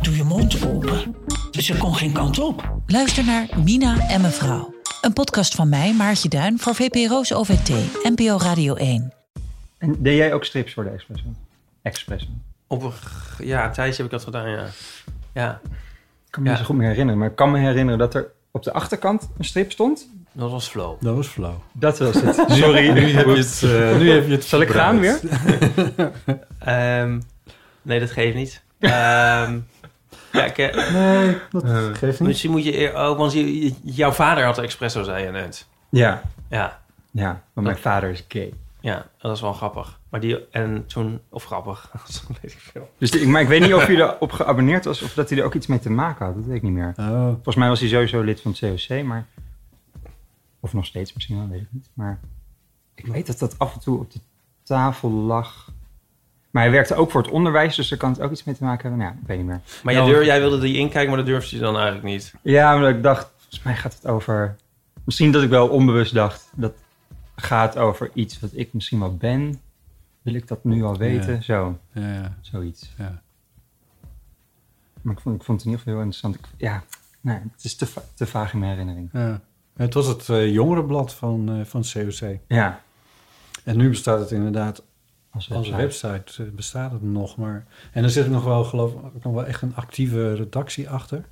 doe je mond open. Ze kon geen kant op. Luister naar Mina en mevrouw. Een podcast van mij, Maartje Duin, voor VPRO's OVT, NPO Radio 1. En deed jij ook strips voor de Expresso? Expresso. Op een, g- ja, tijdje heb ik dat gedaan, ja. Ja, Ik kan me niet zo Ja. goed meer herinneren, maar ik kan me herinneren dat er op de achterkant een strip stond. dat was flow. Dat was flauw. Dat was het. Sorry. Nu heb je het. eh, nu heb je het Zal ik gaan weer? Ehm, nee, dat geeft niet. Ehm, ja, ik, eh, Nee, dat Eh, geeft niet. misschien moet je... eer- Oh, want je- je- jouw vader had de espresso, zei je net. Ja. Ja, Ja, want mijn vader is gay. ja, dat is wel grappig. Maar die... En toen... Of grappig, dat weet ik veel. Dus die- maar ik weet niet of hij erop geabonneerd was of dat hij er ook iets mee te maken had. Dat weet ik niet meer. Oh, Volgens mij was hij sowieso lid van het COC, maar... Of nog steeds misschien wel, weet ik niet. Maar ik weet dat dat af en toe op de tafel lag. Maar hij werkte ook voor het onderwijs, dus daar kan het ook iets mee te maken hebben. Nou ja, ik weet niet meer. Maar Ja, jij, want- durf, jij wilde die inkijken, maar dat durfde je dan eigenlijk niet. Ja, omdat ik dacht, volgens mij gaat het over... Misschien dat ik wel onbewust dacht, dat gaat over iets wat ik misschien wel ben. Wil ik dat nu al weten? Ja. Zo, ja, ja, zoiets. ja. Maar ik vond, ik vond het in ieder geval heel interessant. Ik- ja, nee, het is te, va- te vaag in mijn herinnering. ja. Het was het eh, jongerenblad van, eh, van COC. Ja, En nu bestaat het inderdaad als als website. website. eh, bestaat het nog maar. En er zit nog wel, geloof ik, nog wel echt een actieve redactie achter.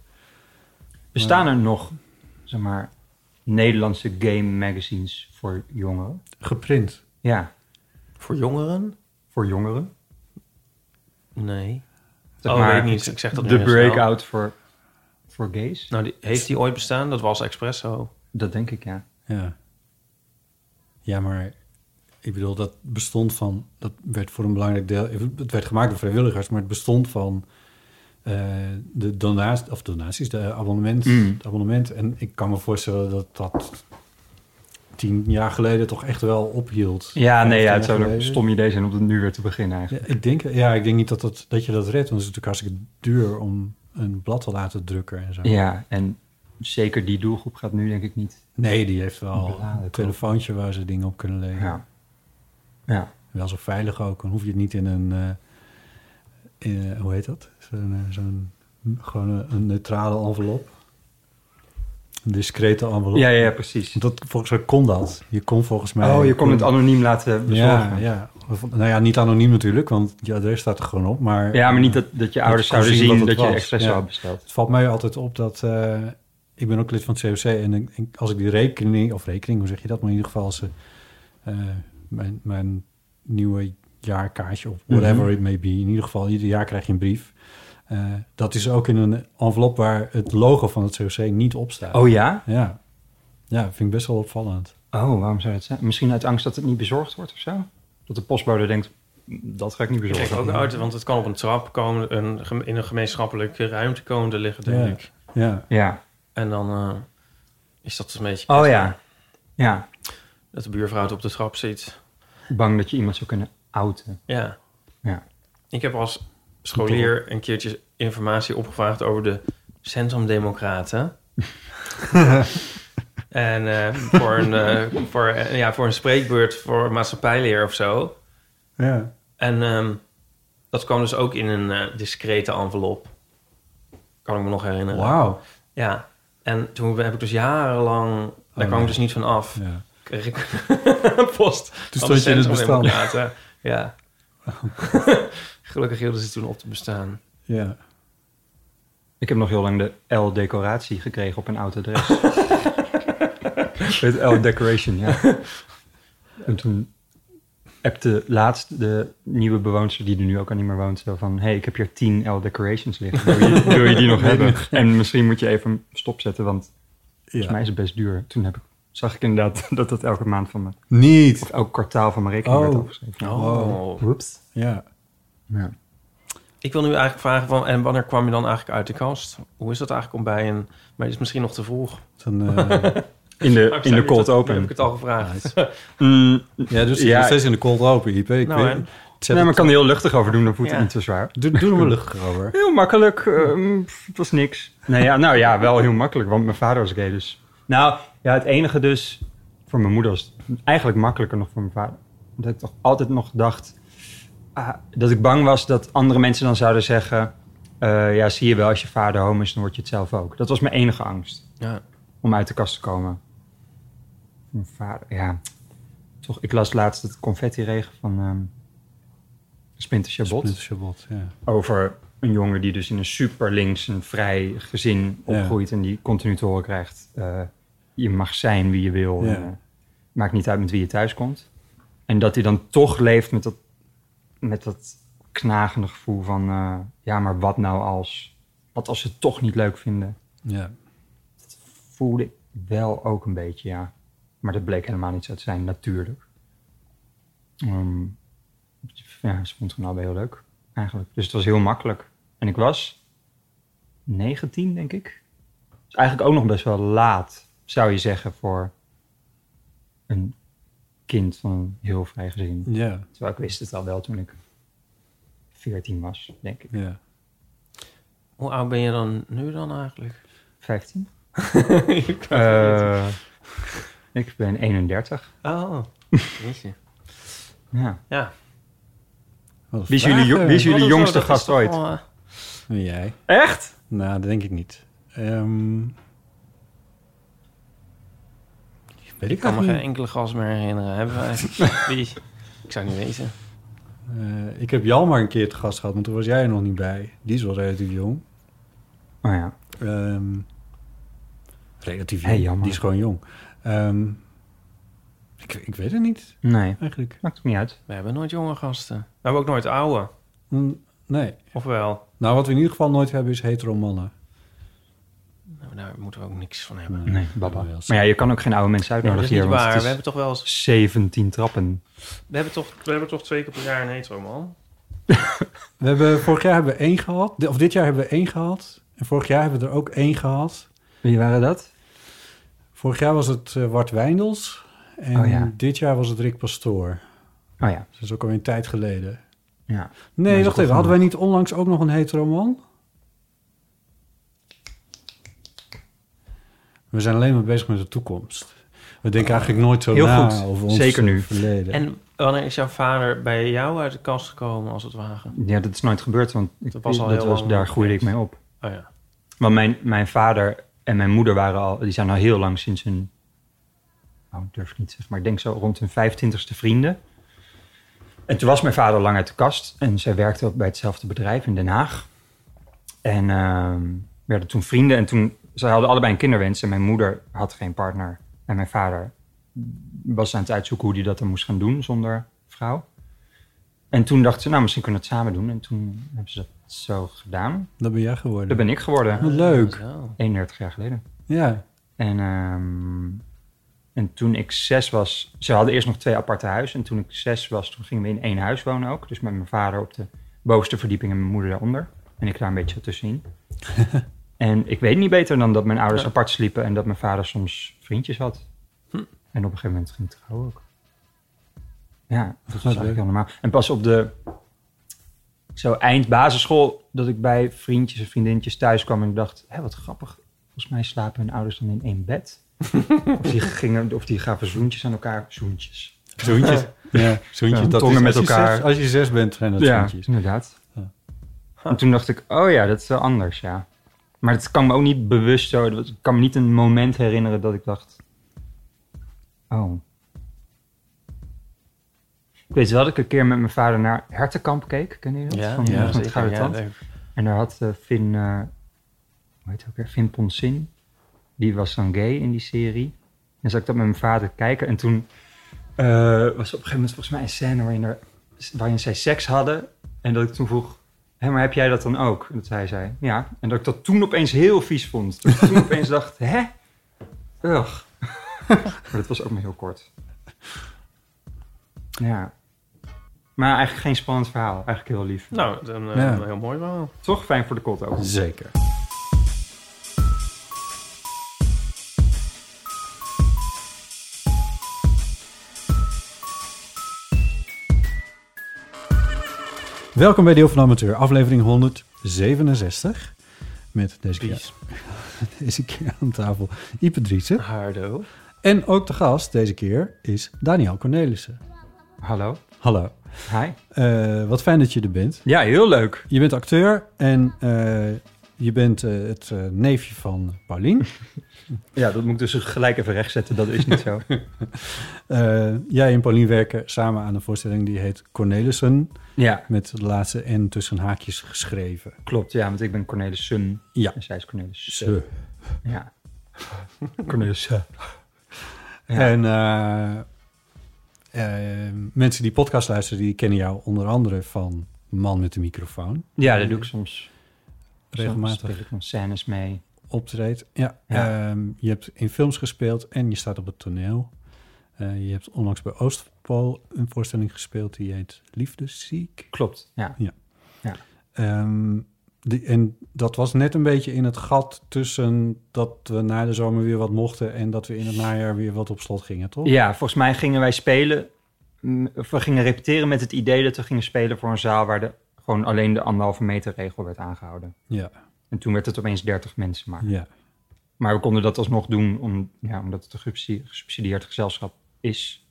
Bestaan er nog, zeg maar, Nederlandse game magazines voor jongeren? Geprint. Ja, Voor jongeren? voor jongeren. Nee. Zeg oh, maar, weet ik niet. Ik zeg dat nu De heel snel. breakout voor, voor gays? Nou, die, heeft die ooit bestaan? Dat was Espresso. Dat denk ik, ja. Ja. Ja, maar ik bedoel, dat bestond van... Dat werd voor een belangrijk deel... Het werd gemaakt door vrijwilligers, maar het bestond van... eh, de donaties, of donaties, de abonnement, Mm. het abonnement. En ik kan me voorstellen dat dat tien jaar geleden toch echt wel ophield. Ja, nee, ja, het Vijftien zou jaar een geleden. stom idee zijn om het nu weer te beginnen eigenlijk. Ja, ik denk, ja, ik denk niet dat, dat, dat je dat redt, want het is natuurlijk hartstikke duur om een blad te laten drukken en zo. Ja, en zeker die doelgroep gaat nu denk ik niet. Nee, die heeft wel Bladen, een telefoontje waar ze dingen op kunnen lezen. Ja. Ja. Wel zo veilig ook. Dan hoef je het niet in een... eh, in, eh, hoe heet dat? Zo'n, eh, zo'n- gewoon een, een neutrale envelop. Een discrete envelop. Ja, ja, precies. Dat, volgens mij kon dat. Je kon volgens mij... Oh, je kon het anoniem laten Ja, bezorgen. ja. Of- Nou ja, niet anoniem natuurlijk, want je adres staat er gewoon op. Maar, Ja, maar niet dat, dat je ouders je kon zouden zien wat zien het dat je was. expres Ja. had besteld. Het valt mij altijd op dat... eh, ik ben ook lid van het COC en ik- ik- als ik die rekening... Of rekening, hoe zeg je dat? Maar in ieder geval als ze, eh, mijn, mijn nieuwe jaarkaartje of whatever it may be. In ieder geval, ieder jaar krijg je een brief. Eh, dat is ook in een envelop waar het logo van het COC niet op staat. Oh ja? Ja. ja, vind ik best wel opvallend. Oh, waarom zou dat zijn? Misschien uit angst dat het niet bezorgd wordt of zo? Dat de postbode denkt, "Mm, dat ga ik niet Ik bezorgen. kijk ook uit, want het kan op een trap komen, een, gem- in een gemeenschappelijke ruimte komen te liggen, denk Ja. ik. Ja, Ja. En dan eh, is dat een beetje... Oh ja. Ja. Dat de buurvrouw het op de trap zit. Bang dat je iemand zou kunnen outen. Ja. Ja. Ik heb als scholier een keertje informatie opgevraagd over de Centrumdemocraten. en eh, voor, een, eh, voor, eh, ja, voor een spreekbeurt voor maatschappijleer of zo. ja. En ehm, dat kwam dus ook in een eh, discrete envelop. Kan ik me nog herinneren. Wauw. Ja. En toen heb ik dus jarenlang... Oh, daar kwam nee. ik dus niet van af. Ja. kreeg ik post. van stond je in het Centrum bestaan. Democraten. eh, Ja. Gelukkig hielden ze toen op te bestaan. ja. Ik heb nog heel lang de L-decoratie gekregen op een oud adres. Het L-decoration, ja. En toen appte laatst de nieuwe bewoonster, die er nu ook al niet meer woont, zo van... hey, ik heb hier tien L-decorations liggen. Wil je, wil je die nog hebben? En misschien moet je even stopzetten, want volgens mij ja. is het best duur. Toen heb ik, zag ik inderdaad dat dat elke maand van me... Niet. of elk kwartaal van mijn rekening werd Oh. afgeschreven. Oh. Whoops. Ja. Ja. Ik wil nu eigenlijk vragen van, en wanneer kwam je dan eigenlijk uit de kast? Hoe is dat eigenlijk om bij een... Maar het is misschien nog te vroeg. Dan, eh, In de, Maar Ah, ik in de zei niet cold dat- nu open. heb ik het al gevraagd. Mm, ja, dus Ja. nog steeds in de cold open, IP. Ik Nou, weet- hè. zet nee, maar het- ik kan er heel luchtig over doen, dan voelt het Ja. niet zo zwaar. doe, doe er maar luchtig over. Heel makkelijk, ehm, pff, het was niks. Nou ja, nou ja, wel heel makkelijk, want mijn vader was gay dus. Nou, ja, het enige dus, voor mijn moeder was het eigenlijk makkelijker nog voor mijn vader. Dat ik toch altijd nog dacht, ah, dat ik bang was dat andere mensen dan zouden zeggen... eh, ja, zie je wel, als je vader homo is, dan word je het zelf ook. Dat was mijn enige angst, Ja. om uit de kast te komen. Mijn vader, ja. Toch, ik las laatst het confetti-regen van ehm Splinter Chabot Net als Chabot, ja. over een jongen die dus in een super links en vrij gezin Ja. opgroeit en die continu te horen krijgt: eh, je mag zijn wie je wil, Ja. en, eh, maakt niet uit met wie je thuis komt. En dat hij dan toch leeft met dat, met dat knagende gevoel van: eh, ja, maar wat nou als? Wat als ze het toch niet leuk vinden? ja. Voelde ik wel ook een beetje, ja. Maar dat bleek helemaal niet zo te zijn, natuurlijk. Ehm, ja, ze vond het gewoon allebei heel leuk, eigenlijk. Dus het was heel makkelijk. En ik was 19, denk ik. Dus eigenlijk ook nog best wel laat, zou je zeggen, voor een kind van een heel vrij gezin. Ja, Terwijl ik wist het al wel toen ik 14 was, denk ik. ja. Hoe oud ben je dan nu dan eigenlijk? 15? Ik dacht het Eh, ik ben 31. niet. Oh, jeetje. Ja. Ja. Wat Wie is jullie, jo- vragen. wie is jullie Oh, dat- jongste dat is gast toch ooit? wel, eh, En jij? Echt? Nou, dat denk ik niet. Ehm, ik weet ik kan me geen eigenlijk niet. enkele gast meer herinneren. Hebben wij? Wie? Ik zou niet weten. Eh, ik heb Jan maar een keer te gast gehad, maar toen was jij er nog niet bij. Die is wel relatief jong. Oh ja. Ehm, relatief Hey, jong. jammer. Die is gewoon jong. Ehm, ik, ik weet het niet, Nee, eigenlijk. maakt ook niet uit. We hebben nooit jonge gasten. We hebben ook nooit oude. Mm, nee. Of wel? Nou, wat we in ieder geval nooit hebben, is hetero mannen. Nou, daar moeten we ook niks van hebben. Nee, baba. Oh, ja, Maar ja, je kan ook geen oude mensen Nee, dat uitnodigen is Nou, hier, niet want waar. het We is hebben toch wel eens... 17 trappen. We hebben toch, we hebben toch twee keer per jaar een hetero man? We hebben, vorig jaar hebben we één gehad. Di- Of dit jaar hebben we één gehad. En vorig jaar hebben we er ook één gehad. Wie waren dat? Vorig jaar was het eh, Wart Wijndels. En Oh ja. dit jaar was het Rick Pastoor. Oh ja, Dus dat is ook alweer een tijd geleden. ja. Nee, is wacht goed even. Hadden wij niet onlangs ook nog een hetero man? We zijn alleen maar bezig met de toekomst. We denken eigenlijk nooit zo Ah. Heel na goed. over ons Zeker nu. verleden. En wanneer is jouw vader bij jou uit de kast gekomen, als het ware? Ja, dat is nooit gebeurd, want ik, Dat was al dat heel was, lang daar groeide ik geleden. mee op. Oh ja. Want mijn, mijn vader en mijn moeder waren al, die zijn al heel lang sinds hun, nou ik durf ik niet te zeggen, maar ik denk zo rond hun 25ste vrienden. En toen was mijn vader lang uit de kast en zij werkte ook bij hetzelfde bedrijf in Den Haag. En ehm, werden toen vrienden en toen, zij hadden allebei een kinderwens en mijn moeder had geen partner. En mijn vader was aan het uitzoeken hoe hij dat dan moest gaan doen zonder vrouw. En toen dacht ze, nou misschien kunnen we het samen doen. En toen hebben ze dat zo gedaan. Dat ben jij geworden. Dat ben ik geworden. Wat leuk. Zo. 31 jaar geleden. Ja. En, ehm, en toen ik zes was, ze hadden eerst nog twee aparte huizen. En toen ik zes was, toen gingen we in één huis wonen ook. Dus met mijn vader op de bovenste verdieping en mijn moeder daaronder. En ik daar een beetje tussenin. en ik weet niet beter dan dat mijn ouders apart sliepen en dat mijn vader soms vriendjes had. En op een gegeven moment ging ik trouwen ook. Ja, dat was eigenlijk leuk. heel normaal. En pas op de zo eind basisschool, dat ik bij vriendjes en vriendinnetjes thuis kwam en ik dacht, hé, wat grappig. Volgens mij slapen hun ouders dan in één bed. of, die gingen, of die gaven zoentjes aan elkaar. Zoentjes. Zoentjes. ja, zoentjes. Ja, dat tongen is, met als je elkaar. zes- als je zes bent, zijn dat zoentjes. inderdaad. Ja. En toen dacht ik, oh ja, dat is wel anders, ja. Maar het kan me ook niet bewust zo, ik kan me niet een moment herinneren dat ik dacht, oh. Ik weet wel dat ik een keer met mijn vader naar Hertenkamp keek, kennen jullie dat? Ja, Van, ja, van het zeker. Gouden Ja, Tand. leuk. En daar had eh, Finn, eh hoe heet hij ook weer? Finn Ponsin. Die was dan gay in die serie. En zat ik dat met mijn vader kijken. En toen eh, was op een gegeven moment volgens mij een scène waarin, er, waarin zij seks hadden. En dat ik toen vroeg, hé, maar heb jij dat dan ook? En Dat hij zei, ja. En dat ik dat toen opeens heel vies vond. Dat ik toen opeens dacht, hè? Ugh. maar dat was ook maar heel kort. Ja. Maar eigenlijk geen spannend verhaal. Eigenlijk heel lief. Nou, dan, eh, Ja. een heel mooi verhaal. Toch fijn voor de kot ook. Zeker. Welkom bij Deel van de Amateur, aflevering 167. Met deze keer, deze keer aan tafel Ipe Driessen. Hardo. En ook de gast deze keer is Daniel Cornelissen. Hallo. Hallo. Hi. Eh, wat fijn dat je er bent. Ja, heel leuk. Je bent acteur en eh, je bent eh, het eh, neefje van Paulien. Ja, dat moet ik dus gelijk even rechtzetten. Dat is niet zo. Eh, jij en Paulien werken samen aan een voorstelling die heet Cornelissen. ja, Met de laatste N tussen haakjes geschreven. klopt. Ja, want ik ben Cornelis Sun. Ja. En zij is Cornelis Sun. Ze. Ja. Cornelis Sun. Ja. En eh, eh, mensen die podcast luisteren, die kennen jou onder andere van Man met de microfoon. Ja, dat doe ik soms. Soms Regelmatig speel ik nog scènes mee. optreedt. Ja, Ja. ehm, je hebt in films gespeeld en je staat op het toneel. Eh, je hebt onlangs bij Oostpool een voorstelling gespeeld die heet Liefdesziek. Klopt. Ja. Ehm, die, en dat was net een beetje in het gat tussen dat we na de zomer weer wat mochten en dat we in het najaar weer wat op slot gingen, toch? ja, volgens mij gingen wij spelen. mm, Of we gingen repeteren met het idee dat we gingen spelen voor een zaal waar de, gewoon alleen de anderhalve meter regel werd aangehouden. Ja, En toen werd het opeens 30 mensen maar. ja. Maar we konden dat alsnog doen om, ja, omdat het een gesubsidie- gesubsidieerd gezelschap is.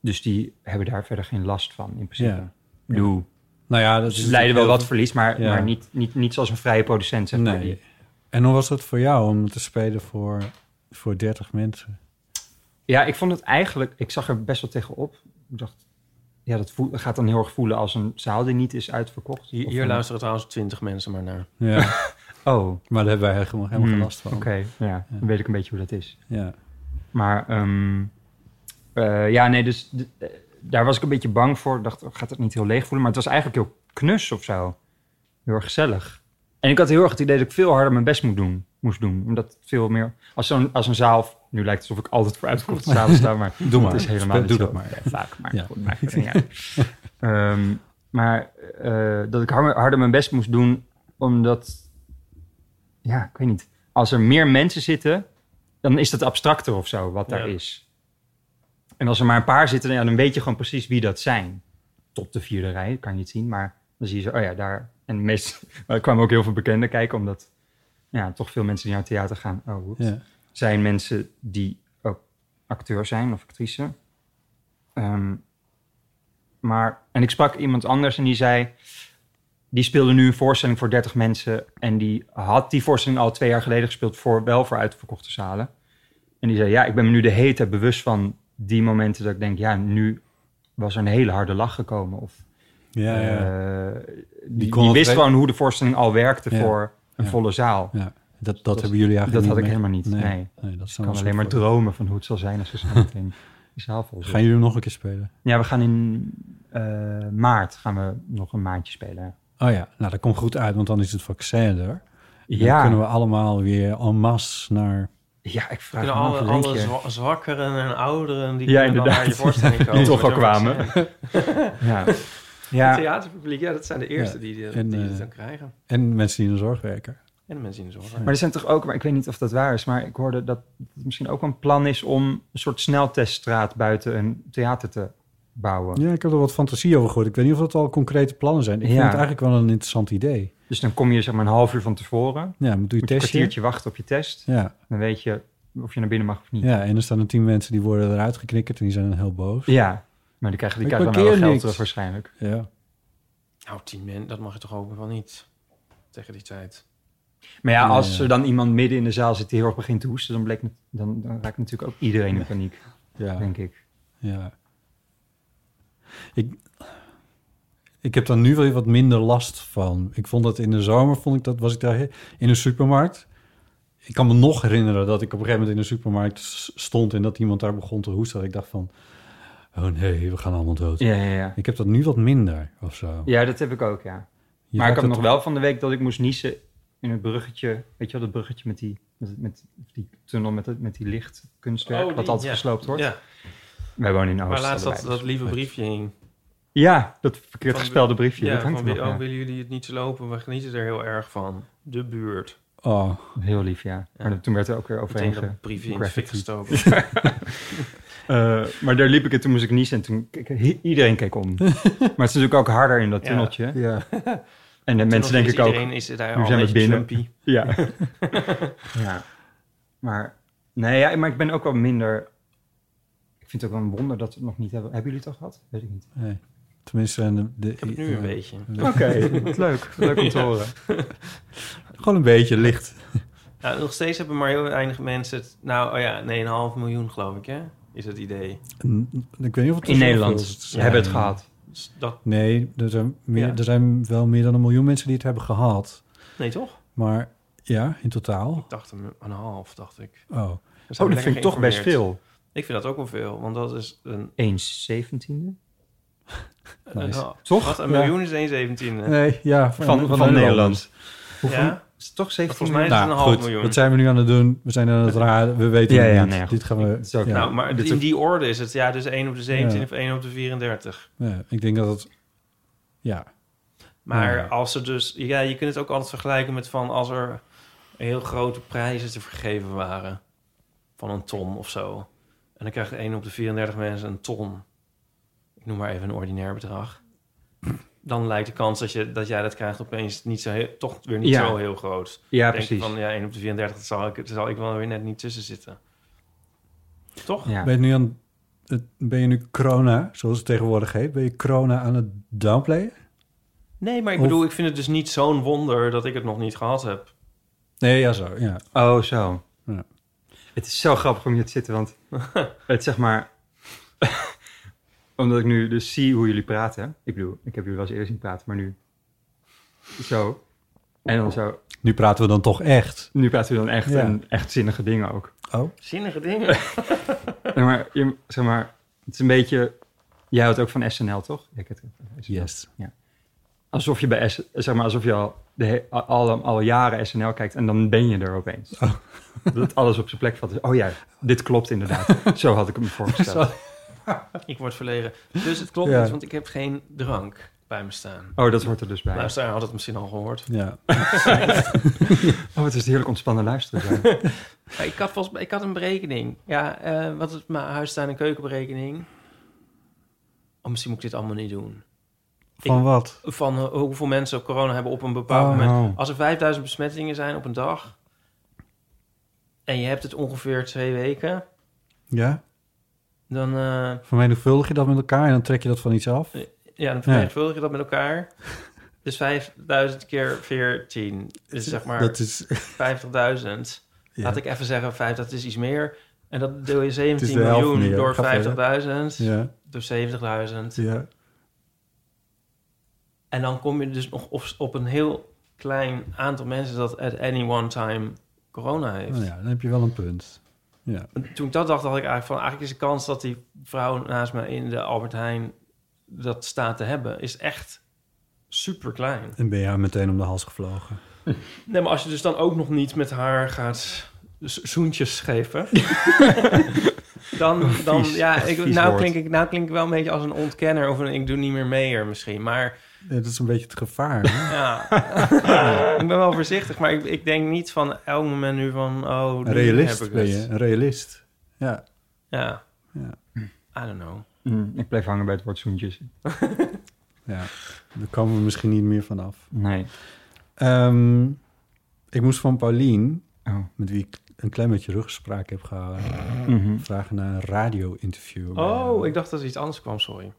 Dus die hebben daar verder geen last van in principe. Ja. Ik bedoel, Nou ja, dat Ze is leiden wel wat natuurlijk verlies, maar, Ja. maar niet, niet, niet zoals een vrije producent. Zeg maar. heel- Nee. En hoe was dat voor jou om te spelen voor, voor 30 mensen? Ja, ik vond het eigenlijk, ik zag er best wel tegenop. Ik dacht, ja, dat voel- gaat dan heel erg voelen als een zaal die niet is uitverkocht. Hier, Of eh, hier een- luisteren trouwens 20 mensen maar naar. Ja, Oh, oké. maar daar hebben wij helemaal, helemaal Hmm. geen last van. Ja, dan weet ik een beetje hoe dat is. Ja. Maar ehm, eh, ja, nee, dus d- eh, daar was ik een beetje bang voor. Ik dacht, oh, gaat het niet heel leeg voelen? Maar het was eigenlijk heel knus of zo. Heel erg gezellig. En ik had heel erg het idee dat ik veel harder mijn best moest doen. Moest doen omdat veel meer... Als, zo'n als een zaal... Nu lijkt het alsof ik altijd voor uitverkochte zalen sta, maar... Doe maar. Het is helemaal Doe niet dat zo. maar. Ja, vaak, maar Ja. goed, maakt het niet uit. Ehm, maar eh, dat ik har- harder mijn best moest doen, omdat... Ja, ik weet niet. Als er meer mensen zitten, dan is dat abstracter of zo, wat daar Ja. is. En als er maar een paar zitten, ja, dan weet je gewoon precies wie dat zijn. Tot de vierde rij, kan je het zien, maar dan zie je zo, oh ja, daar... En meest, er kwamen ook heel veel bekenden kijken, omdat ja, toch veel mensen die naar het theater gaan... Oh, oeps Ja. zijn mensen die ook acteur zijn of actrice. Ehm, maar, en ik sprak iemand anders en die zei... die speelde nu een voorstelling voor 30 mensen... en die had die voorstelling al twee jaar geleden gespeeld... Voor, wel voor uitverkochte zalen. En die zei, ja, ik ben me nu de hete bewust van die momenten... dat ik denk, ja, nu was er een hele harde lach gekomen. Of, Ja, ja. eh, die, kon die het wist re- gewoon hoe de voorstelling al werkte... Ja. voor een Ja. volle zaal. ja. Dat, dat, hebben jullie eigenlijk dat niet had ik mee- helemaal niet, nee. dat is Ik kan wel alleen maar zo voor- dromen van hoe het zal zijn als we zo meteen de zaal vol Gaan zitten. jullie hem nog een keer spelen? Ja, we gaan in eh, maart gaan we nog een maandje spelen. Oh ja, nou dat komt goed uit, want dan is het vaccin er. En Dan Ja. kunnen we allemaal weer en masse naar... Ja, ik vraag Kunnen me af alle, een alle keer. zwa- zwakkeren en ouderen die Ja, kunnen dan inderdaad. naar je voorstelling komen. Die toch al Met een kwamen. vaccin. Ja. Het ja. theaterpubliek, ja, dat zijn de eerste Ja. die, die, En, die eh, het dan krijgen. En mensen die in de zorg werken. En de mensen in de zorg. Maar er zijn toch ook, maar ik weet niet of dat waar is, maar ik hoorde dat het misschien ook een plan is om een soort snelteststraat buiten een theater te bouwen. Ja, ik heb er wat fantasie over gehoord. Ik weet niet of dat al concrete plannen zijn. Ik vind Ja. het eigenlijk wel een interessant idee. Dus dan kom je zeg maar een half uur van tevoren, Ja, maar doe je moet je een testje. kwartiertje wachten op je test, Ja. dan weet je of je naar binnen mag of niet. ja, en er staan er tien mensen die worden eruit geknikkerd en die zijn dan heel boos. Ja. Ja. Maar die krijgen, die Ik krijgen dan wel parkeer geld niks. terug waarschijnlijk. Nou, tien mensen, dat mag je toch hopen van niet. Tegen die tijd. Maar ja, Ja, als ja. er dan iemand midden in de zaal zit die heel erg begint te hoesten, dan, bleek, dan, dan raakt natuurlijk ook iedereen in paniek, Ja. denk ik. ja. Ik, ik heb daar nu wel wat minder last van. Ik vond dat in de zomer, vond ik dat, was ik daar he- in een supermarkt. Ik kan me nog herinneren dat ik op een gegeven moment in een supermarkt s- stond... en dat iemand daar begon te hoesten. Dat ik dacht van, oh nee, we gaan allemaal dood. Ja, ja, ja. Ik heb dat nu wat minder of zo. Ja, dat heb ik ook, ja. Je maar ik raakt had het- nog wel van de week dat ik moest niezen in het bruggetje. Weet je wel, dat bruggetje met die, met, met die tunnel met, het- met die lichtkunstwerk, Oh, die, wat altijd ja. gesloopt wordt. Ja, Wij wonen in Oost. maar laatst dat, allebei. dat lieve briefje hing. Ja, dat verkeerd Van- gespelde briefje. ja, dat hangt van, er wie- nog, oh, ja. willen jullie het niet lopen? We genieten er heel erg van. De buurt. Oh, Heel lief, ja. Maar dat- toen werd er ook weer overheen Meteen dat ge... briefje in de fik graffiti. gestoken. Eh, maar daar liep ik en toen moest ik niezen en toen keek- hi- iedereen keek om. maar het is natuurlijk ook harder in dat Ja. tunneltje. ja. En de mensen Nog denk is ik ook... Iedereen is daar nu al zijn een we beetje binnen. Trumpy. Ja. ja. Maar, nee, ja, maar ik ben ook wel minder... Ik vind het ook wel een wonder dat we het nog niet hebben. Hebben jullie het al gehad? Weet ik niet. Nee. Tenminste, en de, de, Ik heb het nu een beetje. Oké, wat leuk. Leuk om te horen. Gewoon een beetje licht. Ja, Nou, nog steeds hebben maar heel weinig mensen het... Nou oh ja, 1,5 miljoen geloof ik, hè? Is het idee. N- Ik weet niet of het In Nederland Ze hebben het gehad. Dus dat, Nee, er zijn, meer, Ja. er zijn wel meer dan een miljoen mensen die het hebben gehad. nee, toch? Maar ja, in totaal. Ik dacht een, een half, dacht ik. We Oh, zijn Oh, dat lekker vind ik toch best geïnformeerd. veel. Ik vind dat ook wel veel, want dat is een... Eens zeventiende? een Nice. half. Toch? Wat, een Ja. miljoen is 1 zeventiende. nee, ja. Van, van, Nederland. Hoeveel? Ja? Is het toch Volgens 17 mij is het een Nou, half goed, miljoen. dat zijn we nu aan het doen. We zijn aan het raden. We weten Ja, het ja, niet. nee, goed. Dit gaan Dat we... is ook- ja. Nou, maar Dit in ook- die orde is het. Ja, dus 1 op de 17 Ja. of 1 op de 34. ja, ik denk dat het... Ja, Maar Ja. als er dus... Ja, je kunt het ook altijd vergelijken met van als er heel grote prijzen te vergeven waren. Van een ton of zo. En dan krijgt één op de 34 mensen een ton. Ik noem maar even een ordinair bedrag. Dan lijkt de kans dat, je, dat jij dat krijgt opeens niet zo heel, toch weer niet Ja. zo heel groot. Ja, Denk je precies. Van ja, 1 op de 34 daar zal ik, daar zal ik wel weer net niet tussen zitten. Toch? Ja. ben je nu aan... het- Ben je nu corona, zoals het tegenwoordig heet... Ben je corona aan het downplayen? Nee, maar ik Of- bedoel, ik vind het dus niet zo'n wonder dat ik het nog niet gehad heb. Nee, ja, zo. Ja. Oh, zo. Ja. Het is zo grappig om hier te zitten, want het zeg maar... omdat ik nu dus zie hoe jullie praten. Ik bedoel, ik heb jullie wel eens eerder zien praten, maar nu... Zo. En dan zo... Nu praten we dan toch echt. Nu praten we dan echt, Ja. en echt zinnige dingen ook. Oh, Zinnige dingen. Zeg maar, je, zeg maar, het is een beetje... Jij houdt ook van SNL, toch? Ik het yes. Alsof je, bij S, zeg maar, alsof je al, de he- al, al, al jaren SNL kijkt en dan ben je er opeens. Dat alles op zijn plek valt. Oh ja, dit klopt inderdaad. Zo had ik hem voorgesteld. Ik word verlegen. Dus het klopt Ja. niet, want ik heb geen drank bij me staan. Oh, dat hoort er dus bij. Luisteraar had het misschien al gehoord. Ja. Oh, het is heerlijk ontspannen luisteren. zijn. Maar ik had, volgens, mij- ik had een berekening. Ja, eh, wat is mijn huis staan en keukenberekening? Oh, misschien moet ik dit allemaal niet doen. Van wat? Van eh, hoeveel mensen corona hebben op een bepaald Oh. moment. Als er 5000 besmettingen zijn op een dag... en je hebt het ongeveer twee weken... Ja? dan, eh, Vermenigvuldig je dat met elkaar en dan trek je dat van iets af? ja, dan vermenigvuldig je dat met elkaar... Dus 5000 keer 14. Dus zeg maar Dat is... 50.000. Ja. Laat ik even zeggen, 5, dat is iets meer. En dat deel je 17 de helft miljoen meer. door Ga 50.000, verder. Ja. door 70.000. Ja. En dan kom je dus nog op, op een heel klein aantal mensen dat at any one time corona heeft. Nou ja, dan heb je wel een punt. Ja. En Toen ik dat dacht, dacht ik eigenlijk van... eigenlijk is de kans dat die vrouw naast mij in de Albert Heijn dat staat te hebben... is echt super klein. En ben je haar meteen om de hals gevlogen. Nee, maar als je dus dan ook nog niet met haar gaat z- zoentjes geven. dan, dan Vies, ja, echt ik, vies nou, woord. klink ik, nou klink ik wel een beetje als een ontkenner of een ik doe niet meer mee er misschien. Maar Ja, dat is een beetje het gevaar. hè? ja, ik ben wel voorzichtig. Maar ik, ik denk niet van elk moment nu van, oh, nu Een realist heb ik ben het. je. Een realist. Ja. Ja. Ja. I don't know. Mm, ik blijf hangen bij het woord zoentjes. ja. Daar komen we misschien niet meer vanaf. Nee. Ehm ik moest van Paulien, Oh. met wie ik een klein beetje ruggespraak heb gehouden, Mhm. vragen naar een radio-interview. Oh, ik dacht dat er iets anders kwam, sorry.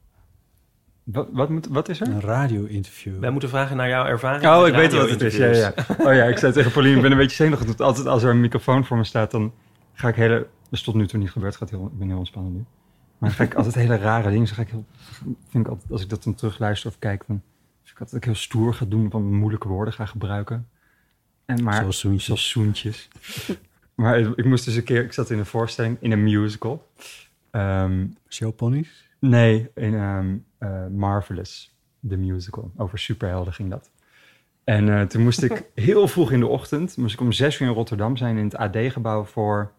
wat, wat, moet, wat is er? Een radio-interview. Wij moeten vragen naar jouw ervaring. Oh, met ik weet wat het is. Ja, radio-interviews. ja. Oh ja, ik zei tegen Pauline, ik ben een beetje zenuwachtig. want Altijd als er een microfoon voor me staat, dan ga ik hele... Dat is tot nu toe niet gebeurd. Gaat heel, ik ben heel ontspannen nu. Maar dan ga ik altijd hele rare dingen. Dan ga ik heel, vind ik altijd, als ik dat dan terugluister of kijk, dan vind ik altijd dat ik heel stoer ga doen. Van moeilijke woorden ga gebruiken. En maar, Zoals zoentjes. Zoals zoentjes. maar ik, ik moest dus een keer... Ik zat in een voorstelling, in een musical. Ehm, Showponies? Nee, in ehm, eh, Marvelous, de musical. Over superhelden ging dat. En eh, toen moest ik heel vroeg in de ochtend, moest ik om zes uur in Rotterdam zijn in het AD-gebouw voor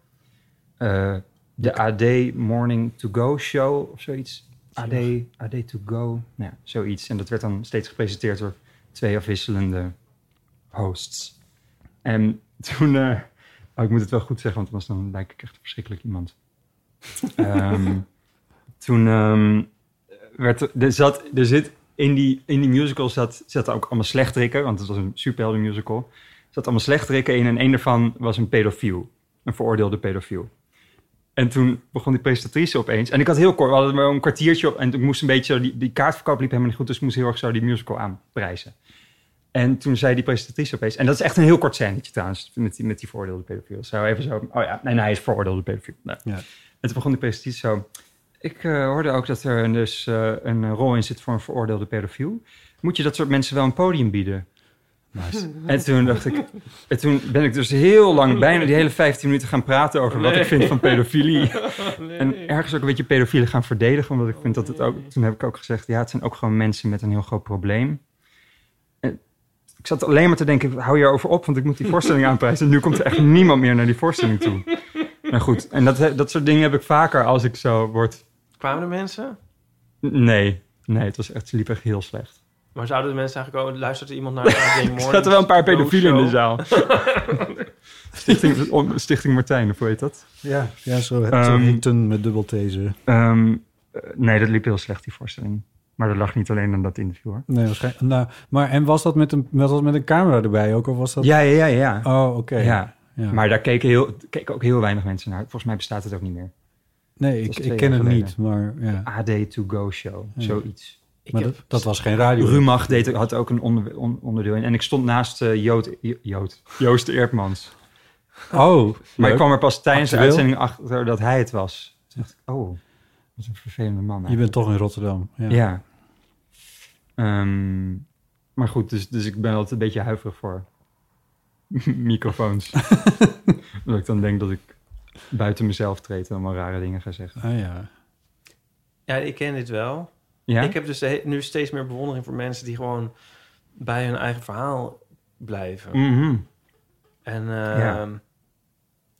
eh, de AD Morning to Go show of zoiets. AD, AD to go. Nou, ja, zoiets. En dat werd dan steeds gepresenteerd door twee afwisselende hosts. En toen... eh, oh, ik moet het wel goed zeggen, want anders dan lijk ik echt een verschrikkelijk iemand. Ehm, toen ehm, werd er, er zat, er zit in die, in die musical zat, zaten ook allemaal slechtrikken, want het was een superhelden musical. Er zaten allemaal slechtrikken in en een daarvan was een pedofiel, een veroordeelde pedofiel. En toen begon die presentatrice opeens. En ik had heel kort, we hadden maar een kwartiertje op. En ik moest een beetje, zo- die, die kaartverkoop liep helemaal niet goed. Dus ik moest heel erg zo die musical aanprijzen. En toen zei die presentatrice opeens... En dat is echt een heel kort scènetje trouwens, met die, met die veroordeelde pedofiel. Zo even zo, oh ja, en hij is veroordeelde pedofiel. Nou. Ja. En toen begon die presentatrice zo... Ik eh, hoorde ook dat er een- dus eh, een rol in zit voor een veroordeelde pedofiel. Moet je dat soort mensen wel een podium bieden? Nice. En toen dacht ik... En toen ben ik dus heel lang, bijna die hele 15 minuten gaan praten over wat ik vind van pedofilie. En ergens ook een beetje pedofielen gaan verdedigen. Omdat ik vind dat het ook... Toen heb ik ook gezegd, ja, het zijn ook gewoon mensen met een heel groot probleem. En ik zat alleen maar te denken, hou je erover op, want ik moet die voorstelling aanprijzen. En nu komt er echt niemand meer naar die voorstelling toe. Maar goed, en dat, dat soort dingen heb ik vaker als ik zo word... Kwamen er mensen? Nee, nee, het was echt, het liep echt heel slecht. Maar zouden de mensen eigenlijk ook... Luistert er iemand naar de AD Er Morning zaten wel een paar Show? pedofielen in de zaal. Stichting, om- Stichting Martijn, of hoe heet dat? Ja, ja zo, zo Ehm, heet een met dubbel taser. Ehm, eh, nee, dat liep heel slecht, die voorstelling. Maar dat lag niet alleen aan dat interview, hoor. Nee, waarschijnlijk. Nou, maar en was dat met een, was dat met een camera erbij ook? Of was dat... Ja, ja, ja. ja. Oh, oké. ja. Ja. Maar daar keken, heel, keken ook heel weinig mensen naar. Volgens mij bestaat het ook niet meer. nee, dat ik, is twee ik ken jaar het geleden. niet, maar ja. AD To Go Show, zoiets. Ik Maar heb- dat, dat was geen radio. Rumach deed, had ook een onder- on- onderdeel in. En ik stond naast eh, Jood, Jo- Jood, Joost Eerdmans. Oh, Maar ik leuk. kwam er pas tijdens de Actueel. uitzending achter dat hij het was. Toen dacht ik, oh, wat een vervelende man. je eigenlijk. bent toch in Rotterdam. Ja. Ja. Ehm, maar goed, dus, dus ik ben altijd een beetje huiverig voor microfoons. Omdat ik dan denk dat ik buiten mezelf treed en allemaal rare dingen ga zeggen. Ah, ja. Ja, ik ken dit wel. Ja? Ik heb dus de he- nu steeds meer bewondering voor mensen die gewoon bij hun eigen verhaal blijven. Mhm. En, eh, Ja.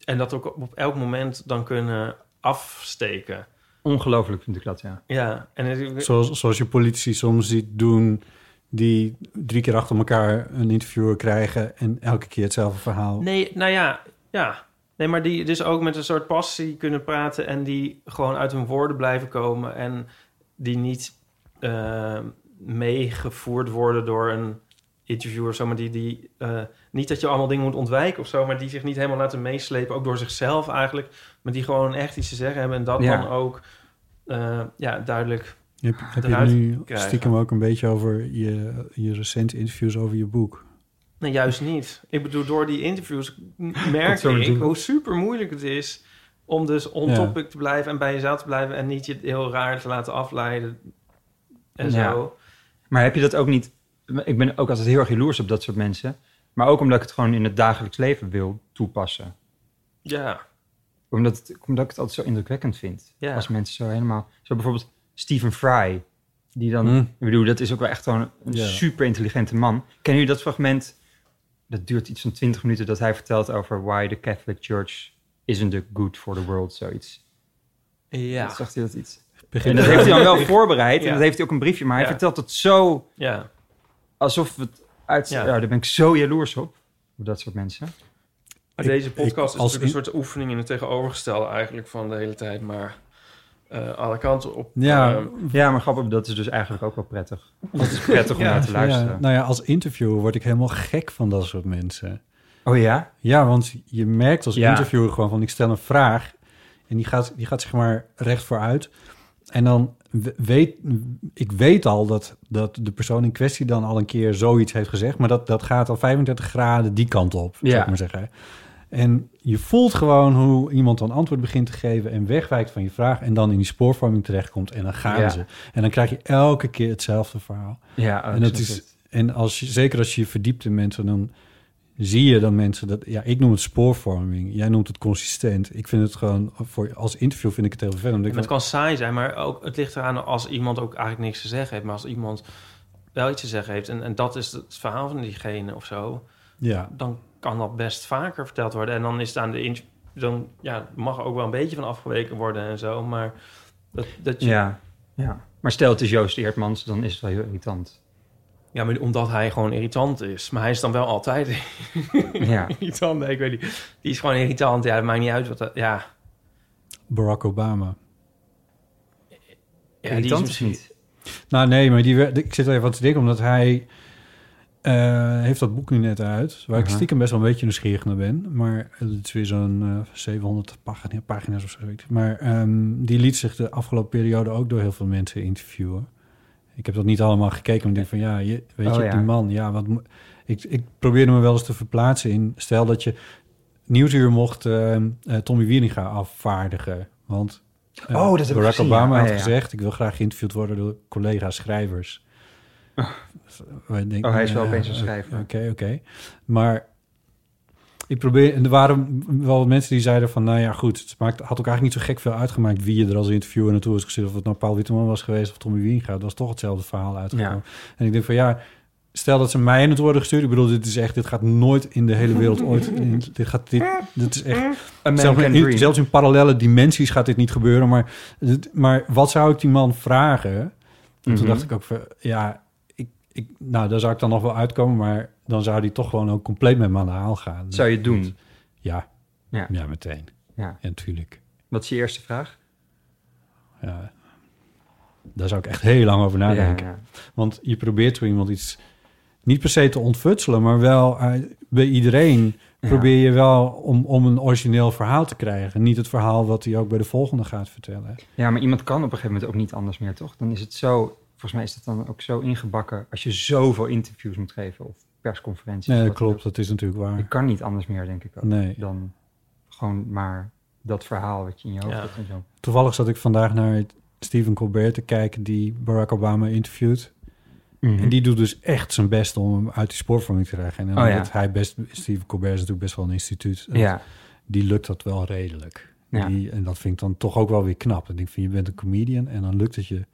en dat ook op op elk moment dan kunnen afsteken. Ongelooflijk vind ik dat, ja. Ja, en het- Zoals, zoals je politici soms ziet doen, die drie keer achter elkaar een interviewer krijgen en elke keer hetzelfde verhaal. Nee, nou ja, ja. Nee, maar die dus ook met een soort passie kunnen praten en die gewoon uit hun woorden blijven komen en die niet eh, meegevoerd worden door een interviewer, of zo, maar die, die eh, niet dat je allemaal dingen moet ontwijken of zo, maar die zich niet helemaal laten meeslepen, ook door zichzelf eigenlijk, maar die gewoon echt iets te zeggen hebben en dat Ja. dan ook eh, ja, duidelijk. Heb, heb je het Eruit nu krijgen. stiekem ook een beetje over je, je recente interviews over je boek? Nee, juist niet. Ik bedoel, door die interviews merk zo ik doen. hoe super moeilijk het is om dus on Ja. topic te blijven en bij jezelf te blijven en niet je heel raar te laten afleiden en Ja. zo. Maar heb je dat ook niet... Ik ben ook altijd heel erg jaloers op dat soort mensen. Maar ook omdat ik het gewoon in het dagelijks leven wil toepassen. Ja, Omdat, het- omdat ik het altijd zo indrukwekkend vind. Ja. Als mensen zo helemaal... Zo bijvoorbeeld Stephen Fry. Die dan... Hm. Ik bedoel, dat is ook wel echt gewoon een Ja. super intelligente man. Kennen jullie dat fragment? Dat duurt iets van 20 minuten dat hij vertelt over... Why the Catholic Church isn't the good for the world, zoiets. ja, Zag hij dat iets? Begin En dat heeft hij dan wel voorbereid. En Ja. dat heeft hij ook een briefje. Maar hij Ja. vertelt het zo... ja. Alsof het uit... Ja. Ja. daar ben ik zo jaloers op. Op dat soort mensen. Deze podcast ik- is als natuurlijk een soort oefening in het tegenovergestelde eigenlijk van de hele tijd, maar eh, alle kanten op. Ja, eh, Ja, maar grappig. Dat is dus eigenlijk ook wel prettig. Dat is prettig om Ja. naar te luisteren. Ja, nou ja, als interviewer word ik helemaal gek van dat soort mensen. Oh ja? Ja, want je merkt als Ja. interviewer gewoon van ik stel een vraag en die gaat, die gaat zeg maar recht vooruit. En dan we- weet ik weet al dat, dat de persoon in kwestie dan al een keer zoiets heeft gezegd, maar dat, dat gaat al 35 graden die kant op, zou Ja. ik maar zeggen. En je voelt gewoon hoe iemand dan antwoord begint te geven en wegwijkt van je vraag en dan in die spoorvorming terechtkomt en dan gaan Ja. ze. En dan krijg je elke keer hetzelfde verhaal. Ja, oh, En, ik dat snap is, het. en als je, zeker als je je verdiept in mensen, dan zie je dan mensen dat... Ja, ik noem het spoorvorming. Jij noemt het consistent. Ik vind het gewoon... Voor, als interview vind ik het heel vervelend. omdat ik Maar het dan- kan saai zijn, maar ook, het ligt eraan als iemand ook eigenlijk niks te zeggen heeft. Maar als iemand wel iets te zeggen heeft en, en dat is het verhaal van diegene of zo, ja, dan kan dat best vaker verteld worden. En dan is het aan de inch, dan ja, mag er ook wel een beetje van afgeweken worden en zo. Maar dat, dat je Ja, Ja. Maar stel het is Joost Eertmans, dan is het wel heel irritant. Ja, maar omdat hij gewoon irritant is. Maar hij is dan wel altijd Ja. irritant. Nee, ik weet niet. Die is gewoon irritant. Ja, het maakt niet uit wat... dat- ja. Barack Obama. ja irritant is niet. Nou nee, maar die, werd- ik zit er even aan te denken, omdat hij eh, heeft dat boek nu net uit, waar ik Aha. stiekem best wel een beetje nieuwsgierig naar ben. Maar het is weer zo'n eh, 700 pagina, pagina's of zo. weet ik. Maar ehm, die liet zich de afgelopen periode ook door heel veel mensen interviewen. Ik heb dat niet allemaal gekeken, maar ik denk van ja, je, weet Oh, je, ja. die man, ja, wat, mo- ik, ik probeerde me wel eens te verplaatsen in, stel dat je Nieuwsuur mocht ehm, eh, Tommy Wieringa afvaardigen, want eh, Oh, dat heb ik Barack gezien, ja. Obama Ah, had ja, ja. gezegd, ik wil graag geïnterviewd worden door collega's schrijvers. Wij denken, Ah. Oh, hij is wel eh, opeens een eh, schrijver. Oké, oké. Maar ik probeer... En er waren wel wat mensen die zeiden van... Nou ja, goed, het maakt, had ook eigenlijk niet zo gek veel uitgemaakt... wie je er als interviewer naartoe was gezet. Of het nou Paul Witteman was geweest of Tommy Wienga. Het was toch hetzelfde verhaal uitgekomen. En ik denk van ja... Stel dat ze mij in het worden gestuurd. Ik bedoel, dit is echt... Dit gaat nooit in de hele wereld ooit... in- dit gaat... Dit, dit is echt... Zelfs American in, Dream. zelfs in parallele dimensies gaat dit niet gebeuren. Maar, het- maar wat zou ik die man vragen? En Toen Mhm. dacht ik ook van, ja, ik, ik, nou, daar zou ik dan nog wel uitkomen. Maar dan zou die toch gewoon ook compleet met me aan de haal gaan. Zou je het doen? Ja. Ja. Ja, meteen. Ja. Ja, natuurlijk. Wat is je eerste vraag? Ja. Daar zou ik echt heel lang over nadenken. Ja, ja. Want je probeert zo iemand iets niet per se te ontfutselen, maar wel eh, bij iedereen probeer je wel om, om een origineel verhaal te krijgen. Niet het verhaal wat hij ook bij de volgende gaat vertellen. Ja, maar iemand kan op een gegeven moment ook niet anders meer, toch? Dan is het zo, volgens mij is dat dan ook zo ingebakken als je zoveel interviews moet geven of persconferenties. Nee, of wat dat klopt. dan Dat is natuurlijk ook. Je waar. kan niet anders meer, denk ik ook. Nee. Dan gewoon maar dat verhaal wat je in je hoofd Ja. hebt en zo. Toevallig zat ik vandaag naar Stephen Colbert te kijken, die Barack Obama interviewt. En die doet dus echt zijn best om hem uit die spoorvorming te krijgen. En Mhm. Oh, ja. omdat hij best, Stephen Colbert is natuurlijk best wel een instituut. ja. Die lukt dat wel redelijk. Ja. Die, en dat vind ik dan toch ook wel weer knap. Dan denk ik van, je bent een comedian en dan lukt het je...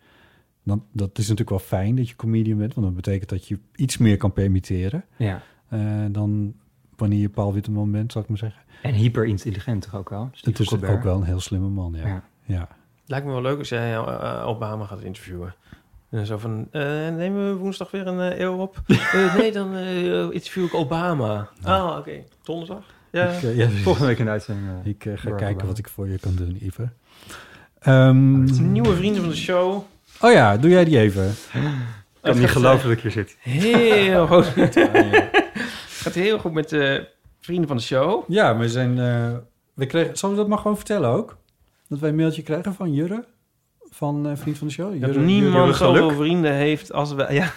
Dan, dat is natuurlijk wel fijn dat je comedian bent, want dat betekent dat je iets meer kan permitteren ja. eh, dan wanneer je Paul Witteman bent, zou ik maar zeggen. En hyperintelligent toch ook wel? Het Stephen is Colbert. ook wel een heel slimme man, ja. Ja. ja. Lijkt me wel leuk als jij eh, Obama gaat interviewen. En dan zo van, eh, nemen we woensdag weer een eh, eeuw op? Eh, nee, dan eh, interview ik Obama. Ah, oké. Donderdag? Ja. Ik, eh, ja, Volgende week in de uitzending. eh, ik eh, Barack ga kijken Obama. wat ik voor je kan doen, Iver. Ehm, Nieuwe vrienden van de show. oh ja, doe jij die even. Ik kan niet gaat, geloven dat ik hier zit. Heel goed. Het gaat heel goed met de vrienden van de show. Ja, we zijn... eh, we kregen, zullen we dat maar gewoon vertellen ook? Dat wij een mailtje krijgen van Jurre, van eh, Vriend van de Show. Dat Jurre, geluk. niemand zoveel vrienden heeft als wij. Ja,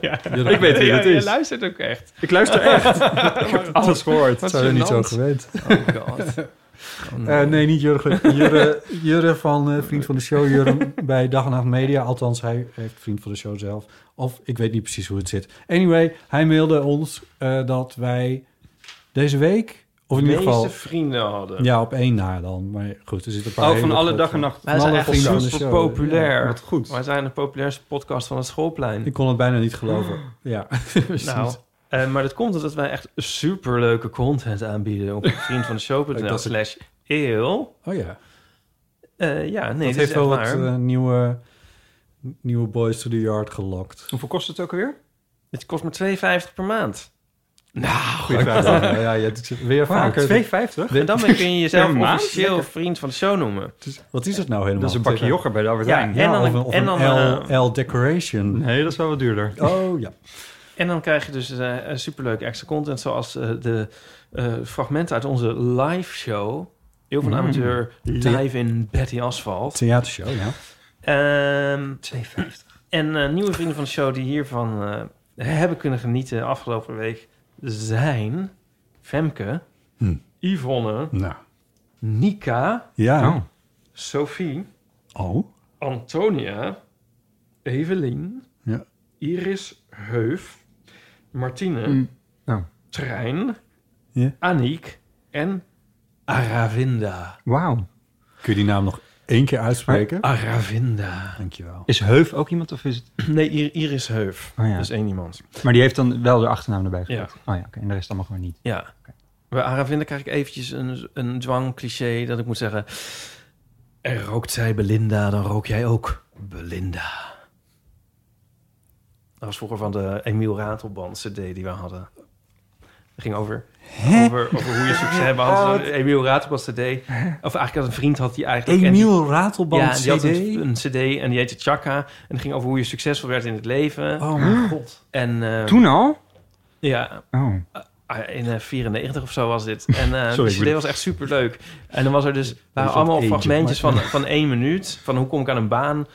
Jurre- Ik weet wie ja, dat je is. luistert ook echt. Ik luister echt. ik heb alles gehoord. Wat Zou je niet zo gênant. gewend? Oh god. Eh, nee, niet Jurgen. Jurre, Jurre van eh, Vriend van de Show. Jurre bij Dag en Nacht Media. Althans, hij heeft Vriend van de Show zelf. Of ik weet niet precies hoe het zit. Anyway, hij mailde ons eh, dat wij deze week... Of in De ieder geval... meeste vrienden hadden. Ja, op één na dan. Maar goed, er zitten een paar... Oh, van hele alle grote- dag en nacht. Wij zijn alle echt vrienden van de super show. populair. Ja, wat goed. Wij zijn de populairste podcast van het schoolplein. Ik kon het bijna niet geloven. Mm. Ja. precies. nou, eh, maar dat komt omdat wij echt superleuke content aanbieden op Ik vriendvandeshow.nl dacht het- slash eeuw. Oh ja. Eh, ja, nee, dat dat heeft is wel echt wat waar. eh, nieuwe, nieuwe boys to the yard gelokt. Hoeveel kost het ook alweer? Het kost maar 2,50 per maand. Nou, Goeie vraag. Ja, ja, je hebt weer vaker... 2,50? En dan kun je jezelf Per maand? officieel vriend van de show noemen. Wat is het nou helemaal? Dat is een bakje Tegen- yoghurt bij de Albert Ja, Heijn. en dan of een- een, of en een dan, eh, L, L decoration. Nee, dat is wel wat duurder. Oh ja. En dan krijg je dus eh, een superleuk extra content... zoals eh, de eh, fragmenten uit onze live show... Heel van de Mm. Amateur live in Betty Asphalt. Theatershow, ja. Ehm 2,50. En eh, nieuwe vrienden van de show die hiervan eh, hebben kunnen genieten afgelopen week zijn Femke, Hm. Yvonne, Nou. Nika, Ja. Oh, Sophie, Oh. Antonia, Evelien, Ja. Iris Heuf, Martine, Mm. Oh. Trein, Ja. Aniek en Aravinda. Wauw. Kun je die naam nog één keer uitspreken? Aravinda. Dankjewel. Is Heuf ook iemand of is het... Nee, I- Iris Heuf. Oh ja. Dat is één iemand. Maar die heeft dan wel de achternaam erbij gezet. Ja. Oh ja, oké. en de rest allemaal gewoon niet. Ja. Bij Aravinda krijg ik eventjes een, een dwangcliché dat ik moet zeggen... Er rookt zij Belinda, dan rook jij ook. Belinda. Dat was vroeger van de Emiel Ratelband CD die we hadden. Dat ging over, over, over hoe je succes hebt. We hadden zo'n Emiel Ratelband CD. Of eigenlijk had een vriend had die eigenlijk... en die- Emiel Ratelband ja, CD? die had een, een CD en die heette Chaka. En het ging over hoe je succesvol werd in het leven. Oh mijn god. En eh, Toen al? ja, Oh. Ah, In eh, 94 of zo was dit. En eh Sorry, die ik CD ben- was echt super leuk. En dan was er dus waren soort allemaal agent, fragmentjes van, van één minuut. Van hoe kom ik aan een baan?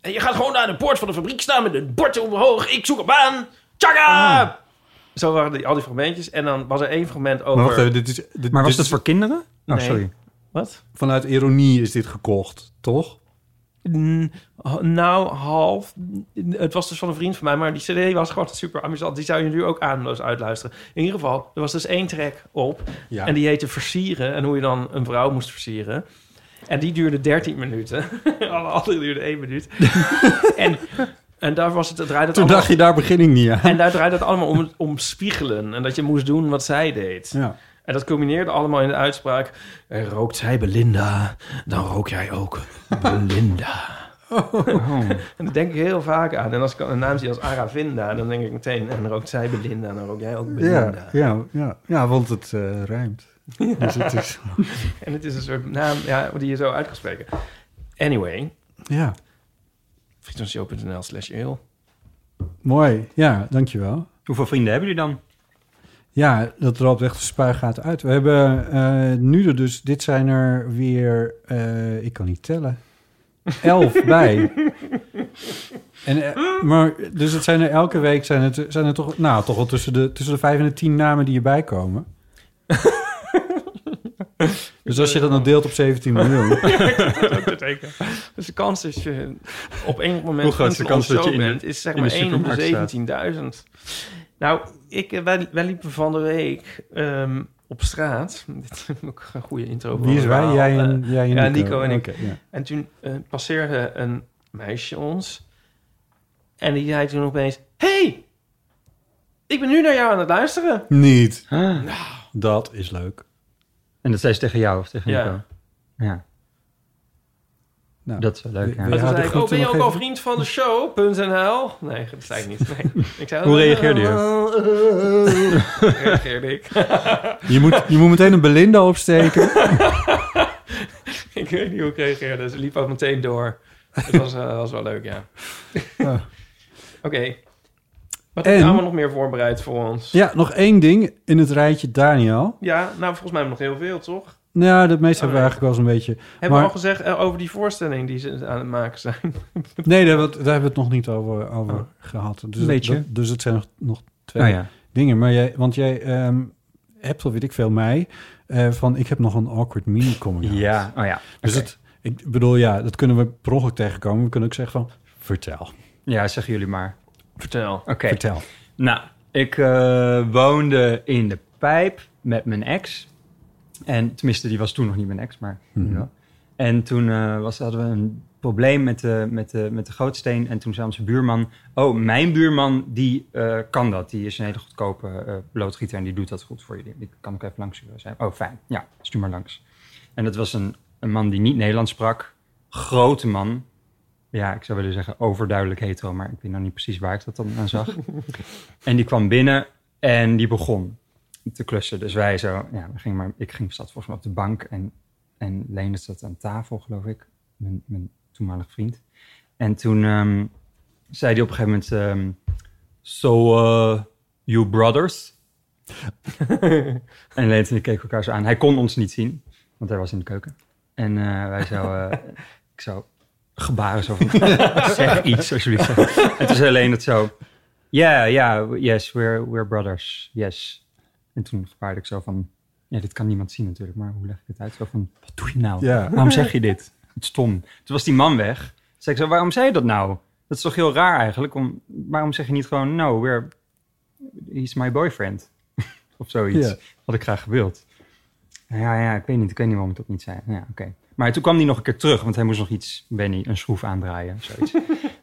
En je gaat gewoon naar de poort van de fabriek staan met een bordje omhoog. Ik zoek een baan. Tjaga! Ah. Zo waren die, al die fragmentjes. En dan was er één fragment over. Maar wacht even, dit is... Dit, Maar was dit dat voor kinderen? Oh, Nee. sorry. Wat? Vanuit ironie is dit gekocht, toch? Mm, h- nou, half. Het was dus van een vriend van mij, maar die CD was gewoon super amusant. Die zou je nu ook ademloos uitluisteren. In ieder geval, er was dus één track op. Ja. En die heette Versieren en hoe je dan een vrouw moest versieren. En die duurde 13 minuten. Alle andere duurde 1 minuut. en, en daar was het, het draaide het Toen allemaal, dacht je daar begin ik niet aan. En daar draaide het allemaal om, om spiegelen. En dat je moest doen wat zij deed. Ja. En dat culmineerde allemaal in de uitspraak... "En Rookt zij Belinda, dan rook jij ook Belinda. Oh. En daar denk ik heel vaak aan. En als ik een naam zie als Aravinda, dan denk ik meteen... En rookt zij Belinda, dan rook jij ook Belinda. Ja, ja, ja, ja, want het eh, rijmt. Dus het is, En het is een soort naam ja, die je zo uit kan spreken. Anyway... ja, frietenshow.nl slash eel. mooi. Ja, dankjewel. Hoeveel vrienden hebben jullie dan? Ja, dat loopt echt de spuigaat uit. We hebben eh, nu er dus, dit zijn er weer, eh, ik kan niet tellen, elf bij. En, eh, maar, dus het zijn er elke week, zijn het, zijn er toch, nou, toch wel tussen de, tussen de vijf en de tien namen die erbij komen. dus als je dat dan deelt op 17 miljoen. Dus de kans dat je op enig moment Hoe groot is de vriend kans van dat je ons show in de- bent, is zeg in maar de 1 op supermarkt staat? de 17.000. Nou, ik, eh, wij, wij liepen van de week ehm, op straat. Dit is ook een goede intro. voor Wie is een wij? verhaal. Jij en, Eh, jij en ja, Nico. Nico en ik. Oké, ja. en toen eh, passeerde een meisje ons. En die zei toen opeens... hey, ik ben nu naar jou aan het luisteren. Niet. Dat is leuk. Ah. En dat zei ze tegen jou of tegen Ja. Nico? Ja. Nou, dat is wel leuk. we- ja. we- En toen Ja, zei de ik, oh, ben je ook groeten al nog vriend van de show.nl? Nee, dat zei ik niet. Nee. Ik zei, "Oh, nou, Hoe reageerde je? reageerde ik. Je moet, je moet meteen een Belinda opsteken. ik weet niet hoe ik reageerde. Ze liep ook meteen door. Het was, eh, was wel leuk, ja. Ja. Oké. Wat heb je En- allemaal nog meer voorbereid voor ons? Ja, Ja, nog één ding in het rijtje Daniel. nou, volgens mij hebben we nog heel veel, toch? Nou, dat meeste hebben we Oh, eigenlijk wel eens een beetje... Hebben Maar- we al gezegd eh, over die voorstelling die ze aan het maken zijn? Nee, daar, hebben we het- daar hebben we het nog niet over, over Oh. gehad. Dus, Een beetje. dat- dus het zijn nog, nog twee Oh, ja. dingen. Maar jij, want jij ehm, hebt, of weet ik veel, mij... eh, van ik heb nog een awkward mini coming out. ja. Oh ja. Dus Oké. het, ik bedoel, ja, dat kunnen we per ongeluk tegenkomen. We kunnen ook zeggen van, vertel, Ja, zeggen jullie maar. Vertel. Oké. vertel. Nou, ik eh, woonde in de pijp met mijn ex. En tenminste, die was toen nog niet mijn ex, maar nu Mhm. wel. En toen eh, was, hadden we een probleem met de, met, de, met de gootsteen. En toen zei onze buurman... Oh, mijn buurman, die eh, kan dat. Die is een hele goedkope eh loodgieter en die doet dat goed voor je. Ik kan ook even langs u zijn. Oh, fijn. Ja, stuur maar langs. En dat was een, een man die niet Nederlands sprak. Grote man. Ja, ik zou willen zeggen overduidelijk hetero, maar ik weet nou niet precies waar ik dat dan aan zag. en die kwam binnen en die begon te klussen. Dus wij zo, ja, we gingen maar, ik ging zat volgens mij op de bank en, en Lene zat aan tafel, geloof ik, mijn, mijn toenmalige vriend. En toen ehm, zei hij op een gegeven moment, ehm, so eh, you brothers? en Lene en ik keken elkaar zo aan. Hij kon ons niet zien, want hij was in de keuken. En eh, wij zo, eh, ik zo, gebaren zo van, zeg iets alsjeblieft. En toen zei Lene het zo, ja, ja, yes, we're, we're brothers, yes. En toen gebaarde ik zo van... Ja, dit kan niemand zien natuurlijk, maar hoe leg ik het uit? Zo van, wat doe je nou? Ja. Waarom zeg je dit? Het is stom. Toen was die man weg. Toen zei ik zo, waarom zei je dat nou? Dat is toch heel raar eigenlijk? Om, waarom zeg je niet gewoon, no, we're... He's my boyfriend. of zoiets. Ja. Had ik graag gewild. Ja, ja, ik weet niet. Ik weet niet waarom ik dat niet zei. Ja, oké. Maar toen kwam hij nog een keer terug, want hij moest nog iets, Benny, een schroef aandraaien. of Zoiets.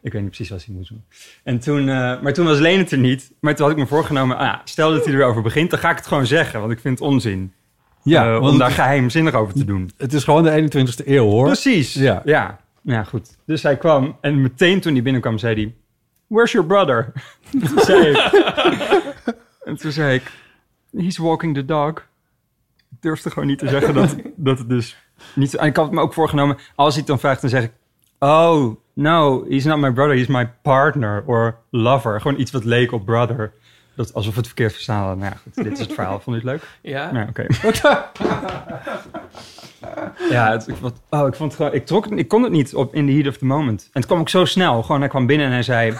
ik weet niet precies wat hij moest doen. En toen, eh, maar toen was Leen het er niet. Maar toen had ik me voorgenomen, ah, ja, stel dat hij er weer over begint, dan ga ik het gewoon zeggen, want ik vind het onzin. Ja, eh, om want daar geheimzinnig over te doen. het is gewoon de 21ste eeuw, hoor. Precies. Ja. Ja. Ja, goed. Dus hij kwam en meteen toen hij binnenkwam zei hij... Where's your brother? toen zei ik, en toen zei ik... He's walking the dog. Ik durfde gewoon niet te zeggen dat, dat het dus niet... En ik had het me ook voorgenomen, als hij het dan vraagt, dan zeg ik... Oh, no, he's not my brother, he's my partner or lover. Gewoon iets wat leek op brother. Dat, alsof we het verkeerd verstaan hadden. Nou ja, goed, dit is het verhaal. Vond je het leuk? Ja? Ja, oké. ja, het, ik, vond- oh, ik, vond het gewoon, ik, trok, het- ik kon het niet op in the heat of the moment. En het kwam ook zo snel. Gewoon, hij kwam binnen en hij zei,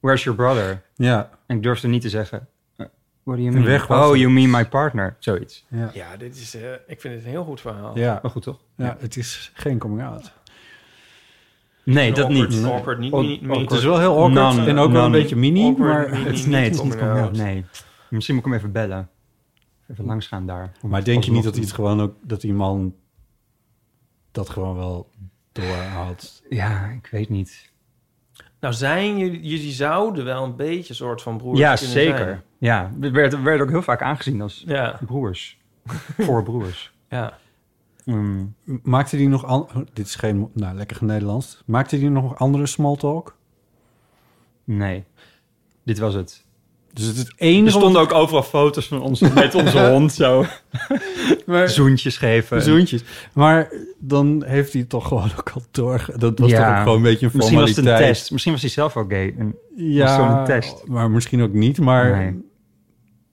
where's your brother? Ja, En ik durfde niet te zeggen, eh, what do you mean? weg was oh, het. you mean my partner? Zoiets. ja. Ja, dit is, eh, ik vind het een heel goed verhaal. Ja. Maar goed, toch? ja, het is geen coming out. Nee, Een dat awkward- niet. Awkward, niet, Aw- niet, niet- awkward. Het is wel heel awkward Non- en ook wel non- een beetje mini, awkward, maar... mini- Het is, niet nee, het is niet coming coming out. out. Nee. Misschien moet ik hem even bellen. Even langs gaan daar. Maar denk je Alsnog niet dat doen. hij het gewoon ook dat die man dat gewoon wel doorhaalt? Ja, ik weet niet. Nou, zijn jullie, jullie zouden wel een beetje soort van broers ja, kunnen zeker. zijn. Ja, we werden werd ook heel vaak aangezien als Ja, broers. Voor broers. ja. Mm. Maakte die nog an- oh, dit is geen nou lekker Nederlands. Maakte die nog andere small talk? Nee, dit was het. Dus het is het Er enige stonden ook overal foto's van ons met onze hond zo. Zoentjes geven. wat- zoentjes. Maar dan heeft hij het toch gewoon ook al door. Dat was Ja. toch ook gewoon een beetje een Misschien was formaliteit. het een test. Misschien was hij zelf ook gay. En Ja, Was zo'n test. maar misschien ook niet. Maar Nee.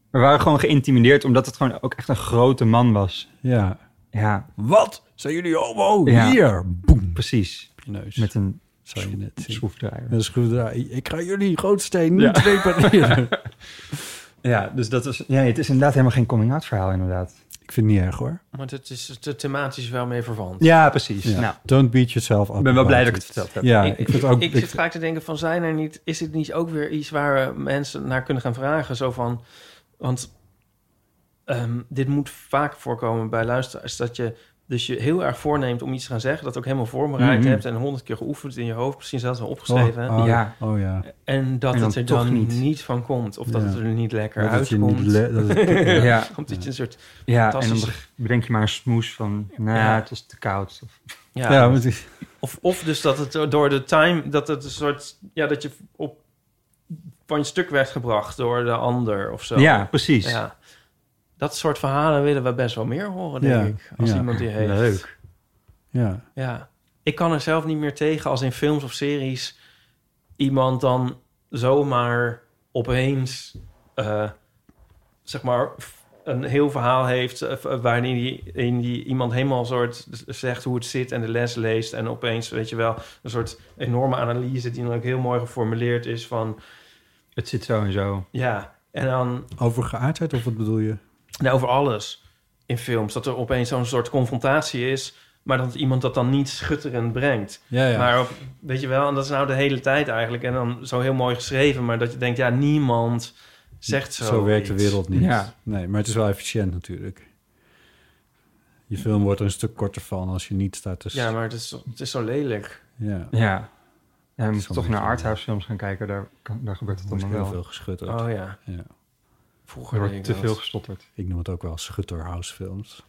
we waren gewoon geïntimideerd omdat het gewoon ook echt een grote man was. ja. Ja, Wat? Zijn jullie homo? Ja. Hier. Boem. precies. Op je neus. Met een Zou je net zien. schroefdraaier. Met een schroefdraai. Ik ga jullie grootsteen Ja. niet repareren. Ja, dus dat is. Ja, het is inderdaad helemaal geen coming-out verhaal, inderdaad. Ik vind het niet erg hoor. Maar het is te thematisch wel mee verwant. Ja, precies. Nou, Don't beat yourself up. ik ben wel about blij dat ik it. het verteld heb. Ja, ik, ik, vind ook... ik ik- zit vaak te denken van zijn er niet, is dit niet ook weer iets waar eh, mensen naar kunnen gaan vragen? Zo van, want ehm, dit moet vaak voorkomen bij luisteraars, dat je dus je heel erg voorneemt om iets te gaan zeggen, dat ook helemaal voorbereid Mhm. hebt en honderd keer geoefend in je hoofd, misschien zelfs wel opgeschreven. oh, oh, Ja. Oh ja. En dat En dan het er toch dan niet. niet. van komt, of dat Ja. het er niet lekker Dat het je uitkomt. niet le- dat het- Ja, ja. Omdat je een soort, en dan Fantastisch. bedenk je maar een smoes van. Nou, Ja. het was te koud. Of, ja, ja, ja, want ik- Of, of dus dat het door de time, dat het een soort, ja, dat je op van je stuk werd gebracht door de ander of zo. ja, precies. Ja. Dat soort verhalen willen we best wel meer horen, denk Ja, ik. Als ja. iemand die heeft. Leuk. ja. Ja. Ik kan er zelf niet meer tegen als in films of series iemand dan zomaar opeens, eh, zeg maar, f- een heel verhaal heeft eh, v- waarin die, in die iemand helemaal soort z- zegt hoe het zit en de les leest en opeens, weet je wel, een soort enorme analyse die dan ook heel mooi geformuleerd is van, Het zit zo en zo. ja, en dan Over geaardheid of wat bedoel je? Nee, over alles in films. Dat er opeens zo'n soort confrontatie is, maar dat iemand dat dan niet schutterend brengt. Ja, ja. Maar op- weet je wel, en dat is nou de hele tijd eigenlijk. En dan zo heel mooi geschreven, maar dat je denkt, ja, niemand zegt zo. zo werkt de wereld niet. Ja. Nee, maar het is wel efficiënt natuurlijk. Je film wordt er een stuk korter van als je niet staat te... s- Ja, maar het is, zo- het is zo lelijk. ja. Ja. Ja, we moeten wel toch een naar beetje- arthouse films gaan kijken. Daar, kan- daar gebeurt het Er wordt allemaal heel wel. veel geschutterd. Oh ja, Ja. Er vroeger deed wordt ik te dat. veel gestotterd. Ik noem het ook wel schutterhousefilms.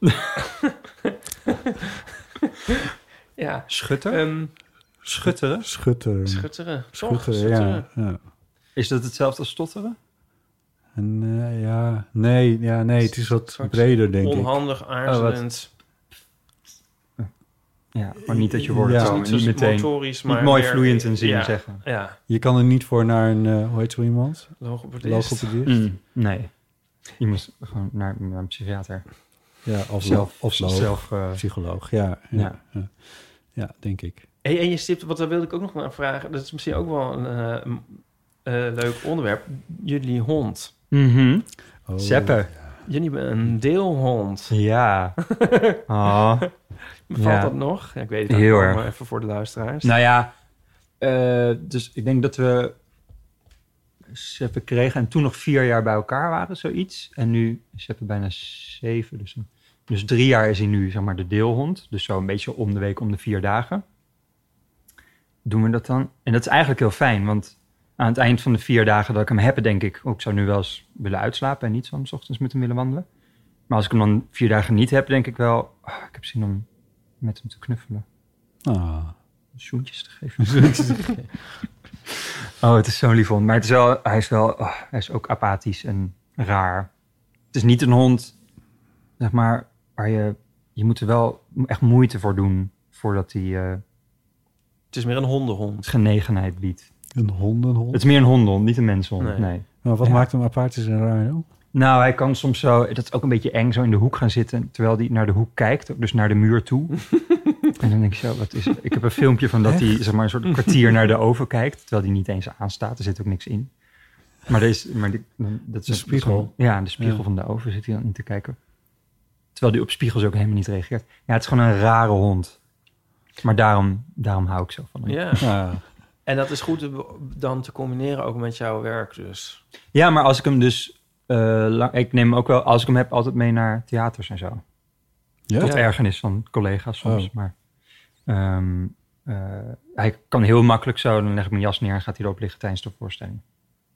Ja. Schutter? Ehm, Schutteren? Schutter. schutteren. Toch? Schutter, Hm. ja. ja. Is dat hetzelfde als stotteren? En, eh, ja. Nee, ja, nee, het is wat Straks breder, denk ik. Oh, Onhandig, aarzelend. Ja, maar niet dat je woorden Ja. zo niet niet zo meteen. motorisch, maar Niet mooi meer- vloeiend in zin ja, zeggen. Ja, Je kan er niet voor naar een, eh, hoe heet zo iemand? logopedist. Logopedist? Mm, nee. Je moest gewoon naar, naar een psychiater. Ja, of Zelf. zelf, of loog. zelf eh, psycholoog. Ja, ja, Ja. ja. ja. denk ik. Hey, en je stipt, want daar wilde ik ook nog naar vragen. Dat is misschien ook wel een eh, m- eh, leuk onderwerp. Jullie hond. mhm. Oh, Zeppen. Jullie hebben een deelhond. Ja. Oh. Bevalt Ja. dat nog? Ja, ik weet het Heel ook, erg. maar even voor de luisteraars. Nou ja, eh, dus ik denk dat we Seppe kregen en toen nog vier jaar bij elkaar waren, zoiets. En nu is Seppe bijna zeven, dus, een- dus drie jaar is hij nu zeg maar de deelhond. Dus zo een beetje om de week, om de vier dagen. Doen we dat dan? En dat is eigenlijk heel fijn, want aan het eind van de vier dagen dat ik hem heb, denk ik, ook ik zou nu wel eens willen uitslapen en niet zo 's ochtends met hem willen wandelen. Maar als ik hem dan vier dagen niet heb, denk ik wel, ah, ik heb zin om met hem te knuffelen. Ah, zoentjes te geven. oh, het is zo'n lief hond. Maar het is wel, hij, is wel, oh, hij is ook apathisch en raar. Het is niet een hond, zeg maar, waar je... Je moet er wel echt moeite voor doen voordat hij eh, Het is meer een hondenhond. genegenheid biedt. Een hondenhond. Het is meer een hondenhond, niet een menshond. Nee. nee. Maar wat maakt hem apart is een raar dan? Nou, hij kan soms zo, dat is ook een beetje eng, zo in de hoek gaan zitten. Terwijl hij naar de hoek kijkt, ook dus naar de muur toe. en dan denk ik zo, wat is het? Ik heb een filmpje van dat hij zeg maar, een soort kwartier naar de oven kijkt. Terwijl hij niet eens aanstaat, er zit ook niks in. Maar, er is, maar die- dan- dat is De spiegel. Ja, de spiegel Ja. van de oven zit hij dan in te kijken. Terwijl hij op spiegels ook helemaal niet reageert. Ja, het is gewoon een rare hond. Maar daarom, daarom hou ik zo van hem. Ja. Ja. En dat is goed te be- dan te combineren ook met jouw werk dus. Ja, maar als ik hem dus... eh, lang, ik neem hem ook wel, als ik hem heb, altijd mee naar theaters en zo. Ja? tot ergernis van collega's soms. Oh. Maar ehm, eh, hij kan heel makkelijk zo, dan leg ik mijn jas neer en gaat hij erop liggen tijdens de voorstelling.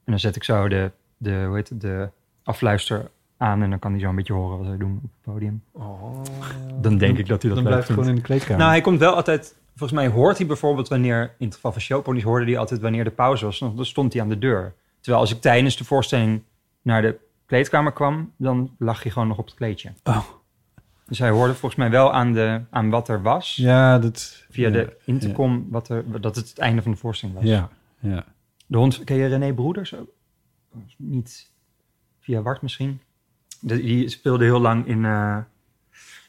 En dan zet ik zo de, de, hoe heet het, de afluister aan en dan kan hij zo een beetje horen wat wij doen op het podium. Oh. Dan denk ik dat hij dat Dan blijft hij gewoon in de kleedkamer. Nou, hij komt wel altijd, volgens mij hoort hij bijvoorbeeld wanneer, in het geval van showponies, hoorde hij altijd wanneer de pauze was. Dan stond hij aan de deur. Terwijl als ik tijdens de voorstelling naar de kleedkamer kwam, dan lag hij gewoon nog op het kleedje. Oh. Dus hij hoorde volgens mij wel aan, de, aan wat er was. Ja, dat... Via ja. de intercom wat er, dat het het einde van de voorstelling was. Ja, ja. De hond, ken je René Broeders ook? Niet via Wart misschien. De- die speelde heel lang in, eh,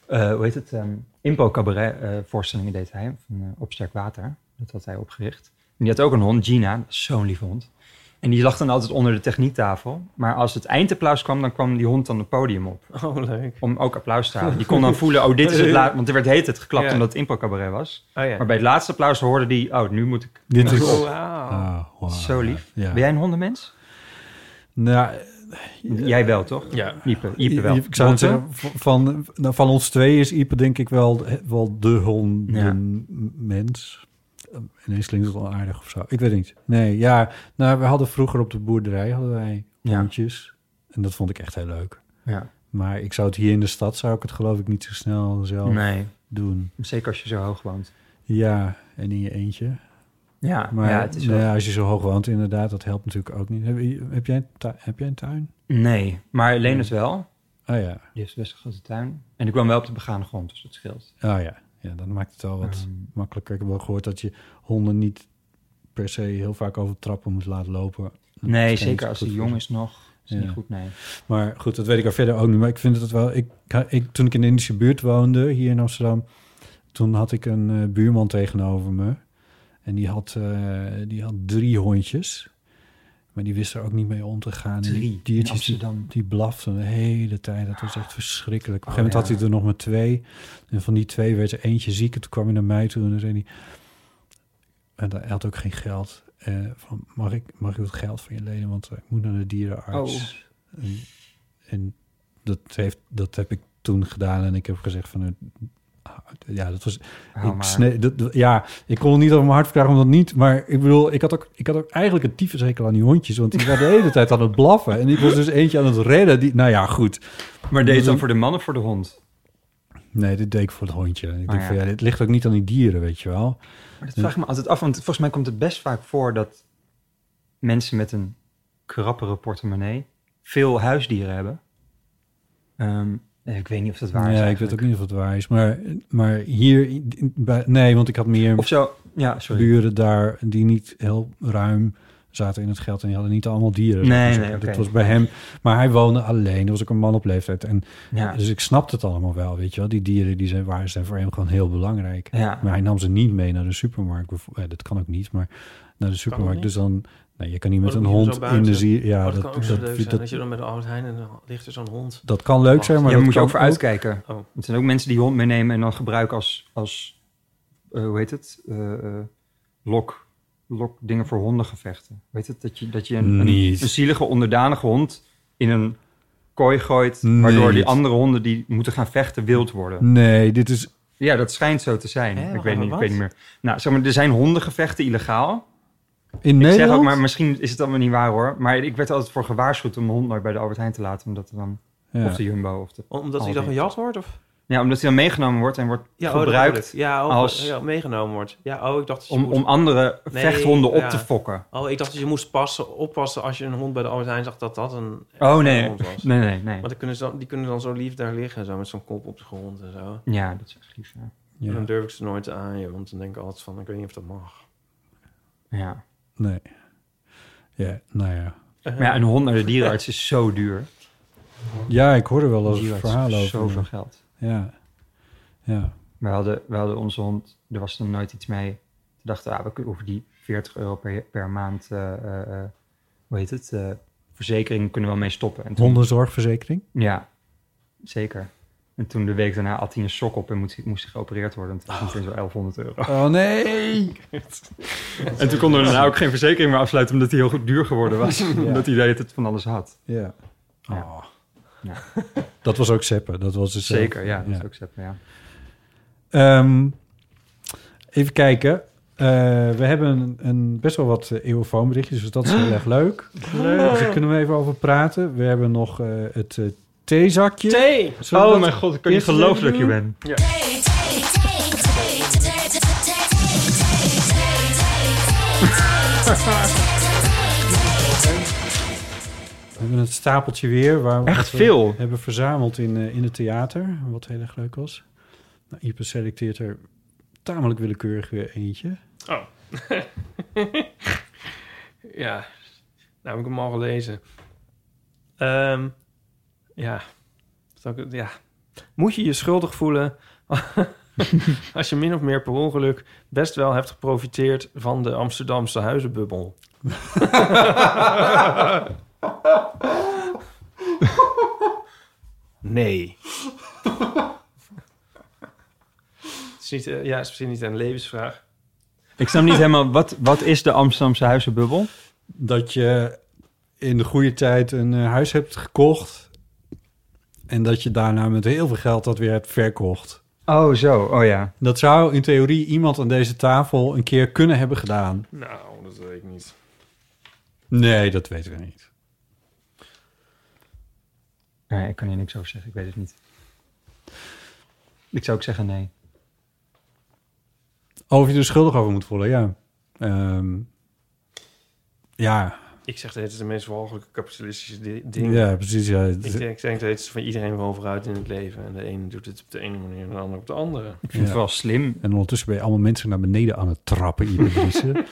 eh, hoe heet het, ehm Impo Cabaret eh, voorstellingen deed hij. Van, eh, op sterk water, dat had hij opgericht. En die had ook een hond, Gina, dat is zo'n lieve hond. En die lag dan altijd onder de techniektafel. Maar als het eindapplaus kwam, dan kwam die hond dan het podium op Oh, leuk. om ook applaus te halen. Die kon dan voelen, oh, dit is het laatste. Want er werd heet het geklapt Ja. omdat het improcabaret was. Oh ja. Maar bij het laatste applaus hoorde die, oh, nu moet ik... Dit is... Oh, Ah, wow. Zo lief. Ja. Ben jij een hondenmens? Nou, Jij wel, toch? Ja. Iepe, Iepe wel. Ik zou Botte? zeggen, v- van, nou, van ons twee is Ipe denk ik wel, wel de hondenmens. Eh, Ineens klinkt het wel aardig of zo. Ik weet het niet. Nee, ja. Nou, we hadden vroeger op de boerderij hadden wij Ja. hondjes. En dat vond ik echt heel leuk. Ja. Maar ik zou het hier in de stad, zou ik het geloof ik niet zo snel zelf Nee, doen. zeker als je zo hoog woont. Ja, en in je eentje. Ja, Maar ja, het is nou wel... ja, als je zo hoog woont, inderdaad, dat helpt natuurlijk ook niet. Heb, je- heb, jij, een tu- heb jij een tuin? Nee, maar Leen het wel. Oh ja, Die heeft best een grote tuin. En ik kwam wel op de begane grond, dus dat scheelt. Oh ja, ja dan maakt het wel wat Ehm. makkelijker. Ik heb wel gehoord dat je honden niet per se heel vaak over trappen moet laten lopen. Dat Nee, schijnt zeker als goed hij voor jong ze. is nog. Is Ja. niet goed, nee. Maar goed, dat weet ik al verder ook niet. Maar ik vind het wel... Ik, ik, toen ik in de Indische buurt woonde, hier in Amsterdam... toen had ik een eh, buurman tegenover me. En die had, eh, die had drie hondjes. Maar die wist er ook niet mee om te gaan. En die Drie, in diertjes, die- Amsterdam. Die blaften de hele tijd. Dat was echt verschrikkelijk. Op een Oh, gegeven moment ja. had hij er nog maar twee. En van die twee werd er eentje ziek. En toen kwam hij naar mij toe en dan zei hij... En hij had ook geen geld. Eh, van, mag, ik, mag ik wat geld van je lenen? Want eh, ik moet naar de dierenarts. Oh. En, en dat, heeft, dat heb ik toen gedaan. En ik heb gezegd van... eh, ja, dat was... Hou ik maar. snee- dat, dat- ja, ik kon het niet over mijn hart verkrijgen, omdat niet. Maar ik bedoel, ik had ook, ik had ook eigenlijk een tyfushekel aan die hondjes. Want die waren de hele tijd aan het blaffen. En ik was dus eentje aan het redden. Die, nou ja, goed. Maar deed het dan dan- voor de man of voor de hond? Nee, dit deed ik voor het hondje. En ik Ah, denk ja. van ja, dit ligt ook niet aan die dieren, weet je wel. Maar dat vraag ik me altijd af, want volgens mij komt het best vaak voor dat mensen met een krappere portemonnee veel huisdieren hebben. Ehm, ik weet niet of dat waar is. ja, ik weet eigenlijk. ook niet of het waar is. Maar, maar hier, in- in- bij, nee, want ik had meer Of zo, ja, sorry. buren daar die niet heel ruim zaten in het geld. En die hadden niet allemaal dieren. Nee, Dus nee, dat oké. was bij hem. Maar hij woonde alleen. Dat was ook een man op leeftijd. En Ja. Dus ik snapte het allemaal wel, weet je wel. Die dieren die zijn, waren zijn voor hem gewoon heel belangrijk. Ja. Maar hij nam ze niet mee naar de supermarkt. bijvo- eh, dat kan ook niet, maar naar de supermarkt. niet? Dus dan, nou, je kan niet Oh, met dan een moet je hond zo in buiten. de zier. Ja, Oh, dat, dat, kan ook dat, zo leuk zijn. Dat, dat- Oh, je dan met de Albert Heijn en dan ligt er zo'n hond. dat kan leuk zijn, maar Ja, daar dat moet je kan ook voor uitkijken. Oh. Er zijn ook mensen die hond meenemen en dan gebruiken als, als eh, hoe heet het, Eh, eh, lok, lok dingen voor hondengevechten. Weet het, dat je, dat je een, een, Niet. een zielige, onderdanige hond in een kooi gooit, waardoor Niet. die andere honden die moeten gaan vechten wild worden. Nee, dit is... Ja, dat schijnt zo te zijn. Hè, ik, wacht weet even, niet, ik wat? weet niet meer. Nou, zeg maar, er zijn hondengevechten illegaal. In Ik Nederland? zeg ook, maar misschien is het allemaal niet waar hoor. Maar ik werd er altijd voor gewaarschuwd om mijn hond nooit bij de Albert Heijn te laten. Omdat er dan, Ja. of de Jumbo, of de... Omdat hij Aldi. dan gejat wordt? Of? Ja, omdat hij dan meegenomen wordt en wordt Ja, oh, dat bedoel gebruikt ik. ja, oh, als- ja, meegenomen wordt. Ja, oh, ik dacht dat je om, moest- om andere Nee, vechthonden op ja. te fokken. Oh, ik dacht dat je moest passen, oppassen als je een hond bij de Albert Heijn zag dat dat een Oh een nee, hond was. nee, nee, nee. Want dan kunnen ze dan, die kunnen dan zo lief daar liggen, zo met zo'n kop op de grond en zo. Ja, dat is echt lief. Ja. En dan Ja. durf ik ze nooit aan je, want dan denk ik altijd van, ik weet niet of dat mag. Ja. Nee. Ja, nou ja. Uh-huh. Maar ja, een hond naar de dierenarts is zo duur. Ja, ik hoorde wel Een eens verhalen dierenarts over. is zoveel geld. Ja. Ja. We hadden, we hadden onze hond, er was toen nooit iets mee. Toen dachten we, ah, we kunnen over die 40 euro per, per maand, eh, eh, eh, hoe heet het, eh, verzekering kunnen we wel mee stoppen. En toen- Hondenzorgverzekering. Ja, zeker. En toen de week daarna had hij een sok op en moest, moest hij geopereerd worden. En toen was het zo 1100 euro. Oh nee. En toen konden we daarna ook geen verzekering meer afsluiten, omdat hij heel goed duur geworden was. Omdat hij deed het van alles had. Ja. Ja. Oh. Ja. Dat was ook seppen. Dat was dus eh, Zeker, ja. Dat is ook zeker, ja. Ehm, even kijken. Eh, we hebben een, een best wel wat eh, eeuwfoonberichtjes, dus dat is heel erg leuk. leuk. Dus daar kunnen we even over praten. We hebben nog eh, het eh, theezakje. Thee! Zullen we dat- Oh god, ik kan niet geloven dat je bent. We hebben het stapeltje weer. Waar Echt wat we veel. hebben verzameld in, eh, in het theater, wat heel erg leuk was. Nou, Ieper selecteert er tamelijk willekeurig weer eentje. Ja, nou heb ik hem al gelezen. Ehm, ja. Zal ik het- ja. Moet je je schuldig voelen als je min of meer per ongeluk best wel hebt geprofiteerd van de Amsterdamse huizenbubbel? nee. Het is niet, eh, ja, het is misschien niet een levensvraag. Ik snap niet helemaal, wat, wat is de Amsterdamse huizenbubbel? dat je in de goede tijd een eh, huis hebt gekocht. En dat je daarna met heel veel geld dat weer hebt verkocht. Oh, zo. Oh ja. Dat zou in theorie iemand aan deze tafel een keer kunnen hebben gedaan. Nou, dat weet ik niet. Nee, dat weten we niet. Nee, ik kan hier niks over zeggen. Ik weet het niet. Ik zou ook zeggen nee. Of je er schuldig over moet voelen, ja. Ehm, ja, Ik zeg dat het is de meest walgelijke kapitalistische di- dingen. ja, precies. Ja. Ik denk, ik denk dat het is van iedereen wel vooruit in het leven. En de ene doet het op de ene manier en de ander op de andere. Ik vind Ja. het wel slim. En ondertussen ben je allemaal mensen naar beneden aan het trappen. Ieder Driessen.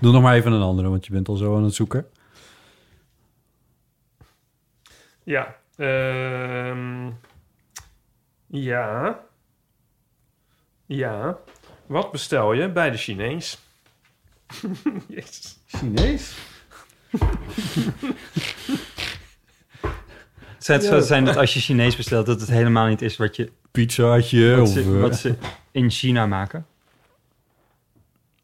Doe nog maar even een andere, want je bent al zo aan het zoeken. Ja. ehm, ja. Ja. Wat bestel je bij de Chinees? Jezus. Chinees? Het zou het zou zijn dat als je Chinees bestelt, dat het helemaal niet is wat, je, Pizzaatje wat, of... ze, eh, wat ze in China maken.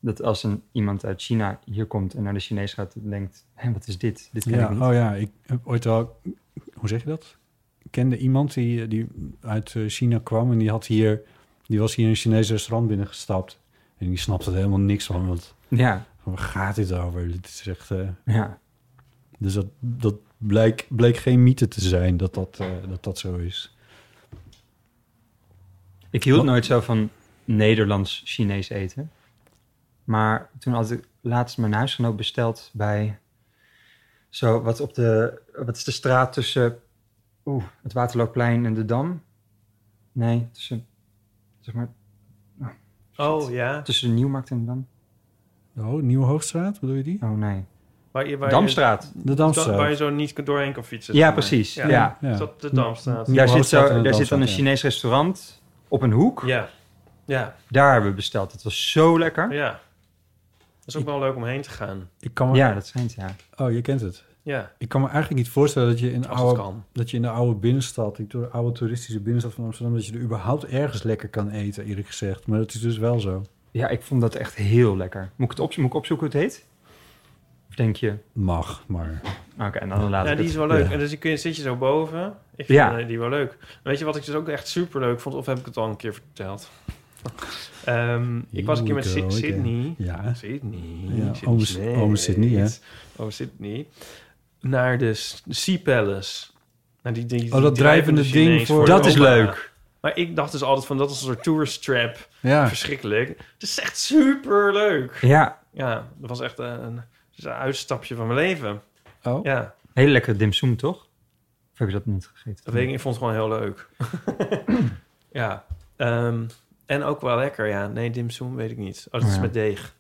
Dat als een, iemand uit China hier komt en naar de Chinees gaat, en denkt, hé, wat is dit? Dit ken ja, ik niet. oh ja, ik heb ooit wel... Hoe zeg je dat? Ik kende iemand die, eh, die uit eh, China kwam en die, had hier, die was hier in een Chinees restaurant binnengestapt. En die snapte er helemaal niks van, want Ja, waar gaat dit over? Dit is echt... eh, ja. dus dat, dat bleek, bleek geen mythe te zijn, dat dat, eh, dat, dat zo is. Ik hield nooit zo van Nederlands-Chinees eten. Maar toen had ik laatst mijn huisgenoot besteld bij... Zo, wat op de... Wat is de straat tussen... Oeh, het Waterloopplein en de Dam? Nee, tussen... Zeg maar, Oh ja. tussen de Nieuwmarkt en de Dam? Oh, Nieuwe Hoogstraat, bedoel je die? Oh, nee. Waar je, waar je- Damstraat. da- De waar je Damstraat. zo niet doorheen kan fietsen. Ja, zeg maar. precies. Ja. Ja. Is dat de Damstraat? Ja. Daar, zit, Hoogstraat en zo, de daar zit dan een Damstraat, ja. Chinees restaurant op een hoek. Ja. Ja. Daar hebben we besteld. Dat was zo lekker. Ja. Dat is ook wel leuk om heen te gaan. Ik kan me, Ja, dat schijnt, ja. Oh, je kent het. Ja. Ik kan me eigenlijk niet voorstellen dat je in Als oude, het kan. dat je in de oude binnenstad, die to- oude toeristische binnenstad van Amsterdam, dat je er überhaupt ergens lekker kan eten, eerlijk gezegd. Maar dat is dus wel zo. Ja, ik vond dat echt heel lekker. Moet ik, het opzo- moet ik opzoeken hoe het heet? Of denk je... Mag, maar. Oké, en dan laat Ja, ik die het. is wel leuk. Ja. En dus je kun- zit je zo boven. Ik vind Ja. eh, die wel leuk. En Weet je wat ik dus ook echt super leuk vond? Of heb ik het al een keer verteld? Ehm, ik was een keer met Here Sy- we go again. Sydney. Ja. Sydney. Ja, Sydney ome- Sneed. ome Sydney, hè? Ome Sydney. Naar de S- Sea Palace. Nou, die, die, die Oh, dat drijvende ding Chinees voor- de Dat is opera. leuk. Maar ik dacht dus altijd van dat is een soort tourist trap. Ja. Verschrikkelijk. Het is echt super leuk. Ja, Ja, dat was echt een, een, een uitstapje van mijn leven. Oh. Ja, hele lekkere dimsum, toch? Of heb je dat niet gegeten? dat weet ik, niet, ik vond het gewoon heel leuk. ja. ehm, en ook wel lekker, ja. Nee, dimsum weet ik niet. Oh, dat is Ja. met deeg.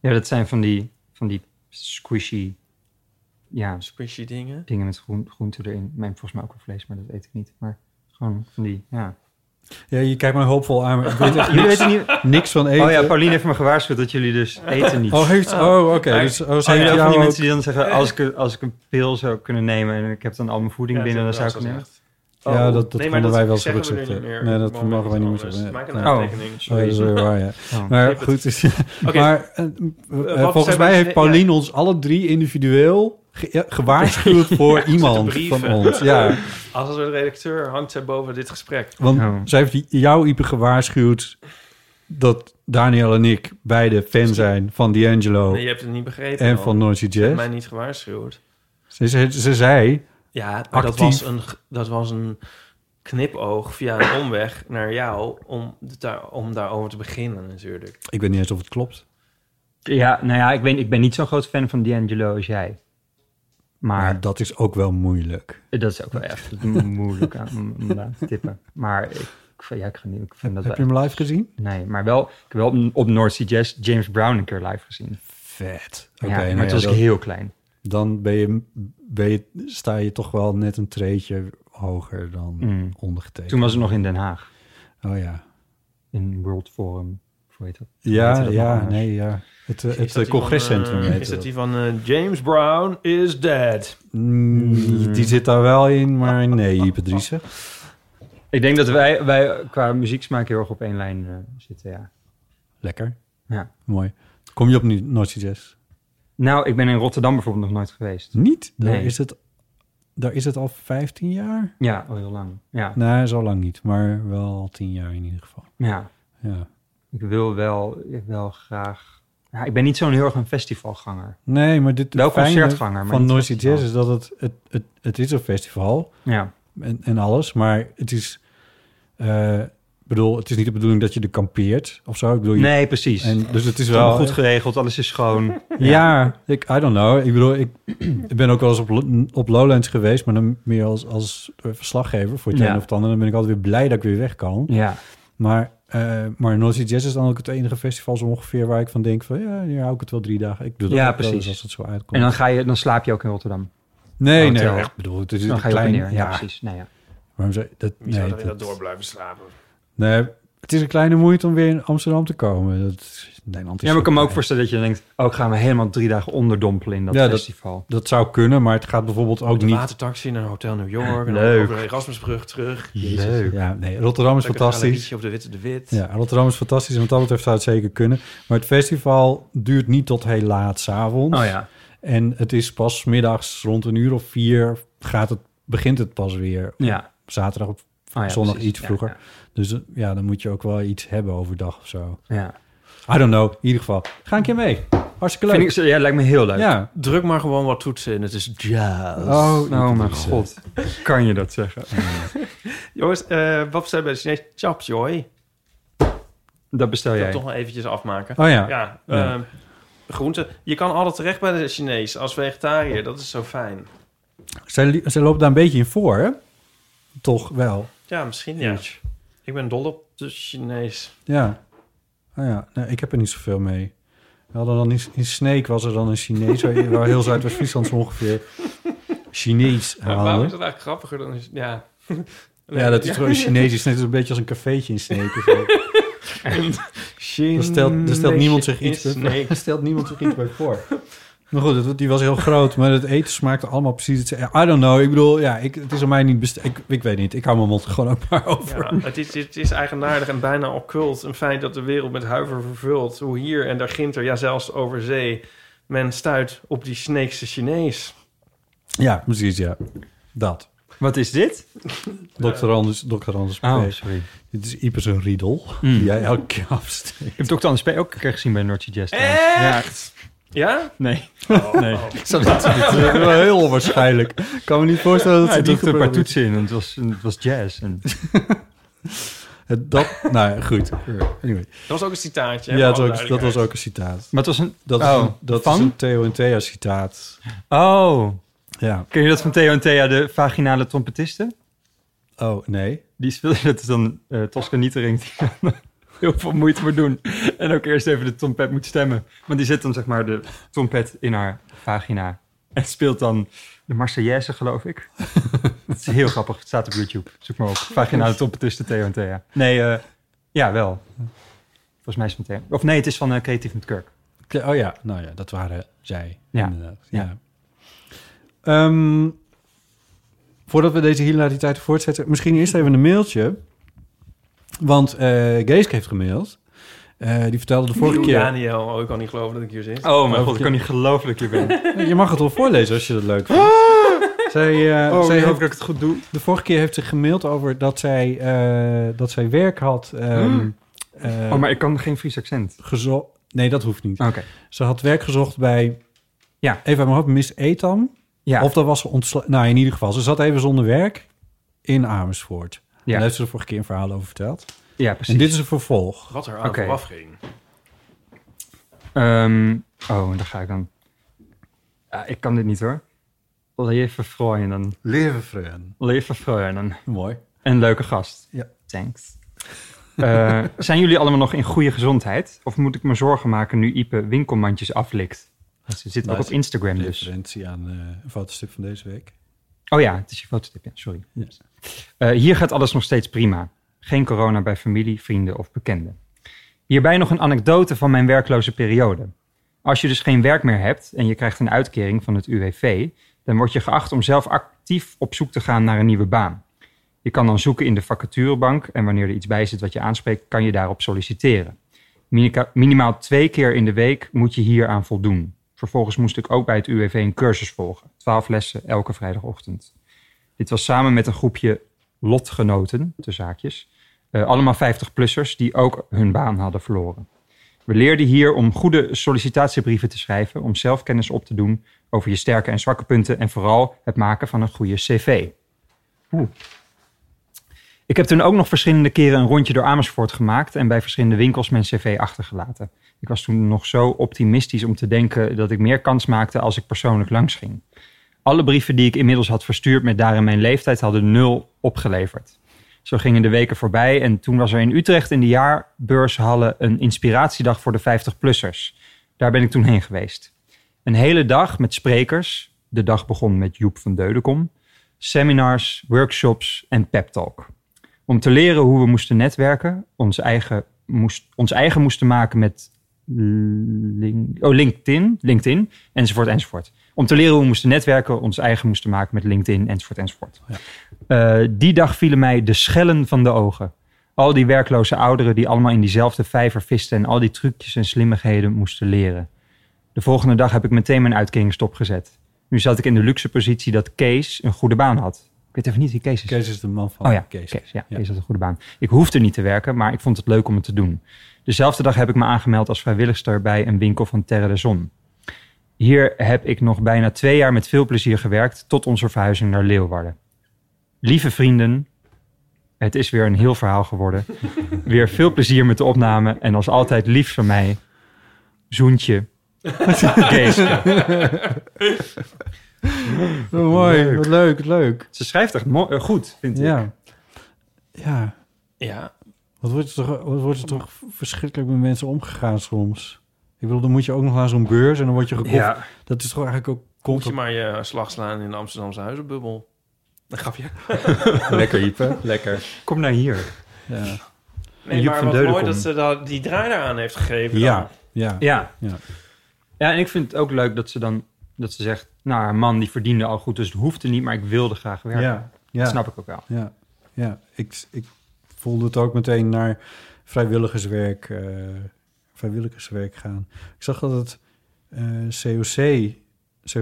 Ja, dat zijn van die, van die squishy ja, Squishy dingen. dingen met groen, groente erin. Mijn volgens mij ook wel vlees, maar dat eet ik niet. Maar gewoon van die, ja. Ja, je kijkt me hoopvol aan, maar ik weet echt Jullie weten niet... niks van eten. Oh ja, Pauline heeft me gewaarschuwd dat jullie dus eten niet. Oh, heeft, oh oké. Dus, oh, Zijn zijn jullie ook van jou die ook- mensen die dan zeggen... Als ik, als ik een pil zou kunnen nemen en ik heb dan al mijn voeding Ja, binnen... dan dat zou is ik het nemen. wel gezegd. Ja, Oh, dat- dat maar vonden wij wel eens zeggen we nu gezegd, niet hè. meer. Nee, dat Op het moment mogen wij niet is meer het anders. Maak zeggen. Nee. een Oh. aantekening. Oh, dat is Sorry. weer waar, ja. Oh. Maar Ik heb goed, is, Oké. maar, eh, eh, wat volgens zijn mij we- heeft Paulien ons alle drie individueel ge- ja, gewaarschuwd voor iemand brieven. van ons. Ja, Als een soort redacteur hangt zij boven dit gesprek. want Oh. zij heeft die- jou, Ipe, gewaarschuwd dat Daniel en ik beide fan zijn van D'Angelo Nee, je hebt het niet begrepen. Oh. en al. van Noisy Je hebt Jazz. mij niet gewaarschuwd. Ze, ze, ze zei, Ja, maar dat Actief. was, een, g- dat was een knipoog via een omweg naar jou om, de- daar, om daarover te beginnen natuurlijk. ik weet niet eens of het klopt. Ja, nou ja, ik, weet, ik ben niet zo'n groot fan van D'Angelo als jij. Maar Maar dat is ook wel moeilijk. dat is ook wel echt moeilijk aan- om om daar te tippen. Maar ik, ja, ik, geniet, ik vind dat Heb wel je hem live gezien? Nee, maar wel, ik heb wel op, op North Sea Jazz James Brown een keer live gezien. Vet. Ja, Oké, maar nou toen ja, was dat- ik heel klein. dan ben je, ben je, sta je toch wel net een treetje hoger dan Mm. ondergetekend. Toen was het nog in Den Haag, Oh ja. in World Forum, of hoe heet dat? Hoe Ja, heet dat nog ja, anders? nee, ja. Het, eh, Is het dat eh, die van, congrescentrum eh, heet Is dat. dat die van eh, James Brown is dead? Mm, die, zit daar wel in, maar nee, Ipe Driessen. Ik denk dat wij, wij qua muzieksmaak heel erg op één lijn eh, zitten, ja. Lekker. ja. Mooi. Kom je op nu, Noordse Jazz? Nou, ik ben in Rotterdam bijvoorbeeld nog nooit geweest. Niet? Daar, Nee. is het, daar is het al 15 jaar? Ja, al heel lang. Ja, Nee, zo lang niet, maar wel al 10 jaar in ieder geval. ja. Ja. ik wil wel, ik wil graag... Ja, ik ben niet zo'n heel erg een festivalganger. Nee, maar dit Wel het fijne concertganger, maar van niet Noordse festival. Jazz is dat het, het, het, het is een festival. Ja, en, en alles. Maar het is, eh, bedoel, het is niet de bedoeling dat je er kampeert of zo. Ik bedoel, je- nee, precies. En, en, dus het is wel wel goed geregeld, alles is schoon. ja, ik, I don't know. Ik bedoel, ik, ik ben ook wel eens op, Lo- op Lowlands geweest, maar dan meer als, als eh, verslaggever voor het Ja. een of het ander. Dan ben ik altijd weer blij dat ik weer weg kan. ja. Maar, eh maar North Sea Jazz is dan ook het enige festival zo ongeveer waar ik van denk van, ja, hier hou ik het wel drie dagen. Ik doe dat Ja, ook wel eens precies. als het zo uitkomt. En dan, ga je, dan slaap je ook in Rotterdam. nee, nee, hotel. echt, bedoel, het is Dan een ga je op en klein, neer. Ja, ja, precies. Nou ja. waarom zou je- dat, Wie zou nee, er in dat dat- door blijven slapen? Nee, het is een kleine moeite om weer in Amsterdam te komen. Dat is, Nederland is Ja, maar ik zo kan me ook klein. voorstellen dat je denkt... oh, ik ga me helemaal drie dagen onderdompelen in dat Ja, dat- festival. Dat zou kunnen, maar het gaat bijvoorbeeld ook Op de niet... watertaxi naar Hotel New York. En dan Leuk. over de Erasmusbrug terug. Leuk. Ja, nee, Rotterdam is Lekker een fantastisch. galerietje op de Witte de Wit. Ja, Rotterdam is fantastisch en wat dat betreft zou het zeker kunnen. Maar het festival duurt niet tot heel laat s'avonds. Oh ja. En het is pas 's middags rond een uur of vier gaat het, begint het pas weer. Ja. Zaterdag of Oh ja, zondag precies. iets Ja, vroeger. Dus eh, ja, dan moet je ook wel iets hebben overdag of zo. Ja. ja. I don't know. In ieder geval, ga een keer mee. Hartstikke leuk. Vind ik, zo- ja, lijkt me heel leuk. ja. Druk maar gewoon wat toetsen in. Het is jazz. Oh, mijn god. eh, Kan je dat zeggen? Jongens, eh, wat zijn bij de Chinees? Chap joy. Ik Dat bestel wil jij. het toch nog eventjes afmaken. Oh ja. Ja, Ja. ehm, groente. Je kan altijd terecht bij de Chinees als vegetariër. Dat is zo fijn. Zij, li- zij lopen daar een beetje in voor, hè? Toch wel. Ja, misschien ja. Ik ben dol op de Chinees. Ja. Ah ja, nee, ik heb er niet zoveel mee. We hadden dan in, in Sneek was er dan een Chinees, waar, waar heel Zuidwest-Friesland zo ongeveer Chinees Maar waarom is haalde. dat eigenlijk grappiger dan... Ja, Ja, dat is gewoon Chinees. is net een beetje als een cafeetje in Sneek. of zo. Daar stelt, daar stelt niemand zich iets Chinees bij, Sneek. daar stelt niemand zich iets bij voor. Maar goed, het- die was heel groot, maar het eten smaakte allemaal precies hetzelfde. I don't know, ik bedoel, ja, ik, het is aan mij niet best... Ik, ik weet niet, ik hou mijn mond er gewoon ook maar over. Ja, het, is, het is eigenaardig en bijna occult. Een feit dat de wereld met huiver vervult. Hoe hier en daar ginter, ja zelfs over zee... men stuit op die Sneekse Chinees. Ja, precies, ja. Dat. Wat is dit? Dokter Anders, Dokter Anders Mm. P. Oh, sorry. Dit is Ieper zo'n riedel. Die jij elke keer afsteekt. Ik heb Dr. Anders P. ook een keer gezien bij Nortje Jazz. trouwens. Ja. Ja? Nee. nee. Dat is wel heel onwaarschijnlijk. Ik kan me niet voorstellen dat Hij ze droeg dat een paar geprobeerd toetsen in, want het was, het was jazz. En, Het- Dat, nou ja, goed. Anyway. Dat was ook een citaatje. Ja, hè, dat, voor was alle ook, dat was duidelijkheid. ook een citaat. maar het was een... Dat, is, oh, een, dat is van? een Theo en Thea citaat. Oh, Ja. ken je dat van Theo en Thea, de vaginale trompetisten? Oh, nee. Die speelde, dat is dan eh Tosca Nietering, die dan heel veel moeite moet doen. En ook eerst even de trompet moet stemmen. Want die zet dan zeg maar de trompet in haar vagina. En speelt dan de Marseillaise, geloof ik. dat is heel grappig, het staat op YouTube. Zoek maar op. Vaginale trompetisten Theo en Thea. Nee, eh, ja, wel. Volgens mij is het van Theo. Of nee, het is van eh, Creatief met Kirk. Ja, Oh ja, nou ja, dat waren zij. Ja. Inderdaad. Ja. Ja. Ehm, voordat we deze hilariteit voortzetten, misschien eerst even een mailtje. Want eh Geeske heeft gemaild. Eh, die vertelde de vorige keer... Daniel, oh, ik kan niet geloven dat ik hier zit. Oh mijn god, ik kan niet geloven dat ik hier ben. Je mag het wel voorlezen als je dat leuk vindt. Zij, eh, zij heeft- Ah! Oh, ik het goed doe. de vorige keer heeft ze gemaild over dat zij, eh, dat zij werk had. ehm, eh, Oh, maar ik kan geen Fries accent. gezo- nee, dat hoeft niet. Oké. Ze had werk gezocht bij, Ja. even uit mijn hoofd, Miss Etam. Ja. Of dat was ze ontslagen. Nou, in ieder geval, ze zat even zonder werk in Amersfoort. Ja. Daar heeft ze de vorige keer een verhaal over verteld. ja, En precies. dit is een vervolg. Wat er aan Oké. vooraf ging. Ehm, oh, daar ga ik dan. Ja, ik kan dit niet hoor. Leven Freuden. Levenfreun. Leven Freuden. Mooi. Een leuke gast. Ja. Thanks. Eh, zijn jullie allemaal nog in goede gezondheid? Of moet ik me zorgen maken nu Ipe winkelmandjes aflikt? Ze zit ook Nice. op Instagram dus. Referentie aan eh, een fotostip van deze week. Oh ja, het is je fotostip, ja. Sorry. Eh, hier gaat alles nog steeds prima. Geen corona bij familie, vrienden of bekenden. Hierbij nog een anekdote van mijn werkloze periode. Als je dus geen werk meer hebt en je krijgt een uitkering van het UWV, dan word je geacht om zelf actief op zoek te gaan naar een nieuwe baan. Je kan dan zoeken in de vacaturebank en wanneer er iets bij zit wat je aanspreekt, kan je daarop solliciteren. Minica- Minimaal twee keer in de week moet je hier aan voldoen. Vervolgens moest ik ook bij het UWV een cursus volgen. Twaalf lessen elke vrijdagochtend. Dit was samen met een groepje lotgenoten, te zaakjes. eh, allemaal 50-plussers die ook hun baan hadden verloren. We leerden hier om goede sollicitatiebrieven te schrijven, om zelfkennis op te doen over je sterke en zwakke punten en vooral het maken van een goede cv. Oeh. Ik heb toen ook nog verschillende keren een rondje door Amersfoort gemaakt en bij verschillende winkels mijn cv achtergelaten. Ik was toen nog zo optimistisch om te denken dat ik meer kans maakte als ik persoonlijk langs ging. Alle brieven die ik inmiddels had verstuurd met daarin mijn leeftijd hadden nul opgeleverd. Zo gingen de weken voorbij en toen was er in Utrecht in de jaarbeurshallen een inspiratiedag voor de 50-plussers. Daar ben ik toen heen geweest. Een hele dag met sprekers. De dag begon met Joep van Deudekom. Seminars, workshops en pep talk. Om te leren hoe we moesten netwerken, ons eigen, moest, ons eigen moesten maken met link- oh, LinkedIn, LinkedIn, enzovoort, enzovoort. Om te leren hoe we moesten netwerken, ons eigen moesten maken met LinkedIn, enzovoort, enzovoort. Eh, die dag vielen mij de schellen van de ogen. Al die werkloze ouderen die allemaal in diezelfde vijver visten en al die trucjes en slimmigheden moesten leren. De volgende dag heb ik meteen mijn uitkering stopgezet. Nu zat ik in de luxe positie dat Kees een goede baan had. Ik weet even niet wie Kees is. Kees is de man van Oh ja, Kees. Kees. ja, Kees had een goede baan. Ik hoefde niet te werken, maar ik vond het leuk om het te doen. Dezelfde dag heb ik me aangemeld als vrijwilligster bij een winkel van Terre de Zon. Hier heb ik nog bijna twee jaar met veel plezier gewerkt tot onze verhuizing naar Leeuwarden. Lieve vrienden, het is weer een heel verhaal geworden. weer veel plezier met de opname en als altijd lief van mij, zoentje. Kees. Oh, mooi, wat leuk, leuk. Ze schrijft echt mo- eh, goed, vind ik. Ja. Ja. Ja, Wat wordt er toch, wat wordt er toch verschrikkelijk met mensen omgegaan soms? Ik bedoel, dan moet je ook nog naar zo'n beurs en dan word je gekocht. Ja. Dat is toch eigenlijk ook moet je komt maar je slag slaan in de Amsterdamse huizenbubbel. Een grapje. Lekker, Ipe. Lekker. Kom nou hier. Ja. Nee, Joep maar van wat mooi Deudekom. dat ze dat, die draai aan heeft gegeven. dan. Ja. ja. Ja. Ja. ja. en ik vind het ook leuk dat ze dan dat ze zegt, nou, haar man die verdiende al goed, dus het hoefde niet, maar ik wilde graag werken. Ja. Dat Ja. snap ik ook wel. Ja. Ja. Ik, ik voelde het ook meteen naar vrijwilligerswerk, eh, vrijwilligerswerk gaan. Ik zag dat het eh, COC,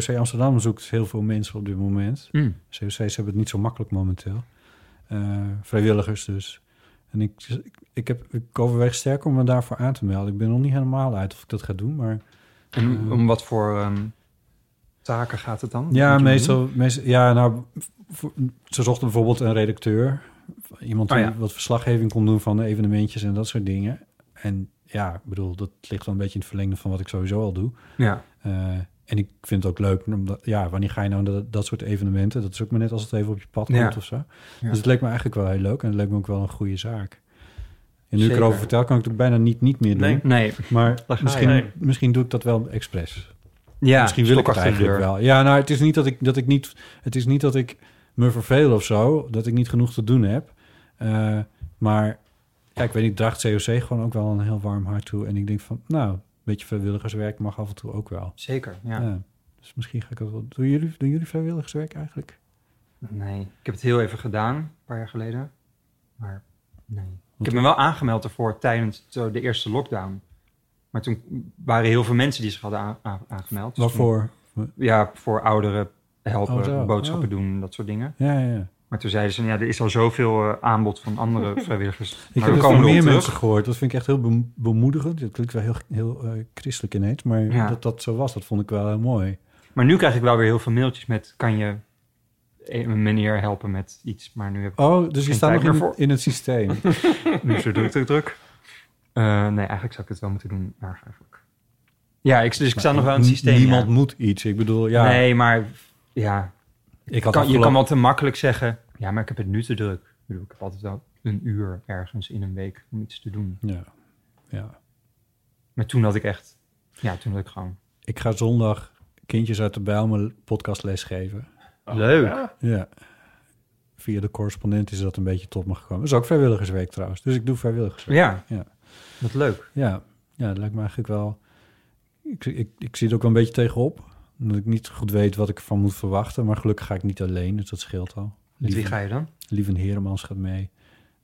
COC Amsterdam zoekt heel veel mensen op dit moment. COC's hebben het niet zo makkelijk momenteel. Eh, vrijwilligers dus. En ik, ik, ik, heb, ik overweeg sterk om me daarvoor aan te melden. Ik ben nog niet helemaal uit of ik dat ga doen, maar En om wat voor ehm, taken gaat het dan? Ja, Moet je doen? meestal, meestal. Ja, nou, voor- ze zochten bijvoorbeeld een redacteur. Iemand die Oh ja. wat verslaggeving kon doen van de evenementjes en dat soort dingen. En ja, ik bedoel, dat ligt wel een beetje in het verlengde van wat ik sowieso al doe. Ja, Eh, en ik vind het ook leuk, omdat, ja, wanneer ga je nou naar dat, dat soort evenementen? Dat is ook maar net als het even op je pad komt Ja. of zo. Ja. Dus het leek me eigenlijk wel heel leuk en het leek me ook wel een goede zaak. En nu ik Zeker. erover vertel, kan ik het ook bijna niet, niet meer doen. Nee. nee. Maar Daar ga je. misschien, Nee. misschien doe ik dat wel expres. Ja, misschien wil ik stok het achter de eigenlijk deur. wel. Ja, nou, het is niet dat ik, dat ik niet... Het is niet dat ik me verveel of zo. Dat ik niet genoeg te doen heb. Eh, maar ja, ik weet niet, draagt COC gewoon ook wel een heel warm hart toe. En ik denk van, nou, een beetje vrijwilligerswerk mag af en toe ook wel. Zeker, ja. Ja. dus misschien ga ik dat wel... Doen jullie, doen jullie vrijwilligerswerk eigenlijk? Nee, ik heb het heel even gedaan, een paar jaar geleden. Maar nee. Ik heb me wel aangemeld ervoor tijdens zo de eerste lockdown. Maar toen waren heel veel mensen die zich hadden aan- aan- aangemeld. Dus Waarvoor? toen- Ja, voor ouderen helpen, Oh, zo. boodschappen Oh. doen, dat soort dingen. Ja, ja, ja. Maar toen zeiden ze, nou ja, er is al zoveel eh, aanbod van andere vrijwilligers. Ik maar heb we het van komen meer erop mensen terug. gehoord. Dat vind ik echt heel bem- bemoedigend. Dat klinkt wel heel, heel eh, christelijk ineens. Maar Ja. dat dat zo was, dat vond ik wel heel mooi. Maar nu krijg ik wel weer heel veel mailtjes met, kan je een meneer helpen met iets? Maar nu heb ik Oh, dus je Geen staat nog tijd meer in, voor. in het systeem. Nu zo druk, druk, druk. Eh, nee, eigenlijk zou ik het wel moeten doen. Maar eigenlijk. Ja, ik, dus ik sta nog wel aan het systeem. Niemand ja. moet iets. Ik bedoel, ja. Nee, maar ja, kan, ik had je kan afgelopen- wel te makkelijk zeggen... Ja, maar ik heb het nu te druk. Ik bedoel, ik heb altijd wel een uur ergens in een week om iets te doen. Ja. ja. Maar toen had ik echt... Ja, toen had ik gewoon... Ik ga zondag kindjes uit de Bijlmer podcastles geven. leuk. Ja. Via de correspondent is dat een beetje tot me gekomen. Dat is ook vrijwilligersweek trouwens. Dus ik doe vrijwilligersweek. Ja, Ja. wat leuk. Ja, ja dat lijkt me eigenlijk wel... Ik, ik, ik zie het ook wel een beetje tegenop. Omdat ik niet goed weet wat ik ervan moet verwachten. Maar gelukkig ga ik niet alleen, dus dat scheelt al. Met wie Lieve- ga je dan? Lieven Heremans gaat mee.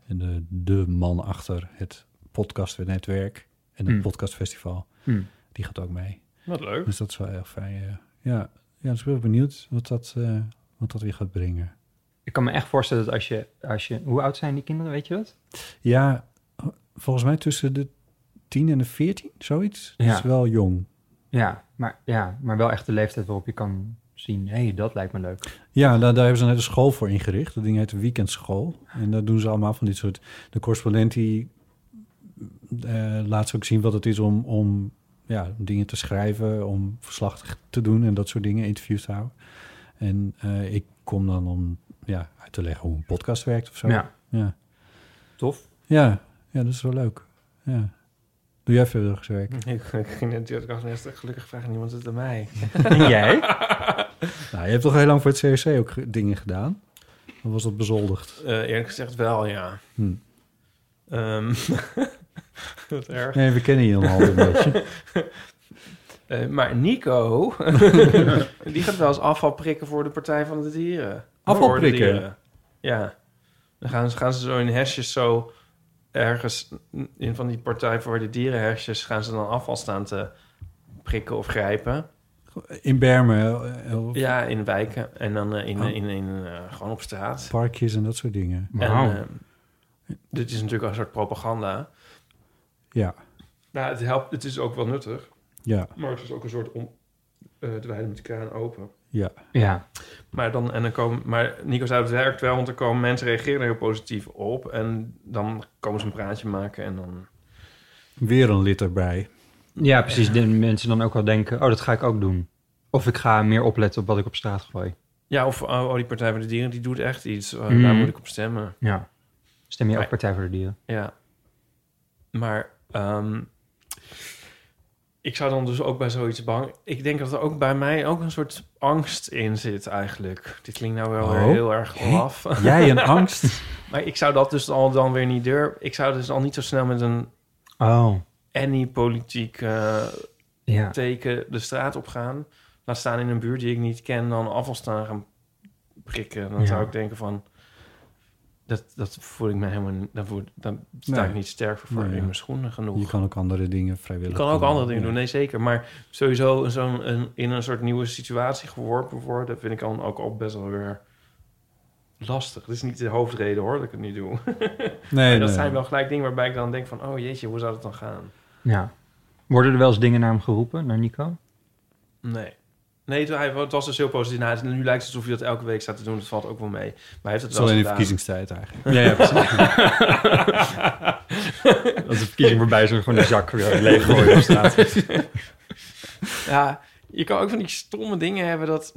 En de, de man achter het podcastnetwerk en het Hmm. podcastfestival, Hmm. die gaat ook mee. Wat leuk. Dus dat is wel heel fijn. ja. Ja, ja dus ik ben wel benieuwd wat dat, eh, wat dat weer gaat brengen. Ik kan me echt voorstellen dat als je, als je... Hoe oud zijn die kinderen, weet je dat? Ja, volgens mij tussen de 10 en de 14, zoiets. Dat Ja. is wel jong. Ja, maar, ja, maar wel echt de leeftijd waarop je kan zien... Hé, hey, dat lijkt me leuk. Ja, daar, daar hebben ze net een school voor ingericht. Dat ding heet de weekendschool. En daar doen ze allemaal van dit soort... De correspondent die eh, laat ze ook zien wat het is om, om ja, om dingen te schrijven... om verslag te doen en dat soort dingen, interviews te houden. En eh, ik kom dan om ja, uit te leggen hoe een podcast werkt of zo. Ja, ja. tof. ja, ja, dat is wel leuk. Ja. Doe jij vrijwilligerswerk? Ik, ik ging net, ik dacht net, gelukkig vraagt niemand het aan mij. En jij? Nou, je hebt toch heel lang voor het CRC ook ge- dingen gedaan? Of was dat bezoldigd? Eh, eerlijk gezegd wel, ja. Hm. Ehm, wat erg. Nee, we kennen je al een beetje. Eh, maar Nico, die gaat wel eens afval prikken voor de Partij van de Dieren. Afval Voor de prikken? dieren. Ja. Dan gaan ze, gaan ze zo in hesjes zo ergens in van die Partij voor de Dieren hesjes... gaan ze dan afval staan te prikken of grijpen. In Bermen, eh, of Ja, in wijken en dan eh, in, Oh. in, in, eh, gewoon op straat. parkjes en dat soort dingen. Wauw. En, eh, dit is natuurlijk een soort propaganda. Ja, Nou, het helpt. Het is ook wel nuttig, ja, maar het is ook een soort om eh dweilen met de kraan open. ja. Ja, Maar dan en dan komen. Maar Nico zei het werkt wel, want er komen mensen reageren er heel positief op en dan komen ze een praatje maken en dan. Weer een lid erbij. ja precies. De mensen dan ook wel denken, oh, dat ga ik ook doen. Of ik ga meer opletten op wat ik op straat gooi. Ja, of oh, oh, die Partij voor de Dieren die doet echt iets. eh, Mm. Daar moet ik op stemmen. Ja. Stem je ook Maar- Partij voor de Dieren? Ja. Maar ehm, ik zou dan dus ook bij zoiets bang... Ik denk dat er ook bij mij ook een soort angst in zit eigenlijk. Dit klinkt nou wel weer Oh. heel erg laf. Jij een angst? Maar ik zou dat dus al dan weer niet durven. Ik zou dus al niet zo snel met een Oh, any politiek eh, ja. teken de straat op gaan. Laat staan in een buurt die ik niet ken, dan afval staan gaan prikken. Dan Ja. zou ik denken van... Dat, dat voel ik me helemaal... niet- Dan, voel, dan sta Nee. ik niet sterk voor Nee. in mijn schoenen genoeg. Je kan ook andere dingen vrijwillig Je kan ook andere dingen Ja. doen, nee zeker. Maar sowieso zo'n, een, in een soort nieuwe situatie geworpen worden... vind ik dan ook al best wel weer lastig. Dat is niet de hoofdreden hoor, dat ik het niet doe. Maar Nee, dat nee. zijn wel gelijk dingen waarbij ik dan denk van... oh jeetje, hoe zou dat dan gaan? ja. Worden er wel eens dingen naar hem geroepen, naar Nico? Nee. Nee, het, hij- het was dus heel positief. Nou, het- nu lijkt het alsof hij dat elke week staat te doen. Dat valt ook wel mee. Maar hij heeft het is wel alleen in eens gedaan. verkiezingstijd eigenlijk. Ja, ja Als de verkiezing voorbij is, dan gewoon de zak weer leeg gooien op straat. Ja, je kan ook van die stomme dingen hebben dat...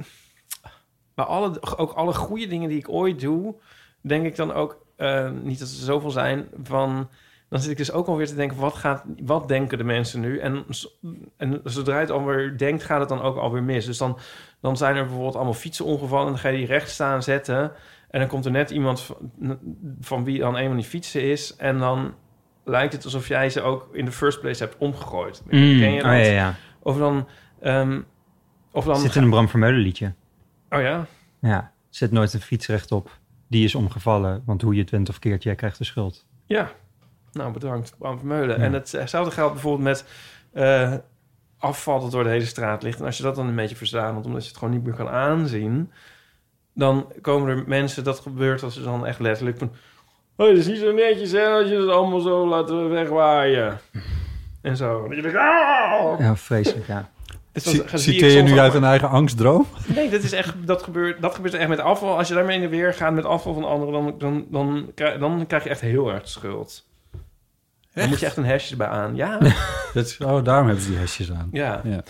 Bij alle, ook alle goede dingen die ik ooit doe... denk ik dan ook, eh, niet dat er zoveel zijn, van... Dan zit ik dus ook alweer te denken, wat, gaat, wat denken de mensen nu? En, s- en zodra je het alweer denkt, gaat het dan ook alweer mis. Dus dan, dan zijn er bijvoorbeeld allemaal fietsenongevallen... en dan ga je die recht staan zetten... en dan komt er net iemand van, van wie dan een van die fietsen is... en dan lijkt het alsof jij ze ook in de first place hebt omgegooid. Ken je dat? Oh, ja, ja. Of dan... ehm, of dan Zit in een Bram Vermeulen liedje. Oh ja? Ja, zet nooit een fiets rechtop. Die is omgevallen, want hoe je het went of keert, jij krijgt de schuld. Ja. Nou, bedankt, Bram Vermeulen. En hetzelfde geldt bijvoorbeeld met eh, afval dat door de hele straat ligt. En als je dat dan een beetje verzamelt, omdat je het gewoon niet meer kan aanzien... dan komen er mensen, dat gebeurt als ze dan echt letterlijk... Van, oh, dat is niet zo netjes, hè, dat je het allemaal zo laat eh, wegwaaien. En zo. En je denkt, "Ah!" Ja, vreselijk, ja. Dus dan Ci- zie ik Citeer je soms nu ook uit maar- een eigen angstdroom? Nee, dat, is echt, dat, gebeurt, dat gebeurt echt met afval. Als je daarmee in de weer gaat met afval van anderen, dan, dan, dan, krijg, dan krijg je echt heel erg schuld. Dan moet je echt een hesje erbij aan. Ja, Dat is, oh, daarom hebben ze die hesjes aan. ja. Ja.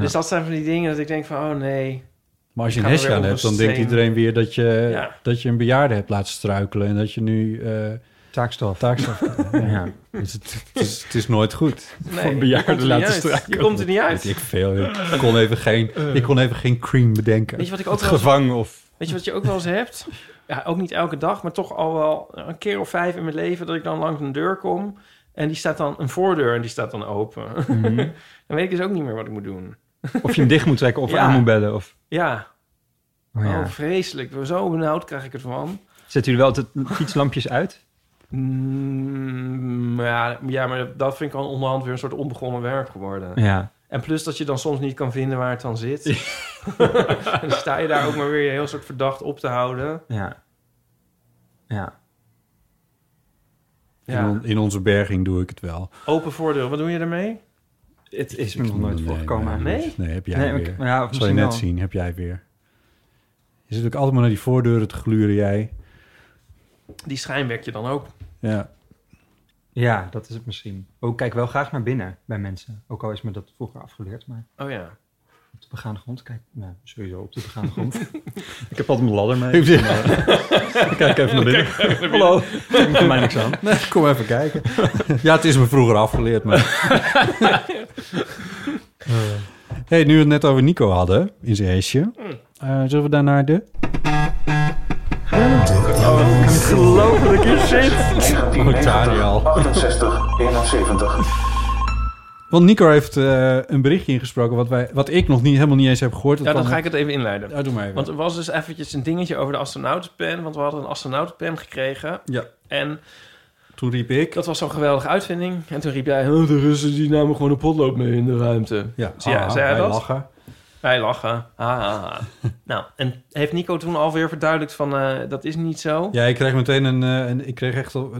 Dus dat zijn van die dingen dat ik denk van, oh nee. Maar als je Ik een ga hesje weer aan op hebt, een dan denkt steen. iedereen weer dat je, Ja. dat je een bejaarde hebt laten struikelen. En dat je nu eh Taakstof. taakstraf ja. Ja. Dus het, het is, het is nooit goed. nee Van je bejaarden komt er niet laten uit. struikelen. Je komt er niet Weet uit. ik veel. Ik kon even geen, ik kon even geen cream bedenken. Weet je wat ik ook wel eens- Gevangen of... Weet je wat je ook wel eens hebt? Ja, ook niet elke dag, maar toch al wel een keer of vijf in mijn leven dat ik dan langs een deur kom en die staat dan een voordeur en die staat dan open. dan weet ik dus ook niet meer wat ik moet doen. Of je hem dicht moet trekken of Ja. aan moet bellen. Of, Ja, oh, ja. oh vreselijk. Zo benauwd krijg ik ervan. Zet u wel altijd fietslampjes uit? Mm, maar ja, ja, maar dat vind ik al onderhand weer een soort onbegonnen werk geworden. Ja. En plus dat je dan soms niet kan vinden waar het dan zit. en dan sta je daar ook maar weer je heel soort verdacht op te houden. Ja. Ja. In, Ja. on- in onze berging doe ik het wel. Open voordeel, wat doe je daarmee? Het is me nog nooit Nee, voorgekomen. maar- Nee? Nee, heb jij Nee, maar weer. ik- maar ja, of Zal je misschien net wel. zien, heb jij weer. Je zit ook altijd maar naar die voordeuren te gluren, jij. Die schijnwerk je dan ook. Ja. Ja, dat is het misschien. Ook kijk wel graag naar binnen bij mensen. Ook al is me dat vroeger afgeleerd, maar Oh ja. op de begaande grond kijk. Nou, sowieso op de begaande grond. ik heb altijd mijn ladder mee. Kijk even naar binnen. Hallo. Doet voor mij niks aan. Nee, kom even kijken. ja, het is me vroeger afgeleerd, maar... hey, nu we het net over Nico hadden, in zijn heesje. Eh, zullen we daarnaar de... Oh, Daniel. 68, 71. Want Nico heeft eh, een berichtje ingesproken wat, wij, wat ik nog niet, helemaal niet eens heb gehoord. Ja, dan kwam- ga ik het even inleiden. Ja, doe maar even. Want er was dus eventjes een dingetje over de astronautenpen. Want we hadden een astronautenpen gekregen. ja, En toen riep ik... dat was zo'n geweldige uitvinding. En toen riep jij, "Oh, de Russen die namen gewoon een potloop mee in de ruimte. Ja, Zie jij- zei hij wij dat? lachen. Wij lachen. Ah, ah, ah. nou, en heeft Nico toen alweer verduidelijkt van eh, dat is niet zo? Ja, ik kreeg meteen een, eh, een... Ik kreeg echt... al-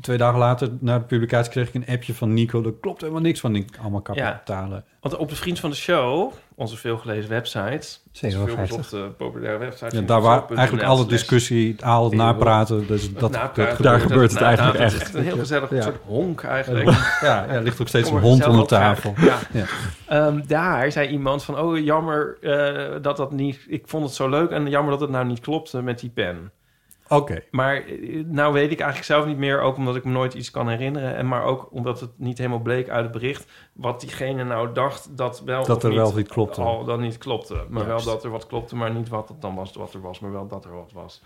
Twee dagen later, na de publicatie, kreeg ik een appje van Nico. Er klopt helemaal niks van. Ik, allemaal kapitalen. Want op de Vriend van de Show, onze veelgelezen website, onze 57. veelbezochte populaire website, Ja. daar waar eigenlijk alle discussies discussie, al het napraten... Dus dat, dat- daar gebeurt het eigenlijk Het is echt. een heel gezellig Ja. soort honk eigenlijk. ja, ja, er ligt ook steeds Kom een er hond gezellig onder op elkaar. tafel. Ja. Ja. Ehm, daar zei iemand van, oh jammer eh, dat dat niet... Ik vond het zo leuk en jammer dat het nou niet klopte met die pen. Oké. Maar eh, nou weet ik eigenlijk zelf niet meer, ook omdat ik me nooit iets kan herinneren. En maar ook omdat het niet helemaal bleek uit het bericht. wat diegene nou dacht dat wel. Dat of er niet, wel of niet klopte. Al dan niet klopte. Maar Juist. wel dat er wat klopte, maar niet wat het dan was, wat er was, maar wel dat er wat was.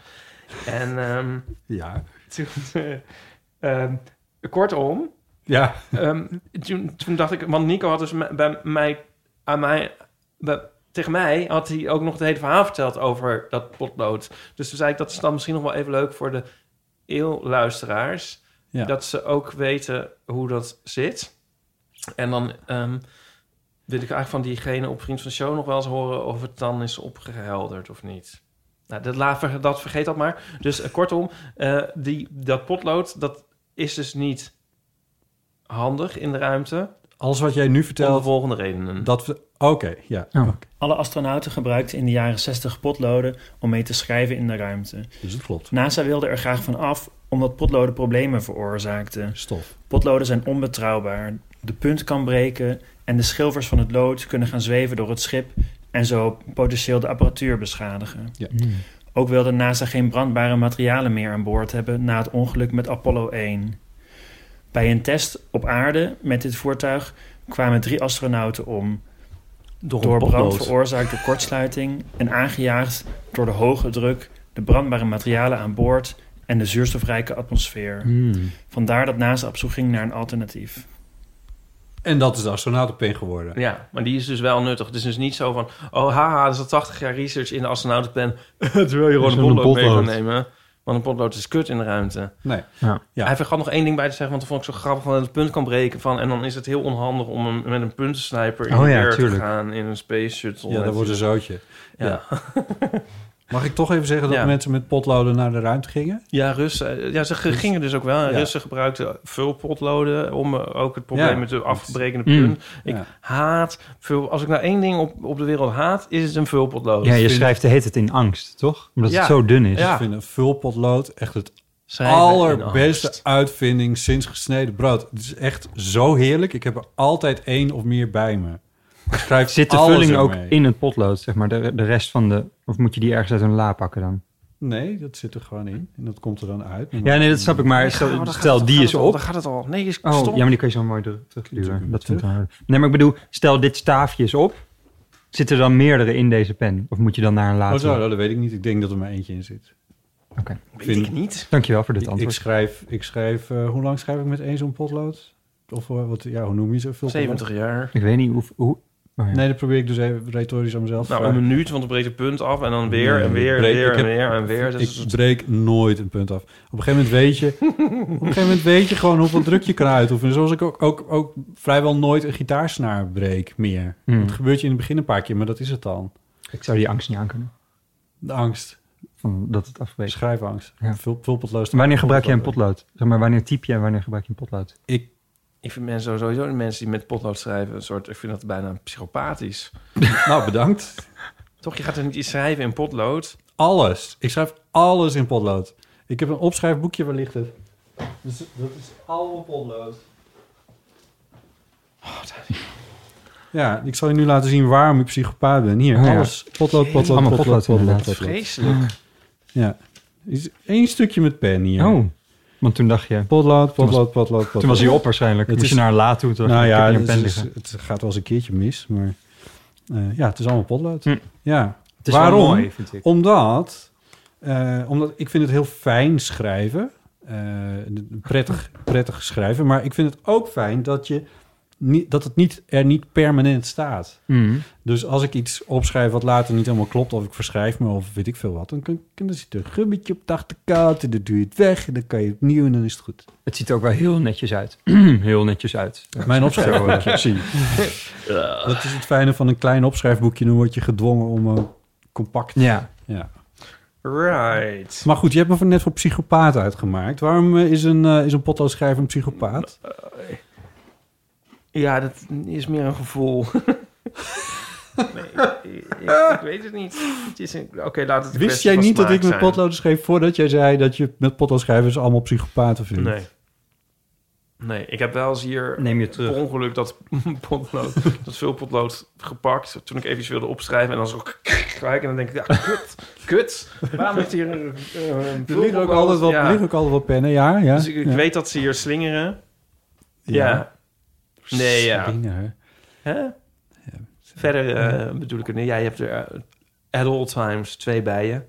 En ehm, Ja. toen. eh, ehm, kortom, Ja. ehm, toen, toen dacht ik. Want Nico had dus m- bij mij. aan mij. bij- tegen mij had hij ook nog het hele verhaal verteld over dat potlood. Dus toen zei ik, dat is dan misschien nog wel even leuk voor de eeuwluisteraars. Ja. Dat ze ook weten hoe dat zit. En dan ehm, wil ik eigenlijk van diegene op Vriend van de Show nog wel eens horen... of het dan is opgehelderd of niet. Nou, dat, laat ver- dat vergeet dat maar. Dus eh, kortom, eh, die, dat potlood, dat is dus niet handig in de ruimte. alles wat jij nu Om de vertelt, volgende redenen. dat... we- Oké, ja. Oh. oké. Alle astronauten gebruikten in de jaren 60 potloden om mee te schrijven in de ruimte. Dus het klopt. NASA wilde er graag van af omdat potloden problemen veroorzaakten. Stof. Potloden zijn onbetrouwbaar. De punt kan breken en de schilfers van het lood kunnen gaan zweven door het schip en zo potentieel de apparatuur beschadigen. Ja. Ook wilde NASA geen brandbare materialen meer aan boord hebben na het ongeluk met Apollo 1. Bij een test op aarde met dit voertuig kwamen drie astronauten om. Door, Door brand brand veroorzaakt door kortsluiting en aangejaagd door de hoge druk, de brandbare materialen aan boord en de zuurstofrijke atmosfeer. Vandaar dat NASA op zoek ging naar een alternatief. En dat is de astronautenpin geworden. Ja, maar die is dus wel nuttig. Het is dus niet zo van... Oh, haha, er zat 80 jaar research in de astronautenpen. Terwijl je gewoon een Zo'n potlood mee kan potlood. nemen. Want een potlood is kut in de ruimte. Nee. Ja. Hij vergat nog één ding bij te zeggen, want dat vond ik zo grappig. Van dat het punt kan breken van... En dan is het heel onhandig om hem met een puntensniper in Oh de ja, air tuurlijk. te gaan. In een space shuttle. Ja, dat Met- wordt een zootje. Ja. Mag ik toch even zeggen dat Ja. mensen met potloden naar de ruimte gingen? Ja, Russen. Ja, ze ge- gingen dus ook wel. En Ja. Russen gebruikten vulpotloden om eh, ook het probleem Ja. met de afgebrekende Mm. punt. Ik Ja. haat vul. Als ik nou één ding op, op de wereld haat, is het een vulpotlood. Ja, je Vind- schrijft de heet het in angst, toch? Omdat Ja. het zo dun is. Ja. Ik vind een vulpotlood echt het Schrijven in allerbeste angst. uitvinding sinds gesneden brood. Het is echt zo heerlijk. Ik heb er altijd één of meer bij me. Ik Schrijf Zit de alles vulling ook ermee. in het potlood, zeg maar? De, de rest van de... Of moet je die ergens uit een la pakken dan? Nee, dat zit er gewoon in. En dat komt er dan uit. Ja, nee, dat snap ik. Maar Oh, daar stel, gaat het- stel die gaat is het al, Daar op. gaat het al. Nee, is Oh, ja, stop. maar die kun je zo mooi terug- Natuurlijk. terugduwen. Dat vind ik wel aardig. Nee, maar ik bedoel, stel dit staafje is op. Zitten er dan meerdere in deze pen? Of moet je dan naar een Oh, later? zo, nou, dat weet ik niet. Ik denk dat er maar eentje in zit. Oké. Ik Weet vind- ik niet. Dankjewel voor dit Ik, ik antwoord. schrijf, ik schrijf eh, hoe lang schrijf ik met één zo'n potlood? Of eh, wat, ja, hoe noem je ze? Vulpotlood? 70 jaar. Ik weet niet hoe... hoe oh ja. Nee, dat probeer ik dus even retorisch aan mezelf. eh, te eh, Nou, een vragen. minuut, want dan breekt het punt af. En dan weer, en Nee, weer, en breek- weer, ik en heb- weer, en weer. Dus ik breek nooit een punt af. Op een gegeven moment weet je, op een gegeven moment weet je gewoon hoeveel druk je kan uitoefenen. Zoals ik ook, ook, ook vrijwel nooit een gitaarsnaar breek meer. Hmm. Het gebeurt je in het begin een paar keer, maar dat is het dan. Ik zou die angst niet aankunnen. De angst, Van dat het de afbreekt. schrijfangst. Ja. Vul, vulpotloos. Wanneer gebruik jij een potlood? Zeg maar, wanneer typ je en wanneer gebruik je een potlood? Ik, ik vind mensen sowieso, de mensen die met potlood schrijven, een soort, ik vind dat bijna psychopathisch. nou, bedankt. Toch, je gaat er niet iets schrijven in potlood. Alles. Ik schrijf alles in potlood. Ik heb een opschrijfboekje, waar ligt het? Dus dat is allemaal potlood. Oh, Ja, ik zal je nu laten zien waarom ik psychopaat ben. Hier, Oh ja. alles. Potlood, potlood, Allemaal potlood, potlood, potlood, inderdaad. potlood. Vreselijk. Ja. Is één stukje met pen hier. Oh, want toen dacht je... Potlood, Toen was- potlood, potlood, potlood. Toen was hij op waarschijnlijk. Het Moest je is- naar een la toe. Toen dacht Nou je, ik heb ja, hier het, een pen is- liggen. het gaat wel eens een keertje mis, maar... eh, ja, het is allemaal potlood. Hm. Ja. Het is Waarom? wel mooi, vind ik. Omdat, eh, omdat ik vind het heel fijn schrijven. Eh, prettig, prettig schrijven. Maar ik vind het ook fijn dat, je niet, dat het niet, er niet permanent staat. Mm. Dus als ik iets opschrijf wat later niet helemaal klopt... of ik verschrijf me of weet ik veel wat... dan, kan, kan, dan zit er een gummetje op de achterkant... en dan doe je het weg en dan kan je opnieuw en dan is het goed. Het ziet er ook wel heel netjes uit. heel netjes uit. Mijn opschrijfboekje, zie. Dat is het fijne van een klein opschrijfboekje. Dan word je gedwongen om eh, compact... Ja. Ja. Right. Maar goed, je hebt me voor- net voor psychopaat uitgemaakt. Waarom eh, is een, eh, is een potloodschrijver een Nou, psychopaat? Ja, dat is meer een gevoel. nee, ik, ik weet het niet. Het is een- Oké, laat het een Wist kwestie jij van niet dat smaak ik met zijn. potloden schreef... voordat jij zei dat je met potloodschrijvers allemaal psychopaten vindt? Nee. Nee, ik heb wel eens hier Neem je terug. per ongeluk dat potlood, dat vulpotlood gepakt. Toen ik even iets wilde opschrijven en dan zo kijk en dan denk ik, ja, kut, kut. Waarom heeft hier een, eh, een Er liggen ook vulpotlood? altijd wel, Ja. er liggen ook altijd wel pennen, ja. ja, Dus ik, ik ja. weet dat ze hier slingeren. Ja. Nee, ja. Dingen, Hè? Verder eh, bedoel ik het niet. Jij hebt er eh, at all times twee bij je.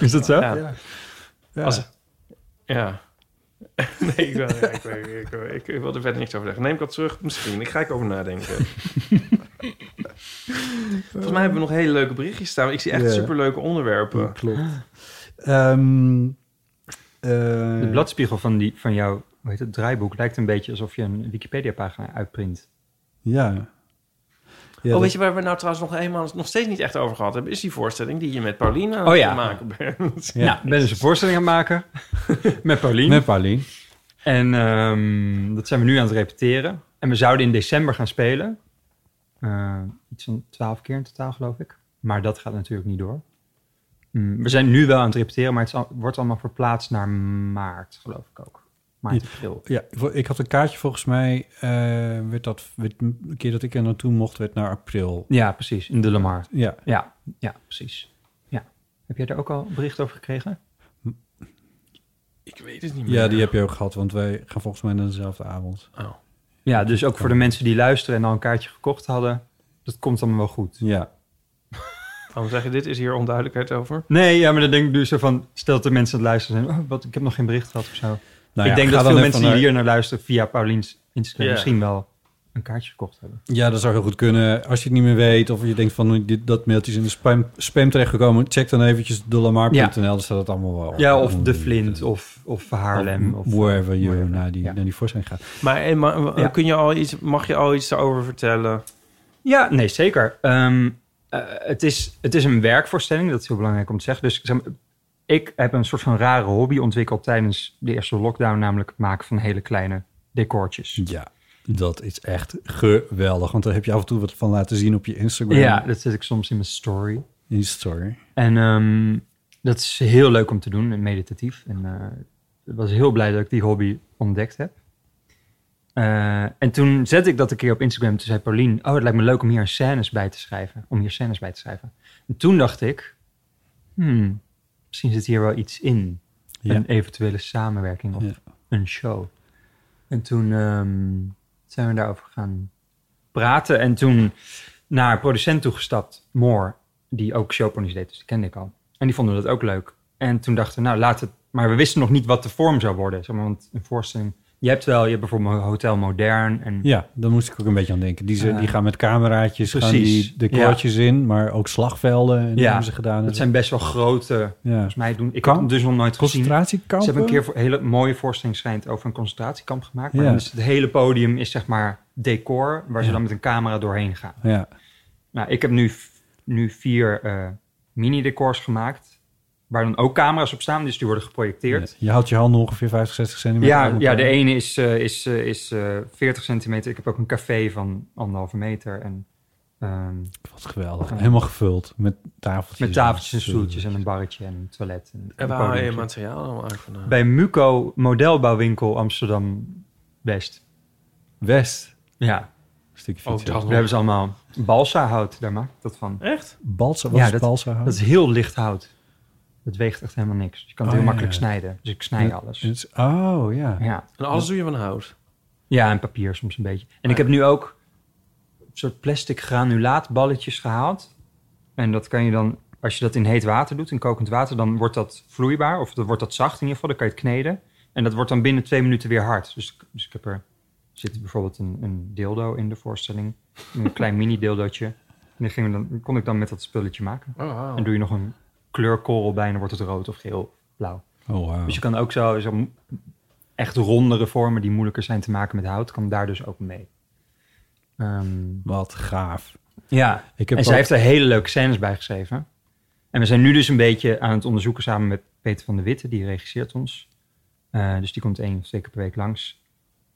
Is dat zo? Ja. Ja. hè? Ja. Als- Ja. Nee, ik, wil, ja, ik, wil- ik, wil- ik, ik wil er verder niks over zeggen. Neem ik dat terug? Misschien. Ik ga ik over nadenken. Volgens mij hebben we nog hele leuke berichtjes staan. Ik zie echt Ja. superleuke onderwerpen. Klopt. Ehm, eh, De bladspiegel van, die, van jouw hoe heet het, draaiboek lijkt een beetje alsof je een Wikipedia-pagina uitprint. Ja. Ja, oh, dat- weet je waar we nou trouwens nog eenmaal nog steeds niet echt over gehad hebben? Is die voorstelling die je met Paulina aan Oh het ja. maken bent. Ja. Nou, ik ben dus een voorstelling aan het maken met Pauline. Met Paulien. En ehm, dat zijn we nu aan het repeteren. En we zouden in december gaan spelen. Eh, iets van twaalf keer in totaal, geloof ik. Maar dat gaat natuurlijk niet door. Mm, we zijn nu wel aan het repeteren, maar het is al- wordt allemaal verplaatst naar maart, geloof ik ook. Maart, april. Ja, voor- ik had een kaartje volgens mij. eh, werd dat, werd, een keer dat ik er naartoe mocht, werd naar april. Ja, precies. In de Lamar. Ja, Ja, ja precies. Ja. Heb jij daar ook al bericht over gekregen? Ik weet het niet meer. Oh. ja die heb je ook gehad, want wij gaan volgens mij naar dezelfde avond. Ja, dus ook voor de mensen die luisteren en al een kaartje gekocht hadden, dat komt allemaal wel goed. Ja, Waarom zeg je dit? Is hier onduidelijkheid over? Nee, ja, maar dan denk ik dus zo van, stel dat de mensen aan het luisteren zijn, oh, wat, ik heb nog geen bericht gehad of zo. Nou ik ja, denk ga dat dan veel even mensen naar- die hier naar luisteren via Paulien's Instagram Ja. misschien wel een kaartje gekocht hebben. Ja, dat zou heel goed kunnen. Als je het niet meer weet of je denkt van "Oh, dit, dat mailtje is in de spam, spam terechtgekomen, check dan eventjes dolamar.nl, daar staat het allemaal wel. op. Ja, of De Flint of, of Haarlem. Of, wherever you wherever. naar die, Ja. naar die voorstelling gaat. Maar, eh, maar eh, Ja. kun je al iets, mag je al iets daarover vertellen? Ja, nee, zeker. Ehm, eh, het, is, het is een werkvoorstelling, dat is heel belangrijk om te zeggen. Dus zeg maar, ik heb een soort van rare hobby ontwikkeld tijdens de eerste lockdown, namelijk het maken van hele kleine decortjes. Ja, dat is echt geweldig, want daar heb je af en toe wat van laten zien op je Instagram. Ja, dat zet ik soms in mijn story. In je story. En ehm, dat is heel leuk om te doen en meditatief. En eh, ik was heel blij dat ik die hobby ontdekt heb. Eh, en toen zette ik dat een keer op Instagram. Toen zei Paulien, oh, het lijkt me leuk om hier scènes bij te schrijven. Om hier scènes bij te schrijven. En toen dacht ik, hmm, misschien zit hier wel iets in. Ja. Een eventuele samenwerking of Ja. een show. En toen ehm, zijn we daarover gaan praten. En toen naar een producent toegestapt, Moore, die ook showponies deed. Dus die kende ik al. En die vonden dat ook leuk. En toen dachten we, nou, laat het... Maar we wisten nog niet wat de vorm zou worden. Zeg maar, want een voorstelling... Je hebt wel, je hebt bijvoorbeeld Hotel Modern en... Ja, daar moest ik ook een beetje aan denken. Die, ze, Ja. die gaan met cameraatjes gaan Precies. die de koortjes in, maar ook slagvelden en Ja, hebben ze gedaan. dat zijn best wel grote... ja. Volgens mij doen... Ik Kamp? heb hem dus nog nooit gezien. concentratiekampen. Ze hebben een keer voor- een hele mooie voorstelling schijnt over een concentratiekamp gemaakt. Maar Ja. dan is het hele podium is zeg maar decor waar ze Ja. dan met een camera doorheen gaan. Ja, Nou, ik heb nu, nu vier eh, mini-decors gemaakt. Waar dan ook camera's op staan, dus die worden geprojecteerd. je houdt je handen ongeveer 50, 60 centimeter Ja, aan ja, de elkaar. ene is, eh, is, eh, is eh, 40 centimeter. Ik heb ook een café van anderhalve meter. En, ehm, Wat geweldig. Helemaal gevuld met tafeltjes. met tafeltjes en stoeltjes en een barretje en een toilet. En, En Oh, een waar haal je je podiumtje. materiaal allemaal uit vandaan? Bij Muco Modelbouwwinkel Amsterdam West. West. Ja, Een stukje Oh, fiets. dat daar nog. hebben ze allemaal balsa-hout. Daar maak ik dat van. Echt? Balsa, wat Ja, is dat, balsa? Dat is heel licht hout. Het weegt echt helemaal niks. Je kan het Oh, heel ja, makkelijk ja. snijden. Dus ik snij alles. Het is- Oh, ja. Ja. En alles doe je van hout? ja, en papier soms een beetje. En ik heb nu ook een soort plastic granulaatballetjes gehaald. En dat kan je dan, als je dat in heet water doet, in kokend water, dan wordt dat vloeibaar. Of dan wordt dat zacht in ieder geval, dan kan je het kneden. En dat wordt dan binnen twee minuten weer hard. Dus, dus ik heb er, er zit bijvoorbeeld een, een dildo in de voorstelling. Een klein mini-dildootje. En die gingen we dan, kon ik dan met dat spulletje maken. Oh, wauw. En doe je nog een kleurkorrel bij en dan wordt het rood of geel, blauw. Oh, wauw. Dus je kan ook zo, zo m- echt rondere vormen die moeilijker zijn te maken met hout, kan daar dus ook mee. Ehm, Wat gaaf. ja, Ik heb en zij ook- heeft er hele leuke scènes bij geschreven. En we zijn nu dus een beetje aan het onderzoeken samen met Peter van der Witte, die regisseert ons. Eh, dus die komt één of twee keer per week langs.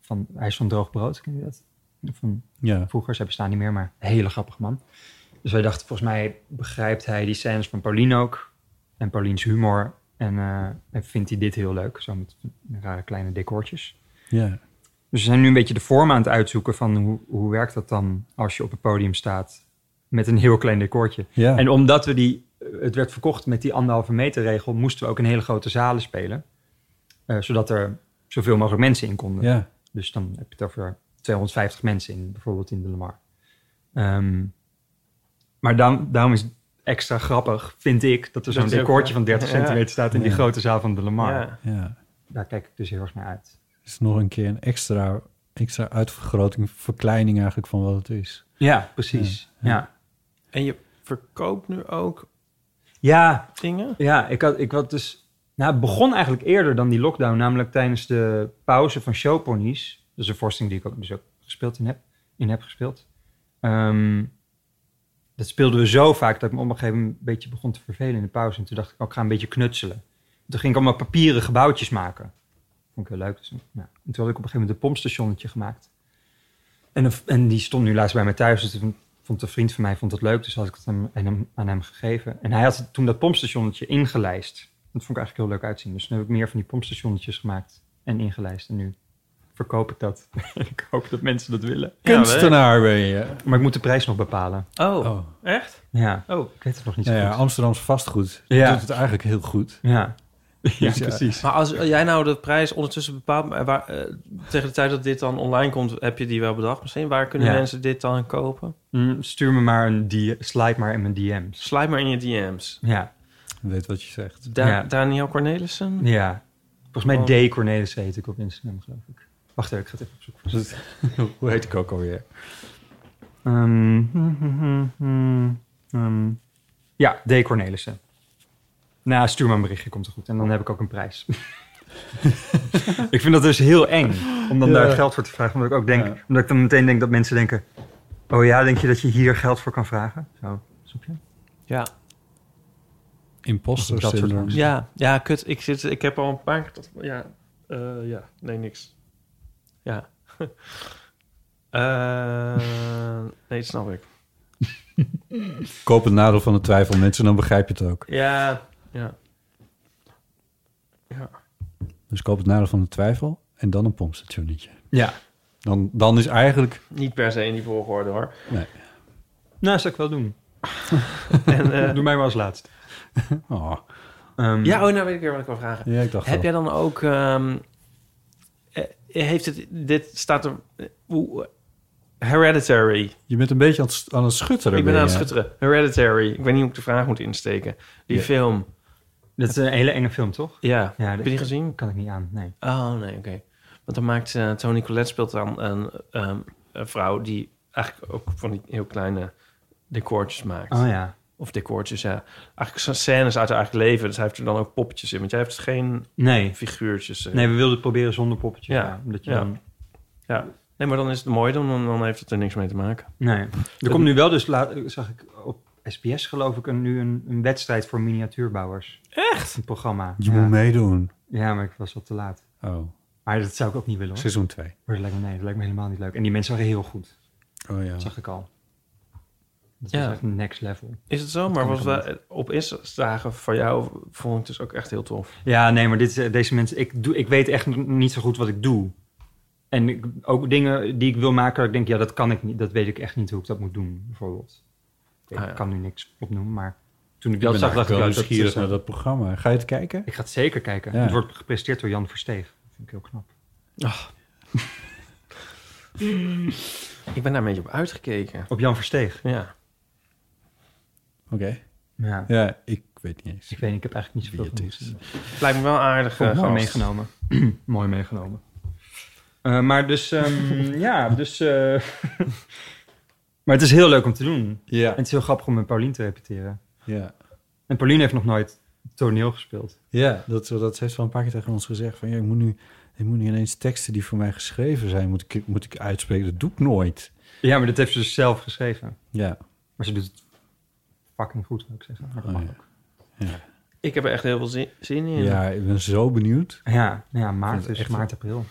Van, hij is van Droog Brood, ken je dat? Van Ja. vroeger. Zij bestaan niet meer, maar een hele grappige man. Dus wij dachten, volgens mij begrijpt hij die scènes van Paulien ook. En Paulien's humor. En, eh, en vindt hij dit heel leuk. Zo met rare kleine decoortjes. ja. Dus we zijn nu een beetje de vorm aan het uitzoeken van hoe, hoe werkt dat dan als je op het podium staat met een heel klein decoortje. Ja. En omdat we die, eh, het werd verkocht met die anderhalve meter regel, moesten we ook in hele grote zalen spelen. Eh, zodat er zoveel mogelijk mensen in konden. ja. Dus dan heb je het over 250 mensen in, bijvoorbeeld in de Lamar. Ehm, maar dan, daarom is het extra grappig, vind ik, dat er zo'n Dat is ook- decoortje van 30 Ja. centimeter staat in die Ja. grote zaal van de Lamar. Ja. ja. Daar kijk ik dus heel erg naar uit. is nog een keer een extra, extra uitvergroting, verkleining eigenlijk van wat het is. Ja, precies. Ja, ja. En je verkoopt nu ook ja dingen? Ja, ik had, ik had dus. Nou, het begon eigenlijk eerder dan die lockdown, namelijk tijdens de pauze van Showponies. Dat is een voorstelling die ik ook, dus ook gespeeld in heb, in heb gespeeld. Ehm, dat speelden we zo vaak dat ik me op een gegeven moment een beetje begon te vervelen in de pauze. En toen dacht ik, oh, ik ga een beetje knutselen. Toen ging ik allemaal papieren gebouwtjes maken. Vond ik heel leuk. Dus, ja. En toen had ik op een gegeven moment een pompstationnetje gemaakt. En, een- en die stond nu laatst bij mij thuis. Dus toen vond een vriend van mij vond het leuk. Dus had ik het hem, aan hem, aan hem gegeven. En hij had toen dat pompstationnetje ingelijst. Dat vond ik eigenlijk heel leuk uitzien. Dus nu heb ik meer van die pompstationnetjes gemaakt en ingelijst. En nu verkoop ik dat. ik hoop dat mensen dat willen. Kunstenaar ben je. Maar ik moet de prijs nog bepalen. Oh, Oh. echt? Ja, Oh. ik weet het nog niet zo Ja, ja, goed. Amsterdamse vastgoed Ja. doet het eigenlijk heel goed. Ja. Ja, Dus ja. precies. Maar als jij nou de prijs ondertussen bepaalt, maar waar, eh, tegen de tijd dat dit dan online komt, heb je die wel bedacht misschien? Waar kunnen Ja. mensen dit dan kopen? Mm, Stuur me maar een die slide maar in mijn DM's. Slijt maar in je DM's. Ja, Weet wat je zegt. Da Ja. Daniel Cornelissen? ja. Volgens mij Oh. D. Cornelis heet ik op Instagram, geloof ik. Wacht even, ik ga het even opzoeken. Hoe heet ik ook alweer? Ehm, hmm, hmm, hmm, hmm, ehm, ja, D. Cornelissen. Nou, stuur me een berichtje, komt er goed. En dan heb ik ook een prijs. ik vind dat dus heel eng om dan Ja. daar geld voor te vragen. Omdat ik ook denk, Ja. omdat ik dan meteen denk dat mensen denken: Oh ja, denk je dat je hier geld voor kan vragen? Zo, snap je? Ja. Imposter Dat soort syndrome. angst. Ja, ja, kut. Ik, zit, ik heb al een paar keer... tot- ja, eh, ja, nee, niks. Ja. Eh, nee, dat snap ik. Koop het nadeel van de twijfel, mensen, dan begrijp je het ook. Ja, ja. Dus koop het nadeel van de twijfel en dan een pompstationnetje. Ja. Dan, dan is eigenlijk... Niet per se in die volgorde, hoor. Nee. Nou, zou ik wel doen. En, eh, Doe mij maar als laatst. Oh. Ehm, ja, oh, nou weet ik weer wat ik wil vragen. Ja, ik dacht Heb jij wel. dan ook... ehm, eh, heeft het... Dit staat er... hoe- Hereditary. Je bent een beetje aan het, aan het schutteren. ik ben aan het je. schutteren. Hereditary. Ik weet niet hoe ik de vraag moet insteken. Die Ja. film. Dat is een hele enge film, toch? Ja. Ja, Heb je die gezien? kan ik niet aan, nee. Oh, nee, oké. Want dan maakt eh, Tony Collette speelt dan een, ehm, een vrouw die eigenlijk ook van die heel kleine decoortjes maakt. Oh ja. Of decoortjes, ja. Eigenlijk zijn scènes uit haar eigen leven. Dus hij heeft er dan ook poppetjes in. Want jij heeft geen Nee. figuurtjes. eh. Nee, we wilden het proberen zonder poppetjes. Ja. Ja. omdat je Ja. dan... Ja. nee, maar dan is het mooi. Dan, dan- dan heeft het er niks mee te maken. Nee. Er komt nu wel dus, laat, zag ik op SBS geloof ik, een, nu een, een wedstrijd voor miniatuurbouwers. Echt? Een programma. Je ja. moet meedoen. ja, maar ik was al te laat. Oh, Maar dat zou ik ook niet willen hoor. seizoen 2. Maar dat lijkt me, nee, dat lijkt me helemaal niet leuk. En die mensen waren heel goed. Oh ja. Dat zag ik al. Dat Ja. is echt next level. Is het zo? Maar kan ik wat we op Insta zagen van jou vond ik dus ook echt heel tof. Ja, nee, maar dit, is- eh, deze mensen, ik, doe, ik weet echt n- niet zo goed wat ik doe. En ik, ook dingen die ik wil maken, waar ik denk, ja, dat kan ik niet. Dat weet ik echt niet hoe ik dat moet doen, bijvoorbeeld. Ik Ah, ja. kan nu niks opnoemen, maar toen ik Ik dat ben zag, eigenlijk dacht ik, wel ja, dat nieuwsgierig is een- naar dat programma. Ga je het kijken? Ik ga het zeker kijken. Ja. Het wordt gepresteerd door Jan Versteeg. Dat vind ik heel knap. Ik ben daar een beetje op uitgekeken. Op Jan Versteeg? Ja. Oké. Ja. Ja, ik weet niet eens. Ik weet niet, ik heb eigenlijk niet zoveel Wie het van is. gezien. Ik Lijkt me wel aardig. vond eh, het mooi gast. meegenomen. mooi meegenomen. Eh, maar dus, ehm, ja, dus... eh, maar het is heel leuk om te doen. Ja. En het is heel grappig om met Paulien te repeteren. Ja. En Paulien heeft nog nooit toneel gespeeld. Ja, dat, dat heeft wel een paar keer tegen ons gezegd. Van, ja, ik, moet nu, ik moet nu ineens teksten die voor mij geschreven zijn, moet ik, moet ik uitspreken. Dat doe ik nooit. Ja, maar dat heeft ze dus zelf geschreven. Ja. Maar ze doet het fucking goed, wil ik zeggen. Maar dat Oh, mag ja. ook. Ik heb er echt heel veel zin, zin in. ja, ik ben zo benieuwd. Ja, ja, maart vind het dus, echt- maart, april.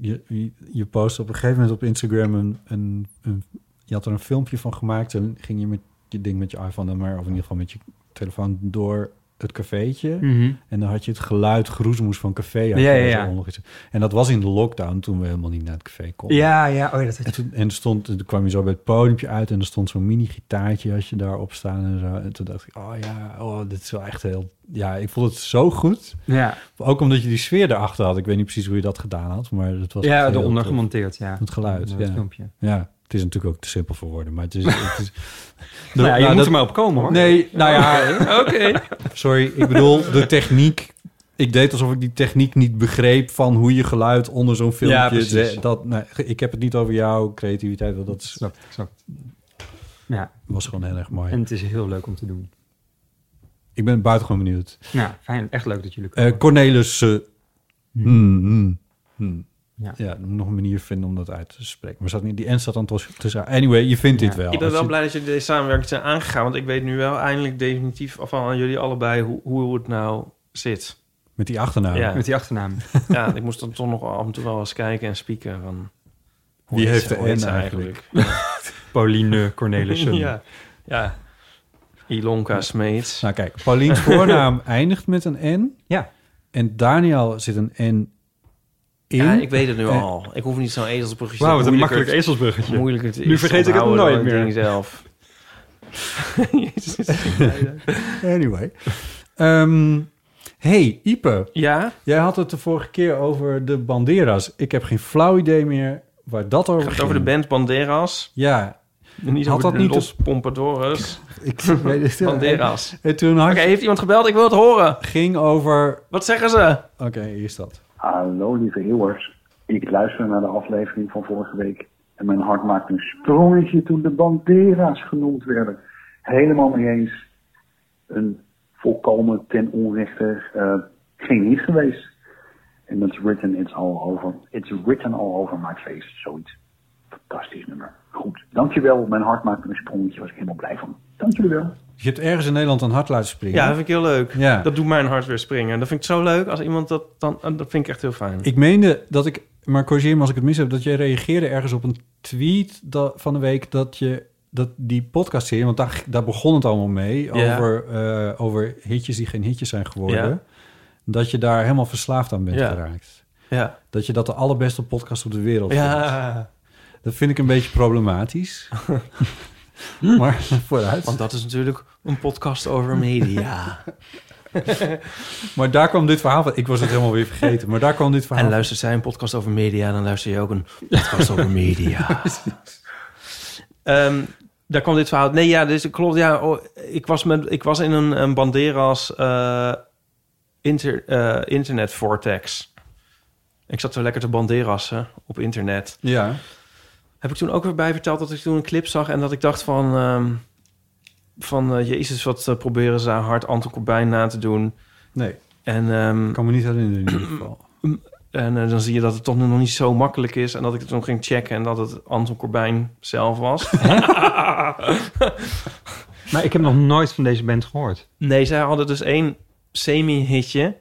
Je, je, je post op een gegeven moment op Instagram een, een, een- Je had er een filmpje van gemaakt en ging je met je ding met je iPhone dan maar... of in ieder geval met je telefoon door het cafeetje. Mhm. En dan had je het geluid groezemoes van café. had je Hm. Ja, ja, er zo ja. nog iets. En dat was in de lockdown toen we helemaal niet naar het café konden. Ja, ja, oh ja, dat had En je... toen, en er stond, toen kwam je zo bij het podiumpje uit en er stond zo'n mini-gitaartje als je daarop staan en zo. En toen dacht ik, oh ja, oh, dit is wel echt heel... Ja, ik vond het zo goed. Ja, Ook omdat je die sfeer erachter had. Ik weet niet precies hoe je dat gedaan had, maar het was... echt ja heel eronder tof. gemonteerd, ja. Het geluid, Onder ja. Het filmpje. Ja, het is natuurlijk ook te simpel voor woorden, maar het is... Het is Nou, ja, je moet dat- er maar op komen, hoor. Nee, nou ja, Oké. sorry. Ik bedoel, de techniek... Ik deed alsof ik die techniek niet begreep van hoe je geluid onder zo'n filmpje... Ja, precies. dat, nou, ik heb het niet over jouw creativiteit, want dat is- Snap, ik, snap. ik. Ja, was gewoon heel erg mooi. en het is heel leuk om te doen. Ik ben buitengewoon benieuwd. Ja, fijn. Echt leuk dat jullie Eh komen. Cornelis. eh, hmm, hmm, hmm. Ja. Ja. ik moet nog een manier vinden om dat uit te spreken. Maar zat niet, die N staat dan tussen- tussen. Anyway, je vindt dit Ja. wel. Ik ben Als wel je- blij dat jullie deze samenwerking zijn aangegaan. Want ik weet nu wel eindelijk definitief van aan jullie allebei hoe, hoe het nou zit. Met die achternaam. Ja. Met die achternaam. Ja, ik moest dan toch nog af en toe wel eens kijken en spieken van... hoe Wie heet heeft ze- de hoe heet N ze eigenlijk? Pauline Cornelissen. ja, ja. Ilonka Smeets. Nou kijk, Paulien's voornaam eindigt met een N. Ja. En Daniel zit een N in. Ja, ik weet het nu Eh. al. Ik hoef niet zo'n ezelsbruggetje Wauw, wat een moeilijker- makkelijk ezelsbruggetje. moeilijker te Nu vergeet ik het onthouden dan nooit meer. ding zelf. Anyway. Ehm, hey, Ipe. Ja, Jij had het de vorige keer over de Banderas. Ik heb geen flauw idee meer waar dat over het gaat over de band ging. Banderas. Ja. Niet Had over dat de niet Los Pompadoras. Ik, weet het- Banderas. En toen had Oké, heeft iemand gebeld? Ik wil het horen. ging over... Wat zeggen ze? Oké, eerst dat. Hallo lieve eeuwers. Ik luister naar de aflevering van vorige week. En mijn hart maakte een sprongetje toen de Bandera's genoemd werden. Helemaal mee eens. Een volkomen ten onrechte eh, geen hit geweest. En dat is written it's all over. It's written all over my face. Zoiets. Fantastisch nummer. Goed. Dankjewel. Mijn hart maakte een sprongetje. Was ik helemaal blij van. Dank jullie wel. Je hebt ergens in Nederland een hart laten springen. Ja, dat vind ik heel leuk. Ja. Dat doet mijn hart weer springen. Dat vind ik zo leuk als iemand dat dan... Dat vind ik echt heel fijn. Ik meende dat ik, maar corrigeer me als ik het mis heb, dat jij reageerde ergens op een tweet da- van de week dat je dat die podcast serie, want daar, daar begon het allemaal mee, Ja. over, eh, over hitjes die geen hitjes zijn geworden, Ja. dat je daar helemaal verslaafd aan bent Ja. geraakt. Ja. Dat je dat de allerbeste podcast op de wereld vindt. Ja, Dat vind ik een beetje problematisch. maar vooruit. want dat is natuurlijk een podcast over media. Maar daar kwam dit verhaal van. Ik was het helemaal weer vergeten. Maar daar kwam dit verhaal En van. luistert zij een podcast over media, dan luister je ook een podcast over media. Ehm, daar kwam dit verhaal. Nee, ja, dus ik klopt. Ja, oh, ik, was met, ik was in een, een Banderas eh, inter, eh, internet vortex. Ik zat zo lekker te banderassen op internet. Ja. Heb ik toen ook weer bij verteld dat ik toen een clip zag en dat ik dacht van... ehm, van eh, Jezus, wat eh, proberen ze aan hard Anton Corbijn na te doen. Nee, En ehm, ik kan me niet herinneren in ieder geval. En eh, dan zie je dat het toch nog niet zo makkelijk is. En dat ik het toen ging checken en dat het Anton Corbijn zelf was. Maar ik heb nog nooit van deze band gehoord. nee, zij hadden dus één semi-hitje.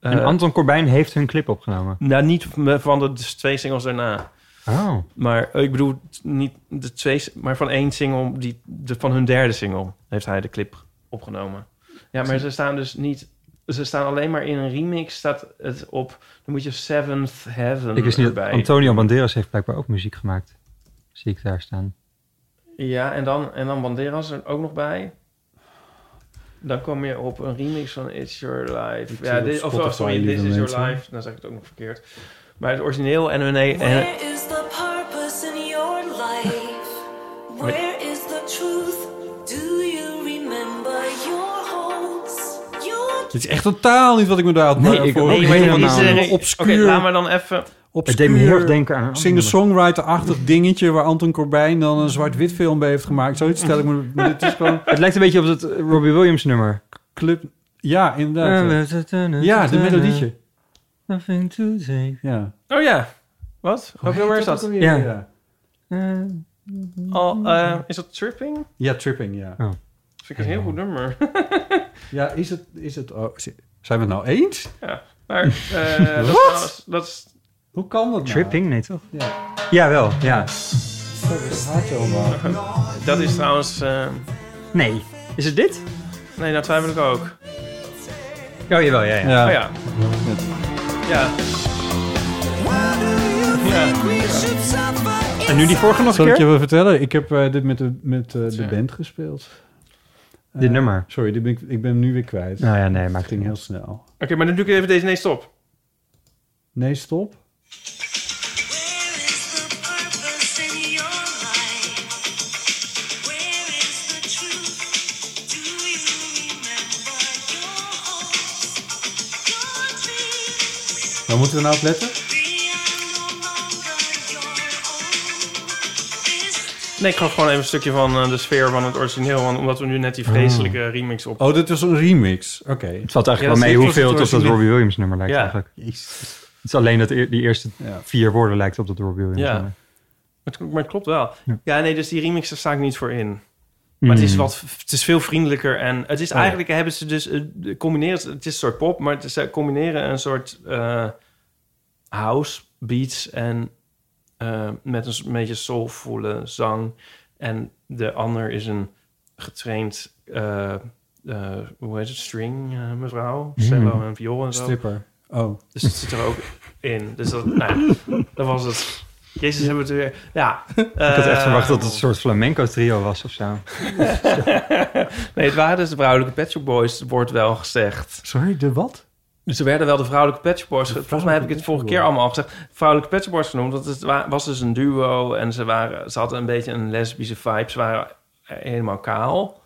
Eh, en Anton Corbijn heeft hun clip opgenomen. nou, niet me- van de dus twee singles daarna. Oh. Maar eh, ik bedoel, t- niet de twee, s- maar van één single, die, de, van hun derde single, heeft hij de clip opgenomen. Ja, maar ze staan dus niet. Ze staan alleen maar in een remix, staat het op. Dan moet je Seventh Heaven Ik wist niet dat erbij. Antonio Banderas heeft blijkbaar ook muziek gemaakt. Zie ik daar staan. Ja, en dan, en dan Banderas er ook nog bij. Dan kom je op een remix van It's Your Life. Ik ja, zie dit, op of Spotify sorry, This liever Is Your mensen. Life. Dan zeg ik het ook nog verkeerd. Maar het origineel en Oh, hun... En, Where is the purpose in your life? Where is the truth? Do you remember your hopes? Your Dit is echt totaal niet wat ik me daar had Nee, eh, ik- voor. nee, ik ik weet helemaal niet niet. zeggen. Oké, Obscuur. laat maar dan even... Het deed me heel erg obscuur denken aan een ander nummer. singer-songwriter-achtig dingetje... waar Anton Corbijn dan een zwart-wit film bij heeft gemaakt. Zoiets stel ik me... maar dit is gewoon Het lijkt een beetje op dat eh, Robbie Williams nummer. club... Ja, inderdaad. ja. Ja, Ja, de melodietje. Nothing to say. Ja. Oh ja, wat? Welk nummer is Oh, dat? Ja. Ja. Eh. Al, eh, is dat Tripping? Ja, Tripping, ja. Vind ik een heel goed nummer. Ja, is het... Is het oh, is- zijn we het nou eens? Maar eh, dat, Wat? is- dat is... Hoe kan dat nou? Tripping? Nee, toch? Ja. Jawel, ja. Dat is trouwens... eh, Nee. Is het dit? nee, dat twijfel ik ook. Oh, jawel, ja, ja. Oh Ja. ja. Ja. Ja. En nu die vorige nog een Zal ik je keer? wel vertellen? Ik heb eh, dit met de, met, eh, de band gespeeld. Dit nummer. Sorry, dit ben ik, ik ben hem nu weer kwijt. Nou ja, nee, Het maakt ging niet heel uit. snel. Oké, maar dan doe ik even deze. Nee, stop. Nee, stop. where is the purpose in your life? Where is the truth? Do you remember your hopes? Your dreams? Waar moeten we nou op letten? They are no longer your own. This Nee, ik gaf gewoon even een stukje van eh, de sfeer van het origineel. Want omdat we nu net die vreselijke remix op... Oh, dit was een remix. Oké. Het valt Ja, eigenlijk dat wel is mee niet hoeveel het op zoals het dat origineel- Robbie Williams nummer lijkt Ja. eigenlijk. Het is alleen dat eer- die eerste Ja. vier woorden lijkt op dat Robbie Williams Ja. nummer. Maar het, maar het klopt wel. Ja. Ja. nee, dus die remix, daar sta ik niet voor in. Maar het, is Mm. wat, het is veel vriendelijker. En het is Oh ja. eigenlijk, hebben ze dus, eh, combineren, het is een soort pop, maar het is, ze combineren een soort eh, house beats en eh, met een s- beetje soulvolle zang. En de ander is een getraind, eh, eh, hoe heet het, string eh, mevrouw, Hmm. cello en viool en zo. Stripper. Oh. Dus het zit er ook in. Dus dat, nou ja, dat was het. Jezus, hebben we het weer. Ja. eh, Ik eh, had echt verwacht dat het een soort flamenco trio was of zo. Nee, het waren dus de vrouwelijke Pet Shop Boys, wordt wel gezegd. Sorry, de wat? Dus er werden wel de vrouwelijke Pet Shop Boys. ge- Volgens mij heb ik het vorige keer allemaal al gezegd. Vrouwelijke Pet Shop Boys genoemd. Dat het wa- was dus een duo en ze, waren, ze hadden een beetje een lesbische vibe. Ze waren helemaal kaal,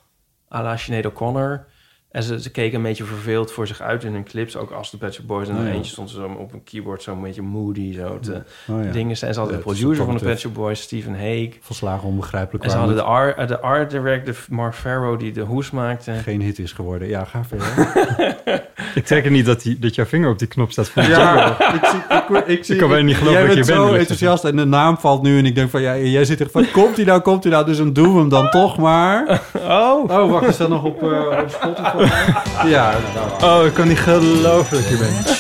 à la Sinead O'Connor. En ze, ze keken een beetje verveeld voor zich uit in hun clips, ook als de Pet Shop Boys. En Oh ja. eentje stond zo op een keyboard, zo'n beetje moody, zo te Oh ja. dingen. En ze hadden de Ja, het is producer van de supportive. Pet Shop Boys, Stephen Hague. Volslagen onbegrijpelijk. En ze waarom hadden de art, eh, de art director Mark Farrow die de hoes maakte. het geen hit is geworden. Ja, ga verder. Ik trek er niet dat, die, dat jouw vinger op die knop staat. Voor ja, ik, zie, ik, zie, Ik kan bijna niet geloven jij dat je bent bent, zo Lucas. enthousiast en de naam valt nu en ik denk van, ja, jij zit er van, komt hij nou, komt hij nou, dus dan doen we hem dan toch maar. Oh! Oh, wacht, is dat nog op, eh, op Spotify? Ja, Oh, ik kan niet geloven dat je bent.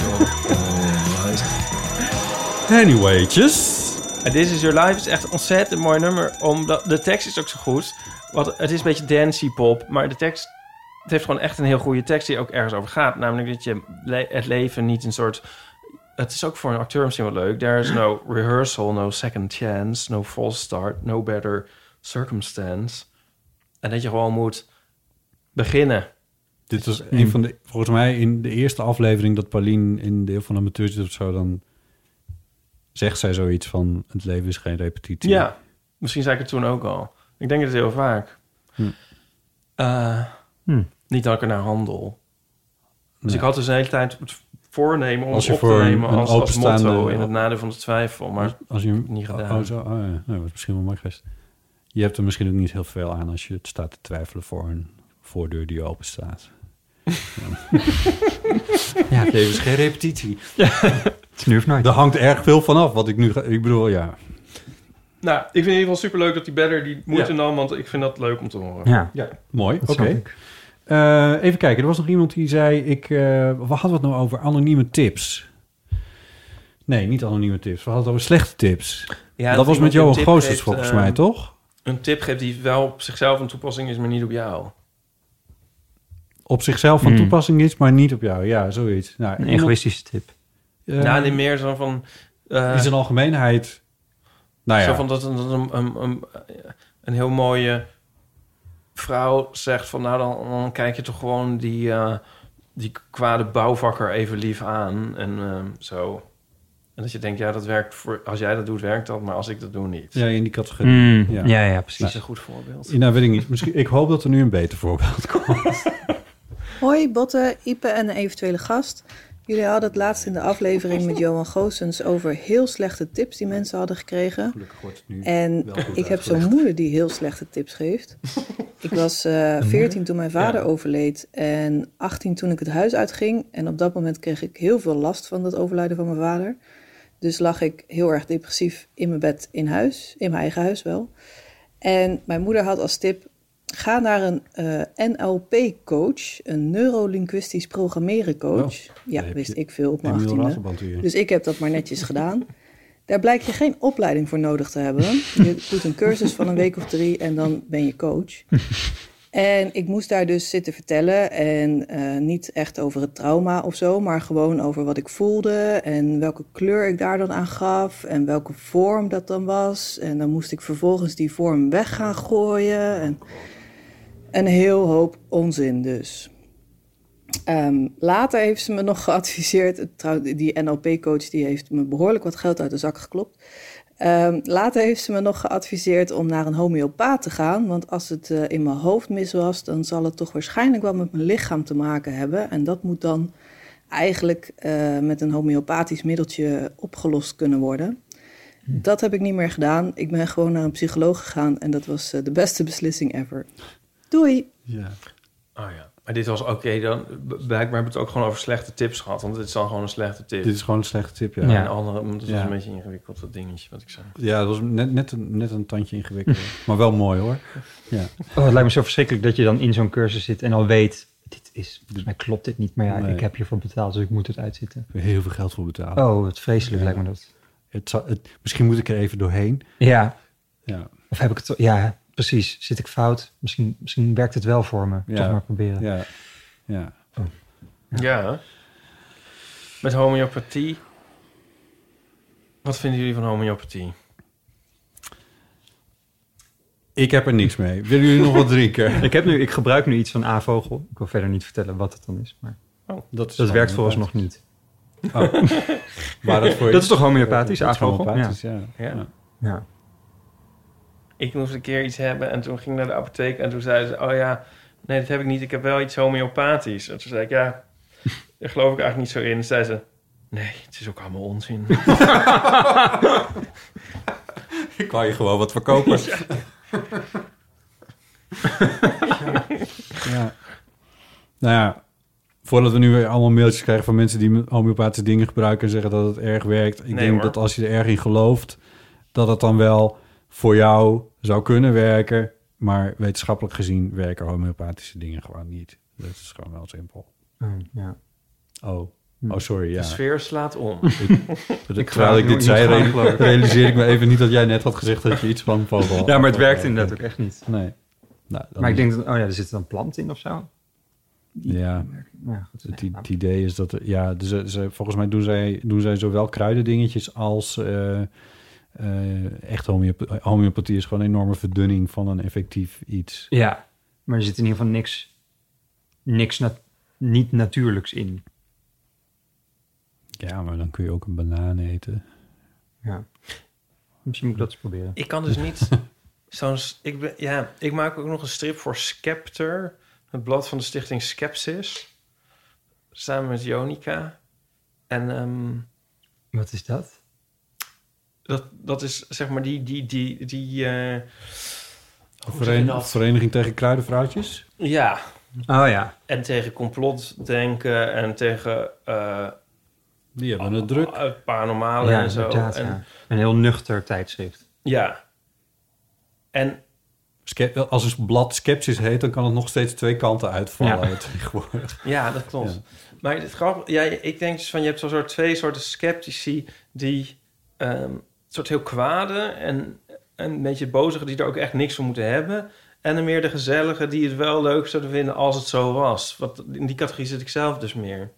Anywaytjes. En This Is Your Life is echt een ontzettend mooi nummer. Omdat de tekst is ook zo goed. Want het is een beetje dancey pop. Maar de tekst... Het heeft gewoon echt een heel goede tekst die ook ergens over gaat. Namelijk dat je le- het leven niet een soort... Het is ook voor een acteur misschien wel leuk. There is no rehearsal, no second chance, no false start, no better circumstance. En dat je gewoon moet beginnen. Dit was een van de, volgens mij in de eerste aflevering dat Pauline in deel van amateurs zit of zo, dan zegt zij zoiets van, het leven is geen repetitie. Ja, misschien zei ik het toen ook al. Ik denk het heel vaak. Hm. Eh, Hm. Niet dat ik er naar handel. Dus ik had dus de hele tijd het voornemen om Als je op te voor een- nemen een als, als openstaande- motto in het nadeel van de twijfel. Maar Als je Niet gedaan. Oh, zo, oh, ja. Nou, dat is misschien wel makkelijk geweest. Je hebt er misschien ook niet heel veel aan als je het staat te twijfelen voor een voordeur die open staat. ja, ja oké, dus geen repetitie. Het is nu of nooit. Daar hangt erg veel van af wat ik nu ga. Ik bedoel, ja. nou, ik vind in ieder geval superleuk dat die better die moeite Ja. nam, want ik vind dat leuk om te horen. Ja, ja. Mooi, oké. dat snap ik. Eh, even kijken, er was nog iemand die zei: ik, eh We hadden het nou over anonieme tips. Nee, niet anonieme tips. We hadden het over slechte tips. Ja, dat was iemand met een Johan tip Goosters geeft, volgens eh, mij, toch? Een tip geeft die wel op zichzelf een toepassing is, maar niet op jou. Op zichzelf van Mm. toepassing is, maar niet op jou. Ja, zoiets. Nou, Een iemand- egoïstische tip. eh, nou, die meer zo van... eh, is een algemeenheid. Nou ja, Zo van dat, een- dat een, een, een, een heel mooie vrouw zegt van... nou, dan, dan kijk je toch gewoon die, eh, die kwade bouwvakker even lief aan en ehm, zo. En dat je denkt, ja, dat werkt voor... als jij dat doet, werkt dat, maar als ik dat doe, niet. ja, in die categorie. Mm, Ja. ja. ja, Dat is precies. een goed voorbeeld. Ja, Nou, weet ik niet. Misschien, ik hoop dat er nu een beter voorbeeld komt. Hoi Botte, Ipe en een eventuele gast. Jullie hadden het laatst in de aflevering met Johan Goossens over heel slechte tips die mensen hadden gekregen. Gelukkig wordt het nu. En Wel goed ik heb zo'n uitgelegd. moeder die heel slechte tips geeft. Ik was eh 14 toen mijn vader overleed en 18 toen ik het huis uitging. En op dat moment kreeg ik heel veel last van dat overlijden van mijn vader. Dus lag ik heel erg depressief in mijn bed in huis, in mijn eigen huis wel. En mijn moeder had als tip: ga naar een eh, NLP-coach, een neurolinguistisch programmeren coach. Oh, daar ja, heb wist je ik veel op mijn Emiel 18e. Raterband weer. Dus ik heb dat maar netjes gedaan. Daar blijkt je geen opleiding voor nodig te hebben. Je doet een cursus van een week of drie en dan ben je coach. En ik moest daar dus zitten vertellen. En eh, niet echt over het trauma of zo, maar gewoon over wat ik voelde. En welke kleur ik daar dan aan gaf. En welke vorm dat dan was. En dan moest ik vervolgens die vorm weg gaan gooien. En een heel hoop onzin dus. Ehm, later heeft ze me nog geadviseerd. trouw- die NLP-coach die heeft me behoorlijk wat geld uit de zak geklopt. Ehm, later heeft ze me nog geadviseerd om naar een homeopaat te gaan. Want als het eh, in mijn hoofd mis was, dan zal het toch waarschijnlijk wel met mijn lichaam te maken hebben. En dat moet dan eigenlijk eh, met een homeopathisch middeltje opgelost kunnen worden. Dat heb ik niet meer gedaan. Ik ben gewoon naar een psycholoog gegaan en dat was eh, de beste beslissing ever. Doei! Ja. Oh ja. Maar dit was oké, dan b- blijkbaar hebben we het ook gewoon over slechte tips gehad. Want dit is dan gewoon een slechte tip. Dit is gewoon een slechte tip, ja. En andere, want het is Ja. een beetje ingewikkeld, dat dingetje wat ik zei. Ja, dat was net, net, een, net een tandje ingewikkeld. maar wel mooi hoor. Ja. Oh, het lijkt me zo verschrikkelijk dat je dan in zo'n cursus zit en al weet... Dit is, volgens mij klopt dit niet, maar ja, Nee. ik heb hiervoor betaald, dus ik moet het uitzitten. Heel veel geld voor betalen. Oh, wat vreselijk Ja. lijkt me dat. Het zou- het, misschien moet ik er even doorheen. Ja. Ja. Of heb ik het... Ja, precies. Zit ik fout? Misschien, misschien werkt het wel voor me. Ja. Toch maar proberen. Ja. ja. Ja. Met homeopathie. Wat vinden jullie van homeopathie? Ik heb er niks mee. Willen jullie nog wat drinken? Ik, heb nu, ik gebruik nu iets van A-vogel. Ik wil verder niet vertellen wat het dan is, maar dat is dat werkt homeopathisch. volgens nog niet. Oh. Maar dat, voor je- Dat is toch homeopathisch, Dat is A-vogel? homeopathisch, ja. Ja. Ja. Ik moest een keer iets hebben en toen ging ik naar de apotheek en toen zei ze: Oh ja, nee, dat heb ik niet. Ik heb wel iets homeopathisch. En toen zei ik: Ja, daar geloof ik eigenlijk niet zo in. En zei ze: Nee, het is ook allemaal onzin. Ik wou je gewoon wat verkopen. ja. Nou ja, voordat we nu weer allemaal mailtjes krijgen van mensen die homeopathische dingen gebruiken en zeggen dat het erg werkt. Ik Nee, denk hoor. dat als je er erg in gelooft, dat het dan wel voor jou zou kunnen werken. Maar wetenschappelijk gezien werken homeopathische dingen gewoon niet. Dat is gewoon wel simpel. ja. Oh, Hm. oh sorry. Ja. De sfeer slaat om. Ik terwijl ik dit Ik zei, ga het re- geloof ik. realiseer ik me even niet dat jij net had gezegd dat je iets van vogel. ja, maar het werkt inderdaad ook echt niet. Nee. Nou, dan- Maar ik denk, dat, oh ja, er zit dan plant in of zo. Ja, Ja, goed. het, i- het idee is dat... er- Ja, dus, ze- ze- volgens mij doen zij, doen zij zowel kruidendingetjes als... eh, eh, echt homeop- homeopathie is gewoon een enorme verdunning van een effectief iets. Ja, maar er zit in ieder geval niks, niks nat- niet natuurlijks in. Ja, maar dan kun je ook een banaan eten. Ja. Misschien moet ik dat eens proberen. Ik kan dus niet zo'n... Ik, ben, ja, ik maak ook nog een strip voor Skepter. Het blad van de stichting Skepsis. Samen met Jonica. En ehm, Wat is dat? dat, dat is zeg maar die... die, die, die eh, hoe zeg je Veren- dat? Vereniging tegen kruidenvrouwtjes? Ja, Oh ja. en tegen complotdenken en tegen eh Die hebben het druk. eh, paranormale Oh ja en zo. inderdaad, en, ja. ja. Een heel nuchter tijdschrift. En Ske- Als het blad sceptisch heet, dan kan het nog steeds twee kanten uitvallen Ja. tegenwoordig. Ja, dat klopt. Maar het grappige, ja, ik denk dus van je hebt zo'n soort twee soorten sceptici die ehm, een soort heel kwade en, en een beetje bozige die er ook echt niks van moeten hebben. En dan meer de gezellige die het wel leuk zouden vinden als het zo was. Want in die categorie zit ik zelf dus meer.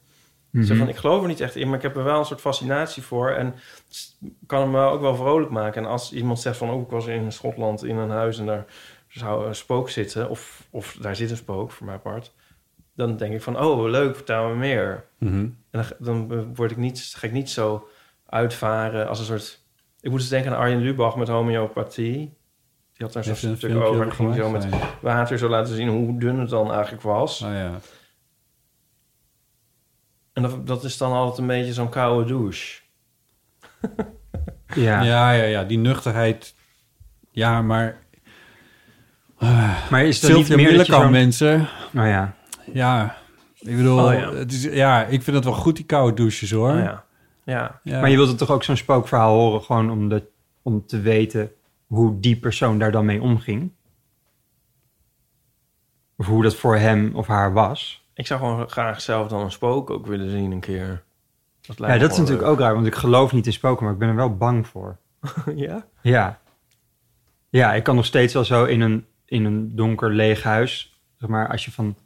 Zo Mhm. van, ik geloof er niet echt in, maar ik heb er wel een soort fascinatie voor. En het kan hem wel ook wel vrolijk maken. En als iemand zegt van, oh, ik was in Schotland in een huis en daar zou een spook zitten. Of, of daar zit een spook, voor mijn part. Dan denk ik van, oh, leuk, vertel me meer. Mhm. En dan, ga- dan word ik niet, ga ik niet zo uitvaren als een soort... Ik moet eens denken aan Arjen Lubach met homeopathie. Die had daar zo'n Heeft een stuk filmpje over. en die ging zo gemaakt? met Nee. water zo laten zien hoe dun het dan eigenlijk was. Nou ja. En dat, dat is dan altijd een beetje zo'n koude douche. Ja. Ja, ja, ja. Die nuchterheid. Ja, maar Maar is dat niet meer dat je Sylvia Millekamp, zo'n- mensen. Oh ja. Ja, ik bedoel, Oh, ja. Het is, ja, ik vind het wel goed, die koude douches, hoor. Oh Nou ja. ja. Ja. Maar je wilt het toch ook zo'n spookverhaal horen, gewoon om, de, om te weten hoe die persoon daar dan mee omging? Of hoe dat voor hem of haar was? Ik zou gewoon graag zelf dan een spook ook willen zien een keer. Dat Ja, dat is natuurlijk ook raar, want ik geloof niet in spoken, maar ik ben er wel bang voor. ook... ja? Ja. Ja, ik kan nog steeds wel zo in een, in een donker leeg huis, zeg maar, als je van,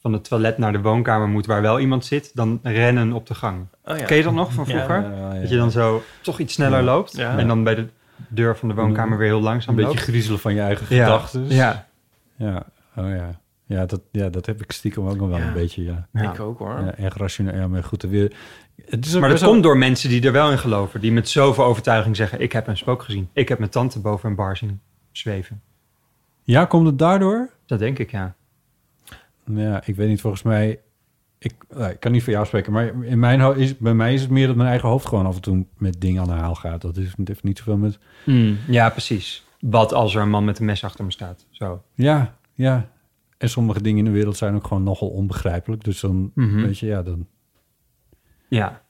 van het toilet naar de woonkamer moet waar wel iemand zit, dan rennen op de gang. Oh, ja. Ken je dat nog van vroeger? Ja, eh, ja, ja. Dat je dan zo toch iets sneller loopt Ja. en dan bij de deur van de woonkamer weer heel Een langzaam beetje loopt. griezelen van je eigen ja. gedachten. Ja. ja. Oh ja. Ja dat, ja, dat heb ik stiekem ook nog wel Ja. een beetje, ja. Ja. Ik ook hoor. ja erg rationeel, ja, maar goed. Weer, het is Maar ook dat best wel- komt door mensen die er wel in geloven. Die met zoveel overtuiging zeggen, ik heb een spook gezien. Ik heb mijn tante boven een bar zien zweven. Ja, komt het daardoor? Dat denk ik, ja. Ja, ik weet niet, volgens mij... Ik, nou, ik kan niet voor jou spreken, maar in mijn, ho- is, bij mij is het meer dat mijn eigen hoofd gewoon af en toe met dingen aan de haal gaat. Dat is, het heeft niet zoveel met... Ja, precies. Wat als er een man met een mes achter me staat? Zo. Ja, ja. En sommige dingen in de wereld zijn ook gewoon nogal onbegrijpelijk. Dus dan, Mhm. weet je, ja, dan... Ja.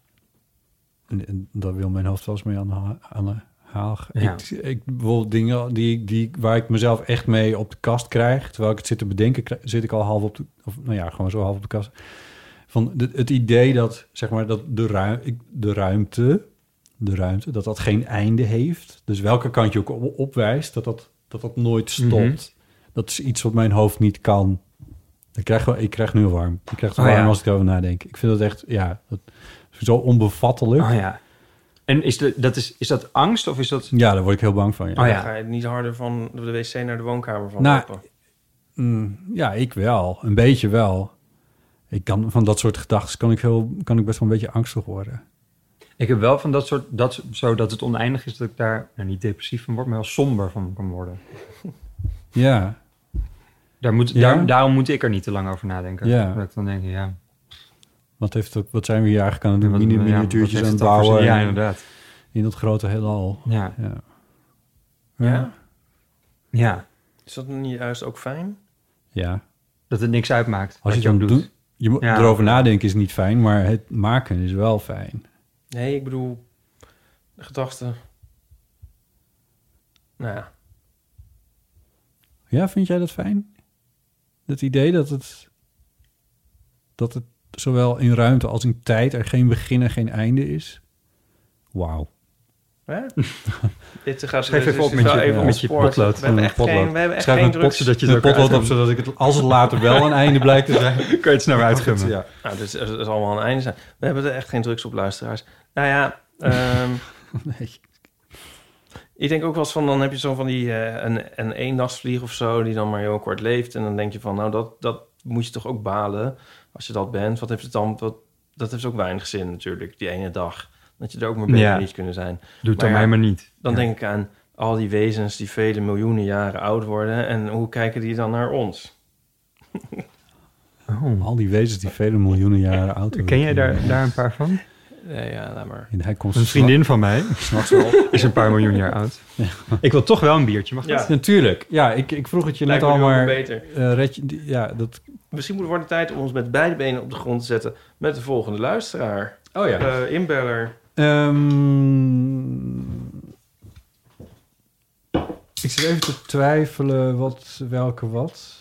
En, en daar wil mijn hoofd wel eens mee aan de, ha- aan de haal. gaan. Ja. Ik, ik, bijvoorbeeld dingen die, die, waar ik mezelf echt mee op de kast krijg... terwijl ik het zit te bedenken, kri- zit ik al half op de... Of, nou ja, gewoon zo half op de kast. Van de- het idee dat, zeg maar, dat de, ruim, ik- de ruimte... de ruimte, dat dat geen einde heeft. Dus welke kant je ook op- opwijst, dat dat, dat dat nooit stopt. Mhm. Dat is iets wat mijn hoofd niet kan. Ik krijg, wel- ik krijg nu warm. Ik krijg het Oh, warm ja. als ik erover nadenk. Ik vind dat echt, ja, dat is zo onbevattelijk. Oh ja. En is, de, dat is, is dat angst of is dat... Ja, daar word ik heel bang van. Ja. Oh Dan ja. ga je niet harder van de wc naar de woonkamer van Nou, lopen. Mm, ja, ik wel. Een beetje wel. Ik kan, van dat soort gedachten kan ik, heel, kan ik best wel een beetje angstig worden. Ik heb wel van dat soort, dat, zo dat het oneindig is, dat ik daar nou, niet depressief van word, maar wel somber van kan worden. Ja, Daar moet, Ja? daar- daarom moet ik er niet te lang over nadenken. Ja. Dat ik dan denk, ja. wat, heeft, dat- wat zijn we hier eigenlijk aan het doen? Wat- Mini- ja, wat miniatuurtjes heeft aan het het dan voor bouwen. zin? Ja, en- inderdaad. In dat grote heelal. Ja. ja. Ja. Ja. Is dat niet juist ook fijn? Ja. Dat het niks uitmaakt Als wat je je dan aan doet. doet. je moet Ja. erover nadenken is niet fijn, maar het maken is wel fijn. Nee, ik bedoel, de gedachte. Nou ja, Ja, vind jij dat fijn? Het idee dat het, dat het zowel in ruimte als in tijd er geen begin en geen einde is? Wauw. Hè? Dit gaat Schrijf dit even Dus is op met je, wel even even met je ontspoord. potlood. We hebben echt Potlood. geen, we hebben echt Schrijf geen een potje drugs. dat je Een het ook potlood op, uit zodat ik het, als het later wel een einde blijkt te zijn... Kan je het sneller uitgummen. Ja. Nou, dit is, dit is allemaal een einde zijn. We hebben er echt geen drugs op, luisteraars. Nou ja, ehm, Nee. ik denk ook wel eens van... dan heb je zo van die eh, een, een eendagsvlieg of zo... die dan maar heel kort leeft. En dan denk je van, nou, dat, dat moet je toch ook balen... als je dat bent. Wat heeft het dan... Wat, dat heeft ook weinig zin natuurlijk, die ene dag. Dat je er ook maar beter Ja. niet kunnen zijn. Doe het dan ja, mij maar niet. Dan Ja. denk ik aan al die wezens die vele miljoenen jaren oud worden... en hoe kijken die dan naar ons? Al die wezens die vele miljoenen jaren oud worden. Oh, Ken jij daar, daar een paar van? Nee, ja, laat maar. En hij komt Een vriendin van mij s'nachts wel op. is een paar miljoen jaar oud. Ik wil toch wel een biertje, mag dat? Ja. Natuurlijk. Ja, ik, ik vroeg het je Lijkt net al, me nu ook maar... beter. eh, red je, die- ja, dat... Misschien moet het worden tijd om ons met beide benen op de grond te zetten... met de volgende luisteraar. Oh ja. Eh, inbeller. Ehm, ik zit even te twijfelen wat, welke wat.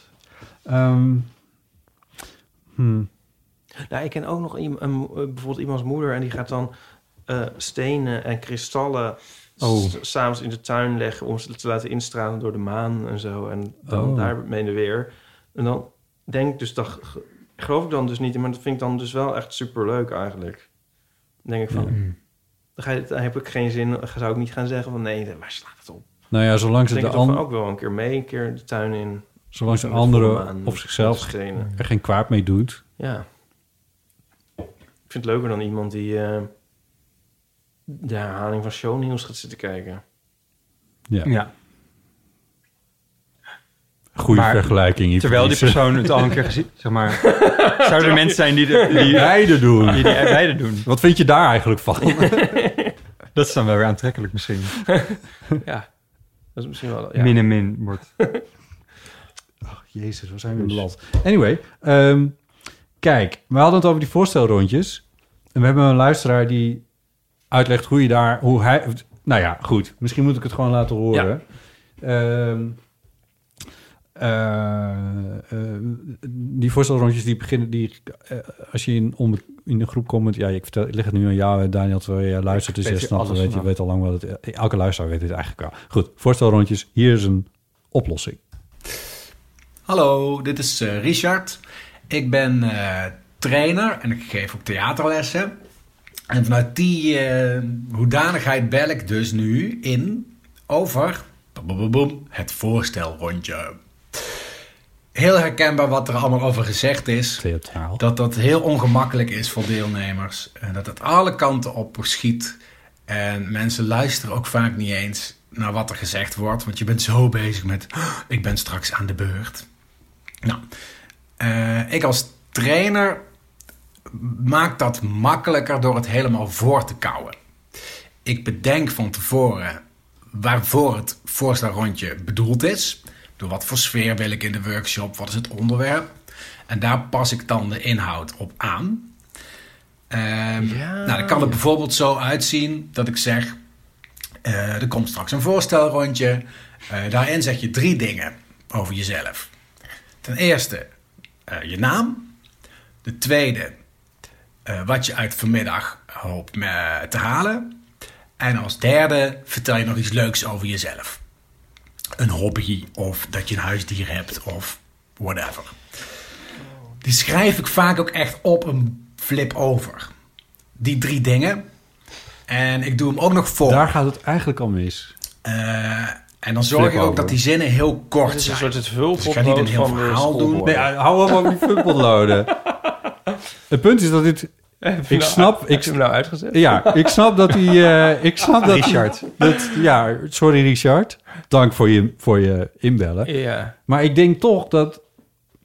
Ehm, hmm. Nou, ik ken ook nog iem- een, eh, bijvoorbeeld iemands moeder... en die gaat dan eh, stenen en kristallen s- Oh. s'avonds in de tuin leggen... om ze te laten instralen door de maan en zo. En dan Oh. daarmee de weer. En dan denk ik dus... Dat, ge- geloof ik dan dus niet in, maar dat vind ik dan dus wel echt superleuk eigenlijk. Dan denk ik van... Dan, ga je, dan heb ik geen zin, zou ik niet gaan zeggen van... nee, waar slaat het op? Nou ja, zolang Ik ze, denk de ik toch van an- ook wel een keer mee, een keer de tuin in. zolang ze Met volle anderen maan, op zichzelf met stenen. er geen kwaad mee doet. Ja. Ik vind het leuker dan iemand die eh, de herhaling van shownieuws gaat zitten kijken. Ja, Ja. goede Maar vergelijking. Iep. Terwijl die persoon het al een keer gezien... Zeg maar, zouden er mensen zijn die, de, die, Beide doen. die, die beide doen? Wat vind je daar eigenlijk van? Dat is dan wel weer aantrekkelijk misschien. Ja. Dat is misschien wel... Ja. Min en min wordt... Jezus, we zijn weer beland. Anyway, ehm, kijk, we hadden het over die voorstelrondjes. En we hebben een luisteraar die uitlegt hoe je daar, hoe hij. Nou ja, goed. Misschien moet ik het gewoon laten horen. Ehm, eh, eh, die voorstelrondjes die beginnen, die, eh, als je in, onbe- in een groep komt, met- ja, ik, vertel, ik leg het nu aan jou, hè, Daniel, terwijl jij luistert, dus weet jij hier snapt, het, alles weet, je vanaf. weet al lang wat het, eh, elke luisteraar weet dit eigenlijk wel. Goed, voorstelrondjes, hier is een oplossing. Hallo, dit is eh, Richard. Ik ben eh, trainer en ik geef ook theaterlessen. En vanuit die eh, hoedanigheid bel ik dus nu in over boem, het voorstelrondje. Heel herkenbaar wat er allemaal over gezegd is. Theatraal. Dat dat heel ongemakkelijk is voor deelnemers. En dat het alle kanten op schiet. En mensen luisteren ook vaak niet eens naar wat er gezegd wordt. Want je bent zo bezig met, "Oh, ik ben straks aan de beurt. Nou, eh, ik als trainer maak dat makkelijker door het helemaal voor te kouwen. Ik bedenk van tevoren waarvoor het voorstelrondje bedoeld is. Door wat voor sfeer wil ik in de workshop? Wat is het onderwerp? En daar pas ik dan de inhoud op aan. Ehm, nou, dan kan het bijvoorbeeld zo uitzien dat ik zeg: eh, er komt straks een voorstelrondje. Eh, daarin zeg je drie dingen over jezelf. Ten eerste eh, je naam. De tweede, eh, wat je uit vanmiddag hoopt eh, te halen. En als derde vertel je nog iets leuks over jezelf. Een hobby of dat je een huisdier hebt of whatever. Die schrijf ik vaak ook echt op een flip over. Die drie dingen. En ik doe hem ook nog vol. Daar gaat het eigenlijk al mis. Eh, en dan zorg ik ook dat die zinnen heel kort Dit zijn. is een soort het dus ik ga niet een heel van de verhaal doen. schoolboy. Nee, hou op over die vulpotloden. Het punt is dat dit... je Ik nou- snap... ik, hem nou uitgezet? Ja, ik snap dat hij... eh, ik snap dat Richard. Dat, ja, sorry Richard. Dank voor je, voor je inbellen. Ja. Maar ik denk toch dat...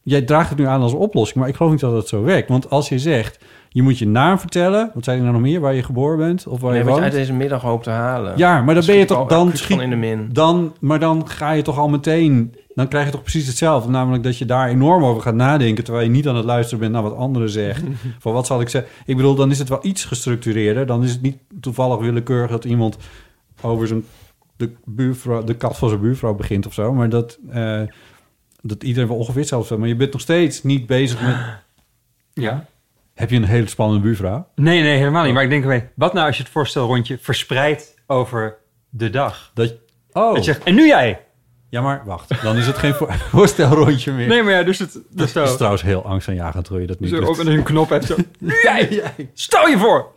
Jij draagt het nu aan als oplossing, maar ik geloof niet dat dat zo werkt. Want als je zegt, je moet je naam vertellen... Wat zijn er nou nog meer? Waar je geboren bent of waar Nee, je wat woont? je uit deze middag hoopt te halen. Ja, maar dan ben je schiet toch al dan acuut van in de min. Dan, maar dan ga je toch al meteen. Dan krijg je toch precies hetzelfde. Namelijk dat je daar enorm over gaat nadenken. Terwijl je niet aan het luisteren bent naar wat anderen zeggen. van wat zal ik zeggen? Ik bedoel, dan is het wel iets gestructureerder. Dan is het niet toevallig willekeurig dat iemand over zijn. De, buurvrouw, de kat van zijn buurvrouw begint of zo. Maar dat. eh, dat iedereen wel ongeveer hetzelfde vindt. Maar je bent nog steeds niet bezig met. Ja. Heb je een hele spannende buurvrouw? Nee, nee, helemaal niet. Maar ik denk, weet, wat nou als je het voorstelrondje verspreidt over de dag? Dat, oh. Dat je zegt, en nu jij. Ja, maar wacht. Dan is het geen voor- voorstelrondje meer. Nee, maar ja, dus het... Dat Dus zo, is trouwens heel angstaanjagend hoe je dat Dus nu zo doet. ook een knop hebt. Zo, nu jij. Stel je voor.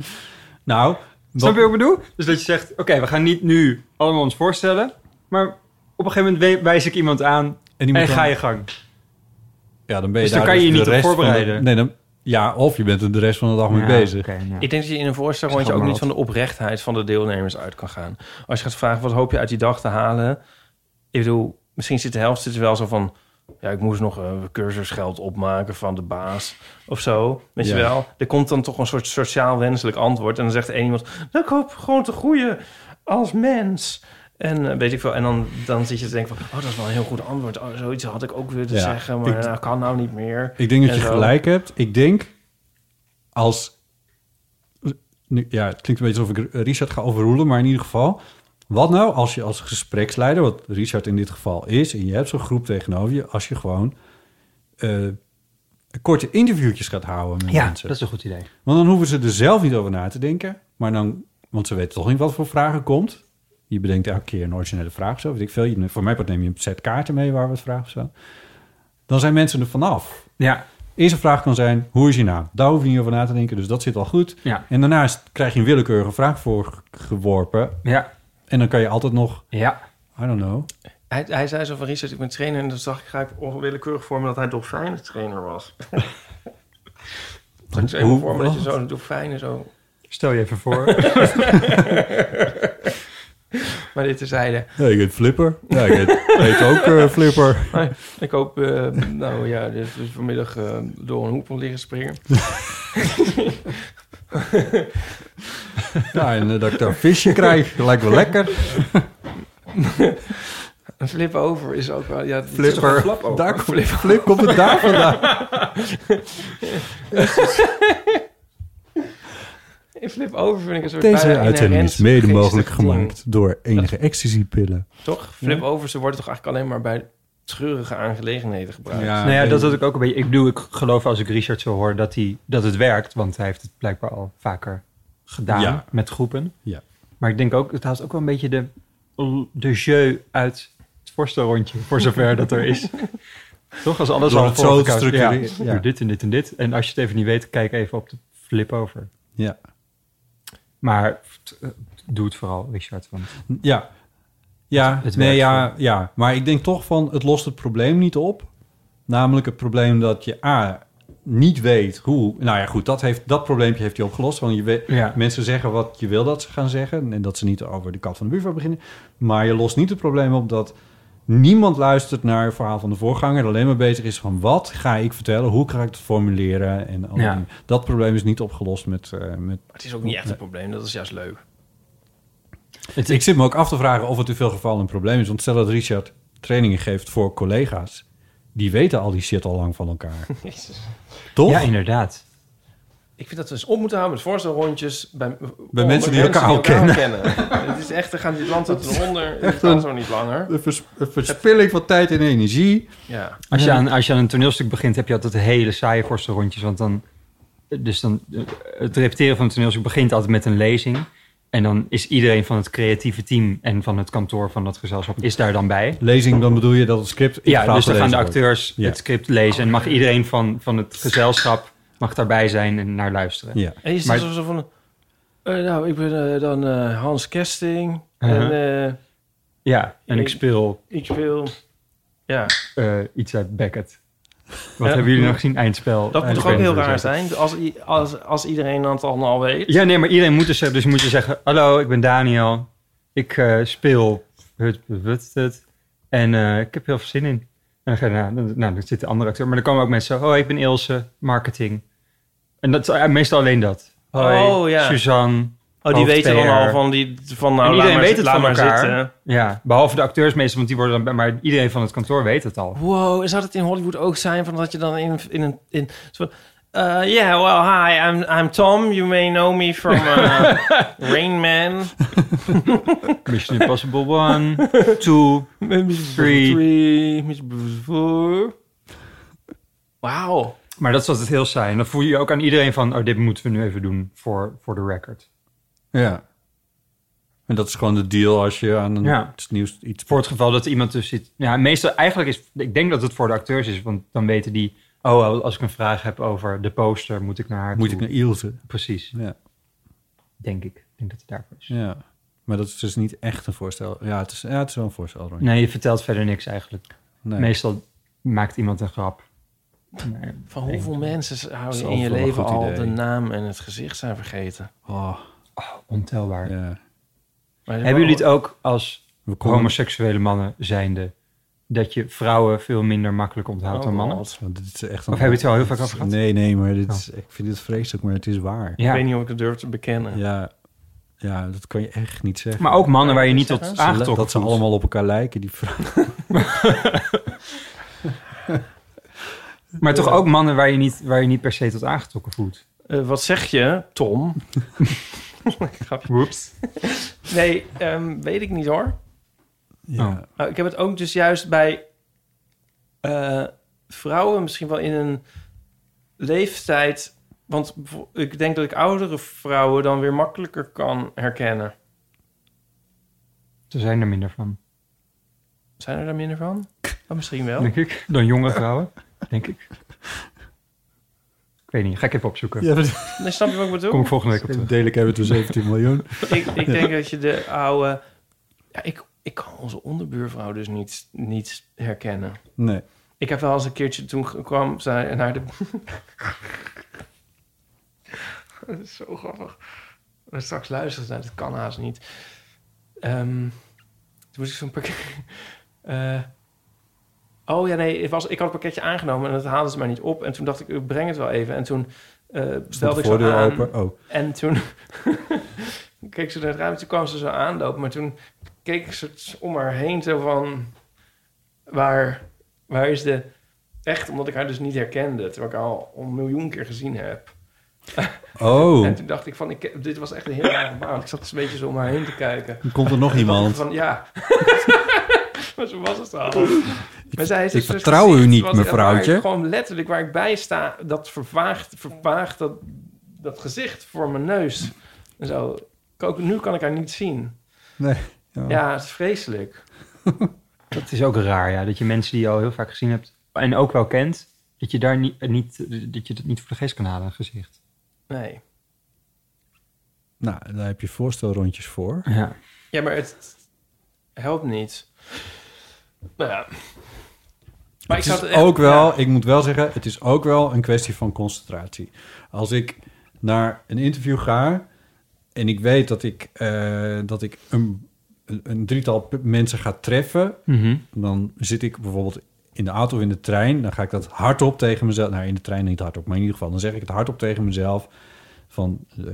Nou, Snap je wat ik bedoel? Dus dat je zegt, oké, we gaan niet nu allemaal ons voorstellen. Maar op een gegeven moment we- wijs ik iemand aan en, iemand ga dan- je gang. ja, dan ben je dus dan daar kan je je de niet op rest van de- voorbereiden. nee, dan, ja, of je bent er de rest van de dag mee Ja, bezig. Ik denk dat je in een voorstelrondje Schat ook maar niet van de oprechtheid van de deelnemers uit kan gaan. Als je gaat vragen, wat hoop je uit die dag te halen? Ik bedoel, misschien zit de helft zit er wel zo van... Ja, ik moest nog een cursusgeld opmaken van de baas of zo. Weet Ja. je wel? Er komt dan toch een soort sociaal wenselijk antwoord. En dan zegt één iemand, nou, ik hoop gewoon te groeien als mens. En eh, weet ik veel. En dan, dan zit je te denken van, oh, dat is wel een heel goed antwoord. Oh, zoiets had ik ook willen Ja, zeggen, maar ik- dat kan nou niet meer. Ik denk dat En je zo. gelijk hebt. Ik denk als... nu- Ja, het klinkt een beetje alsof ik Richard ga overroelen, maar in ieder geval... Wat nou als je als gespreksleider, wat Richard in dit geval is... en je hebt zo'n groep tegenover je, als je gewoon... eh, korte interviewtjes gaat houden met Ja, mensen. dat is een goed idee. Want dan hoeven ze er zelf niet over na te denken. Maar dan, want ze weten toch niet wat voor vragen komt. Je bedenkt elke keer een originele vraag. Zo weet ik veel. Je, voor mij part neem je een set kaarten mee waar wat vragen staan. Dan zijn mensen er vanaf. Ja. Eerste vraag kan zijn, hoe is je naam? Daar hoef je niet over na te denken, dus dat zit al goed. Ja. En daarnaast krijg je een willekeurige vraag voor geworpen. Ja. En dan kan je altijd nog, Ja. I don't know. Hij, hij zei zo van Richard, ik ben trainer. En dan zag ik gelijk onwillekeurig voor me dat hij dolfijnen-trainer was. Ik zei Hoe- voor me dat je wat? zo'n dolfijnen zo... Stel je even voor. maar dit terzijde. Ja, ik heet Flipper. Ja, ik heet, heet ook eh, Flipper. Nee, ik hoop, eh, nou ja, dit is vanmiddag eh, door een hoepel liggen springen. Ja, en eh, dat ik daar een visje krijg, lijkt wel lekker. Een flip over is ook wel... Ja, het is Flipper. Oh, een flap over. Daar komt, Flip over. flip komt het daar vandaan. Een flip over vind ik een soort... Deze bijna uitzending is inherent mede mogelijk geestig ding. gemaakt door enige ecstasy-pillen. Toch? Flip over, ze worden toch eigenlijk alleen maar bij treurige aangelegenheden gebruikt. Ja. nou ja, dat en- had ik ook een beetje. Ik bedoel, ik geloof als ik Richard zo hoor dat, hij, dat het werkt. Want hij heeft het blijkbaar al vaker gedaan Ja. met groepen. Ja. Maar ik denk ook, het haalt ook wel een beetje de, de jeu uit het voorstelrondje. Voor zover dat er is. Toch? Als alles Door al het voor zo elkaar- te Ja, structureren, ja. doe dit en dit en dit. En als je het even niet weet, kijk even op de flip over. Ja. Maar t- eh, doe het vooral, Richard. Want Ja. Ja, Het nee, werkt ja, ja, maar ik denk toch van het lost het probleem niet op. Namelijk het probleem dat je A, niet weet hoe... Nou ja, goed, dat, heeft, dat probleempje heeft hij opgelost. Want je weet, Ja. mensen zeggen wat je wil dat ze gaan zeggen... en dat ze niet over de kat van de buurvrouw beginnen. Maar je lost niet het probleem op dat niemand luistert naar het verhaal van de voorganger... en alleen maar bezig is van wat ga ik vertellen, hoe ga ik het formuleren... en al die Ja. dingen. dat probleem is niet opgelost met... eh, met Maar het is ook niet echt een probleem, dat is juist leuk. ik zit me ook af te vragen of het in veel gevallen een probleem is. Want stel dat Richard trainingen geeft voor collega's, die weten al die shit al lang van elkaar. Jezus. Toch? Ja, inderdaad. Ik vind dat we eens op moeten houden met voorstelrondjes bij, Bij mensen die elkaar al kennen. Het is echt, dan gaan die land Dat is eronder. echt Echt kan een- zo niet langer. Een, vers- een verspilling van tijd en energie. Ja. Als je, aan, als je aan een toneelstuk begint, heb je altijd hele saaie voorste rondjes. Want dan, dus dan, eh, het repeteren van een toneelstuk begint altijd met een lezing. En dan is iedereen van het creatieve team en van het kantoor van dat gezelschap is daar dan bij. Lezing, dan bedoel je dat het script... Ja, integraal dus dan gaan de gelezen wordt. acteurs Ja. het script lezen. En Oh, mag iedereen van, van het gezelschap mag daarbij zijn en naar luisteren. Ja. En je zit Maar- zo zo van... eh, nou, ik ben eh, dan eh, Hans Kesting. Uh-huh. En eh, ja, en ik speel ik speel... Ja, eh, iets uit Beckett. Wat Ja. hebben jullie nog gezien? Eindspel. dat moet toch ook Eindspel. heel raar zijn? Als, i- als, als iedereen dat dan al weet. Ja, nee, maar iedereen moet dus, dus moet je zeggen... Hallo, ik ben Daniel. Ik eh, speel hut, hut, hut, hut. En eh, ik heb heel veel zin in. En dan, ga je, nou, dan- nou, dan zit de andere acteur. Maar dan komen ook mensen... Oh, ik ben Ilse, marketing. En dat is eh, meestal alleen dat. Hoi, Oh, ja. Suzanne. Oh, die weten dan hoofd-PR. al van die... Van, nou, en laat iedereen maar, weet het laat van maar elkaar. zitten. Ja, behalve de acteurs meestal, want die worden dan... bij- Maar iedereen van het kantoor weet het al. Wow, zou het in Hollywood ook zijn van dat je dan in, in een... In, zo van, eh, yeah, well, hi, I'm, I'm Tom. You may know me from eh, Rain Man. Mission Impossible 1, 2, Three. 3. Miss- Four. Wauw. Maar dat is altijd heel saai. En dan voel je je ook aan iedereen van... Oh, dit moeten we nu even doen voor, voor de record. Ja. En dat is gewoon de deal als je aan een, Ja. het nieuws iets... Voor het geval dat iemand dus zit... Ja, meestal eigenlijk is... Ik denk dat het voor de acteurs is, want dan weten die... Oh, als ik een vraag heb over de poster, moet ik naar haar Moet toe. ik naar Ilse? Precies, Ja. denk ik. Ik denk dat het daarvoor is. ja. Maar dat is dus niet echt een voorstel. Ja, het is, ja, het is wel een voorstel. Ron. Nee, je vertelt verder niks eigenlijk. Nee. Meestal maakt iemand een grap. Nee. Van hoeveel mensen houden is in je wel een leven goed al de idee. naam en het gezicht zijn vergeten? Oh, Ontelbaar. ja. Maar- Hebben jullie het ook als We komen- homoseksuele mannen zijnde... dat je vrouwen veel minder makkelijk onthoudt Oh, dan mannen? God. Want dit is echt Of heb je het er al heel vaak over afgehakt? gehad? Oh. Nee, nee, maar dit is, ik vind dit vreselijk, maar het is waar. Ja. Ik weet niet of ik het durf te bekennen. Ja, ja dat kan je echt niet zeggen. Maar ook mannen waar je niet Zeggen tot ze aangetrokken Dat ze voelt. allemaal op elkaar lijken, die vrouwen. Maar toch ook mannen waar je, niet, waar je niet per se tot aangetrokken voelt. Eh, wat zeg je, Tom? Grapje. Whoops. Nee, ehm, weet ik niet hoor. Ja. Oh. Nou, ik heb het ook dus juist bij eh, vrouwen misschien wel in een leeftijd... Want bevo- ik denk dat ik oudere vrouwen dan weer makkelijker kan herkennen. Ze zijn er minder van, Zijn er daar minder van? Oh, misschien wel. denk ik. Dan jonge vrouwen, denk ik. Ik weet niet, ga ik even opzoeken. Ja, maar- Nee, snap je wat ik bedoel? Kom ik volgende week op terug. Delijk hebben we toen 17 miljoen. ik, ik denk dat je de oude... Ja, ik, ik kan onze onderbuurvrouw dus niet, niet herkennen. Nee. Ik heb wel eens een keertje toen ge- kwam zij naar de... dat is zo grappig. Maar straks luisteren ze naar, dat kan haast niet. Ehm, toen moest ik zo'n pakket... Eh, oh ja, nee, het was, ik had een pakketje aangenomen en dat haalden ze maar niet op. En toen dacht ik, ik breng het wel even. En toen eh Stond stelde de ik zo voordeur aan... open. Oh, En toen keek ze naar het ruimte, toen kwam ze zo aanlopen. Maar toen keek ze het om haar heen zo van... Waar, waar is de... Echt, omdat ik haar dus niet herkende. Terwijl ik haar al een miljoen keer gezien heb. En oh. toen dacht ik van, ik, dit was echt een heel rare baan. Ik zat dus een beetje zo om haar heen te kijken. dan komt er nog iemand. Van, ja. maar zo was het al. Maar zij heeft ik dus een vertrouw u gezicht niet, wat- waar ik mevrouwtje. Gewoon letterlijk waar ik bij sta, dat vervaagt, vervaagt dat, dat gezicht voor mijn neus. En zo. Ik Ook nu kan ik haar niet zien. Nee. Ja, het is vreselijk. Dat is ook raar, ja. Dat je mensen die je al heel vaak gezien hebt en ook wel kent... dat je, daar niet, niet, dat, je dat niet voor de geest kan halen, een gezicht. Nee. Nou, daar heb je voorstelrondjes voor. Ja. Ja, maar het helpt niet. Nou ja. Maar het ik is zat echt- ook wel, ja. ik moet wel zeggen, het is ook wel een kwestie van concentratie. Als ik naar een interview ga en ik weet dat ik, eh, dat ik een, een- een drietal p- mensen ga treffen, Mhm. dan zit ik bijvoorbeeld in de auto of in de trein, dan ga ik dat hardop tegen mezelf, nou in de trein niet hardop, maar in ieder geval, dan zeg ik het hardop tegen mezelf van eh,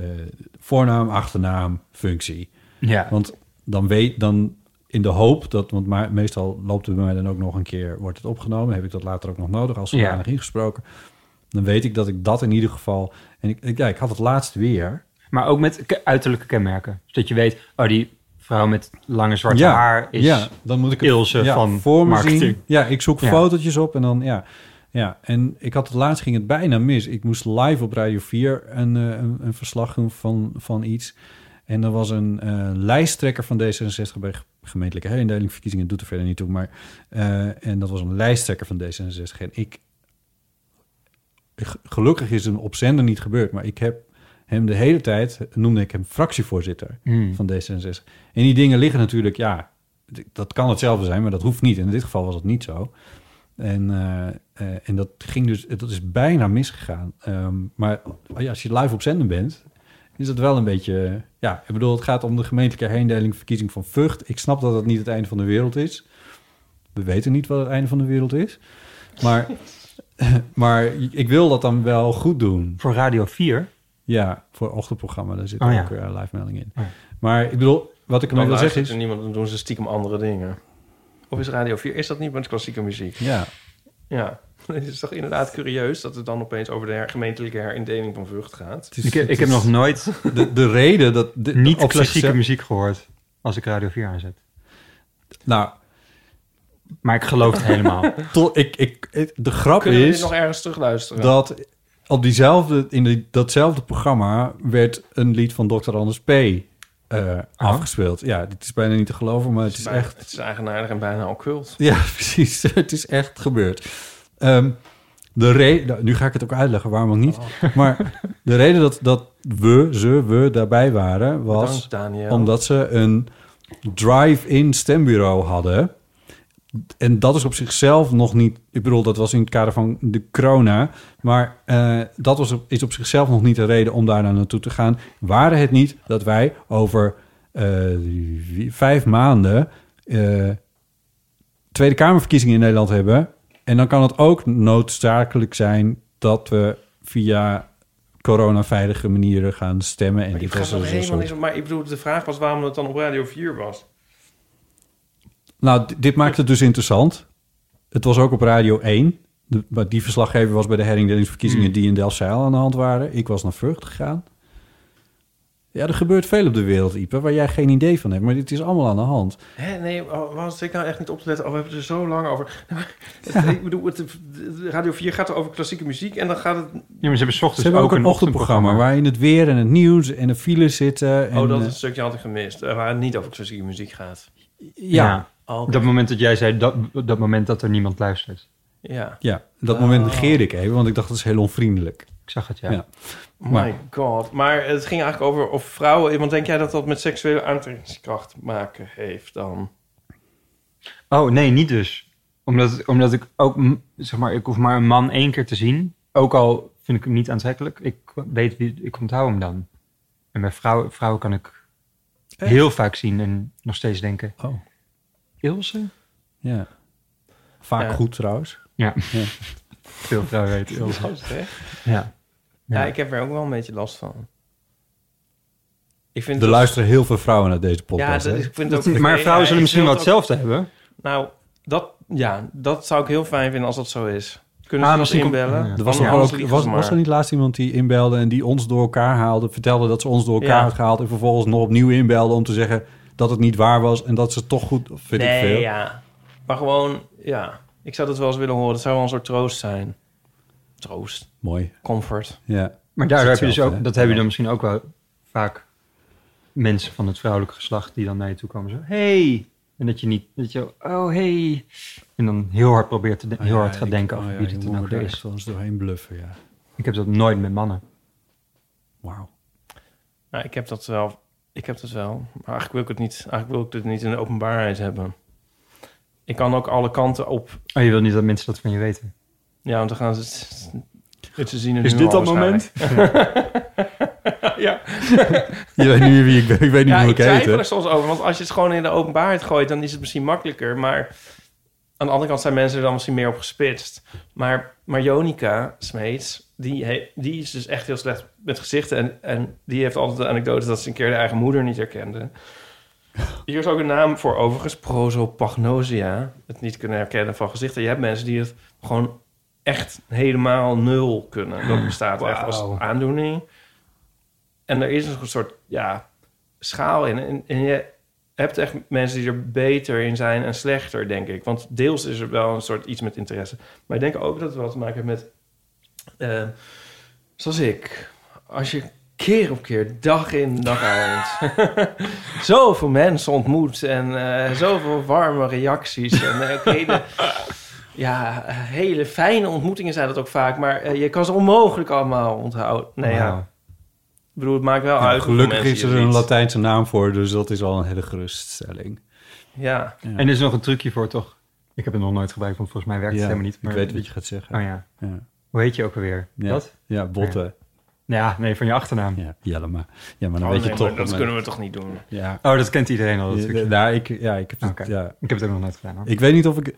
voornaam, achternaam, functie. ja. Want dan weet, dan in de hoop dat, want maar, meestal loopt het bij mij dan ook nog een keer, wordt het opgenomen. Heb ik dat later ook nog nodig als Ja. zodanig ingesproken. Dan weet ik dat ik dat in ieder geval... En ik, ik, ja, ik had het laatst weer. Maar ook met ke- uiterlijke kenmerken. Zodat je weet, oh, die vrouw met lange zwarte Ja, haar is ja, dan moet ik het- Ilse ja, van voor me marketing. zien. Ja, ik zoek Ja. fotootjes op en dan ja. Ja, en ik had het laatst ging het bijna mis. Ik moest live op Radio 4 een, eh, een, een verslag doen van, van iets. En er was een eh, lijsttrekker van D66 bij ge- gemeentelijke herindeling. Verkiezingen doet er verder niet toe, maar... eh, en dat was een lijsttrekker van D66. En ik G- gelukkig is het op zender niet gebeurd, maar ik heb hem de hele tijd, noemde ik hem fractievoorzitter Hmm. van D66. En die dingen liggen natuurlijk, ja, d- dat kan hetzelfde zijn, maar dat hoeft niet. En in dit geval was het niet zo. En, eh, eh, en dat ging dus, dat is bijna misgegaan. Ehm, maar ja, als je live op zender bent, is dat wel een beetje, eh, ja, ik bedoel, het gaat om de gemeentelijke herindeling, verkiezing van Vught. Ik snap dat dat niet het einde van de wereld is. We weten niet wat het einde van de wereld is. Maar, maar ik wil dat dan wel goed doen. Voor Radio 4? Ja, voor het ochtendprogramma. Daar zit Oh ja. ook eh, live melding in. Oh ja. Maar ik bedoel, wat ik Dan ermee wil zeggen luistert is... er niemand, dan doen ze stiekem andere dingen. Of is Radio 4, is dat niet met klassieke muziek? Ja. Ja. Het is toch inderdaad curieus dat het dan opeens over de her- gemeentelijke herindeling van Vught gaat. Het is- Ik, heb- Dus het ik heb is- nog nooit De, de reden dat... de- niet op klassieke zichzelf- muziek gehoord als ik Radio 4 aanzet. Nou, Maar ik geloof het helemaal. tot, ik, ik, het- de grap Kunnen we dit is nog ergens terugluisteren? dat op diezelfde, in die, datzelfde programma werd een lied van Dr. Anders P. eh, afgespeeld. Ja, dit is bijna niet te geloven, maar het is Bij- echt... Het is eigenaardig en bijna occult. Ja, precies. Het is echt gebeurd. Ehm, de re- nou, nu ga ik het ook uitleggen, waarom ook niet. Maar de reden dat, dat we, ze, we daarbij waren, was Bedankt, Daniel. omdat ze een drive-in stembureau hadden. En dat is op zichzelf nog niet... Ik bedoel, dat was in het kader van de corona. Maar eh, dat was, op- is op zichzelf nog niet de reden om daar naar naartoe te gaan. Waren het niet dat wij over eh, wie- vijf maanden... eh, Tweede Kamerverkiezingen in Nederland hebben. En dan kan het ook noodzakelijk zijn dat we via coronaveilige manieren gaan stemmen. En Maar, dit ik was vraag nog dus een helemaal soort... niks, maar ik bedoel, de vraag was waarom het dan op Radio 4 was. Nou, d- dit maakt het dus interessant. Het was ook op Radio 1. De, maar die verslaggever was bij de herindeelingsverkiezingen Mm. die in Delfzijl aan de hand waren. Ik was naar Vught gegaan. Ja, er gebeurt veel op de wereld, Ipe, waar jij geen idee van hebt. Maar dit is allemaal aan de hand. Hè, nee, oh, waarom zit ik nou echt niet op te letten? Oh, we hebben het er zo lang over. Het- Ik bedoel, het, Radio 4 gaat er over klassieke muziek en dan gaat het... Ja, maar ze hebben 's ochtends Ze hebben ook een ochtendprogramma. ochtendprogramma waarin het weer en het nieuws en de files zitten. En, oh, dat is eh, een stukje had ik gemist. eh, Waar het niet over klassieke muziek gaat. Ja. ja. Oh, Oké. Dat moment dat jij zei, dat, dat moment dat er niemand luistert. Ja. Ja, dat moment Oh. negeerde ik even, want ik dacht dat is heel onvriendelijk. Ik zag het, ja. Ja. My god. Maar het ging eigenlijk over of vrouwen... Want denk jij dat dat met seksuele aantrekkingskracht maken heeft dan? Oh, nee, niet dus. Omdat, omdat ik ook, mm, zeg maar, ik hoef maar een man één keer te zien. Ook al vind ik hem niet aantrekkelijk. Ik weet wie, ik onthoud hem dan. En bij vrouwen, vrouwen kan ik heel vaak zien en nog steeds denken, Oh, Ilse? ja. Vaak Ja. goed trouwens. Ja. Veel vrouwen weten Ilse. Hè? Ja. Ja, Ja. ik heb er ook wel een beetje last van. Ik vind Er het- luisteren heel veel vrouwen naar deze Ja, podcast. dat hè? is- ik vind het ook... Maar nee, vrouwen ja, zullen ik misschien vind wel het ook- hetzelfde hebben. Nou, dat, ja, dat zou ik heel fijn vinden als dat zo is. Kunnen Ah, ze ons misschien komt- inbellen? ja. Er was, Van nog ons ook, liegen was, ze maar. was er niet laatst iemand die inbelde en die ons door elkaar haalde, vertelde dat ze ons door elkaar Ja. had gehaald en vervolgens nog opnieuw inbelde om te zeggen dat het niet waar was en dat ze toch goed, of weet nee, ik veel. ja. Maar gewoon, ja. Ik zou dat wel eens willen horen. Dat zou wel een soort troost zijn. Troost. Mooi, Comfort. ja. Maar daardoor heb je dus hetzelfde, ook, hè? dat heb je dan misschien ook wel vaak mensen van het vrouwelijke geslacht die dan naar je toe komen zo, hey, en dat je niet, dat je, oh hey, en dan heel hard probeert te, de- Oh heel hard gaat denken over wie dit dan ook weer is. ons doorheen bluffen, ja. Ik heb dat nooit met mannen. Wauw. Nou, ik heb dat wel. Ik heb dat wel. Maar eigenlijk wil ik het niet. Eigenlijk wil ik dit niet in de openbaarheid hebben. Ik kan ook alle kanten op. Oh, je wil niet dat mensen dat van je weten. Ja, want dan gaan ze. Ze zien het Is nu dit al dat moment? waarschijnlijk. ja, Je weet nu wie ik ben, ik weet niet ja hoe ik ik heet. twijfel er hè? soms over. Want als je het gewoon in de openbaarheid gooit, dan is het misschien makkelijker. Maar aan de andere kant zijn mensen er dan misschien meer op gespitst. Maar, maar Jonica Smeets, die, he- die is dus echt heel slecht met gezichten. En, en die heeft altijd de anekdote dat ze een keer de eigen moeder niet herkende. Hier is ook een naam voor overigens, prosopagnosia. Het niet kunnen herkennen van gezichten. Je hebt mensen die het gewoon echt helemaal nul kunnen. Dat bestaat echt als Wauw. aandoening. En er is een soort ja, schaal in. En, en je hebt echt mensen die er beter in zijn en slechter, denk ik. Want deels is er wel een soort iets met interesse. Maar ik denk ook dat het wel te maken heeft met... eh, zoals ik. Als je keer op keer, dag in, dag uit... zoveel mensen ontmoet en eh, zoveel warme reacties. En eh, ook hele, ja, eh, hele fijne ontmoetingen zijn dat ook vaak. Maar eh, je kan ze onmogelijk allemaal onthouden. Nee, ja. Wauw. Ik bedoel, het maakt wel Ja, uit. hoeveel gelukkig mensen is je er een ziet. Latijnse naam voor, dus dat is al een hele geruststelling. Ja. Ja. En er is nog een trucje voor, toch? Ik heb het nog nooit gebruikt, want volgens mij werkt Ja, het helemaal niet. ik weet wat je gaat zeggen. Ah. Oh ja. Ja. Hoe heet je ook alweer? Ja. Dat? Ja, Botte. Ja. Ja, nee, van je achternaam. Ja, Jelle, maar, ja, maar dan Oh, weet nee, je maar toch. dat maar- kunnen we toch niet doen? Ja. Oh, dat kent iedereen al, dat Ja, trucje. nou, ik, ja, ik, heb het, Oké. ja. Ik heb het ook nog nooit gedaan. Hoor. ik weet niet of ik...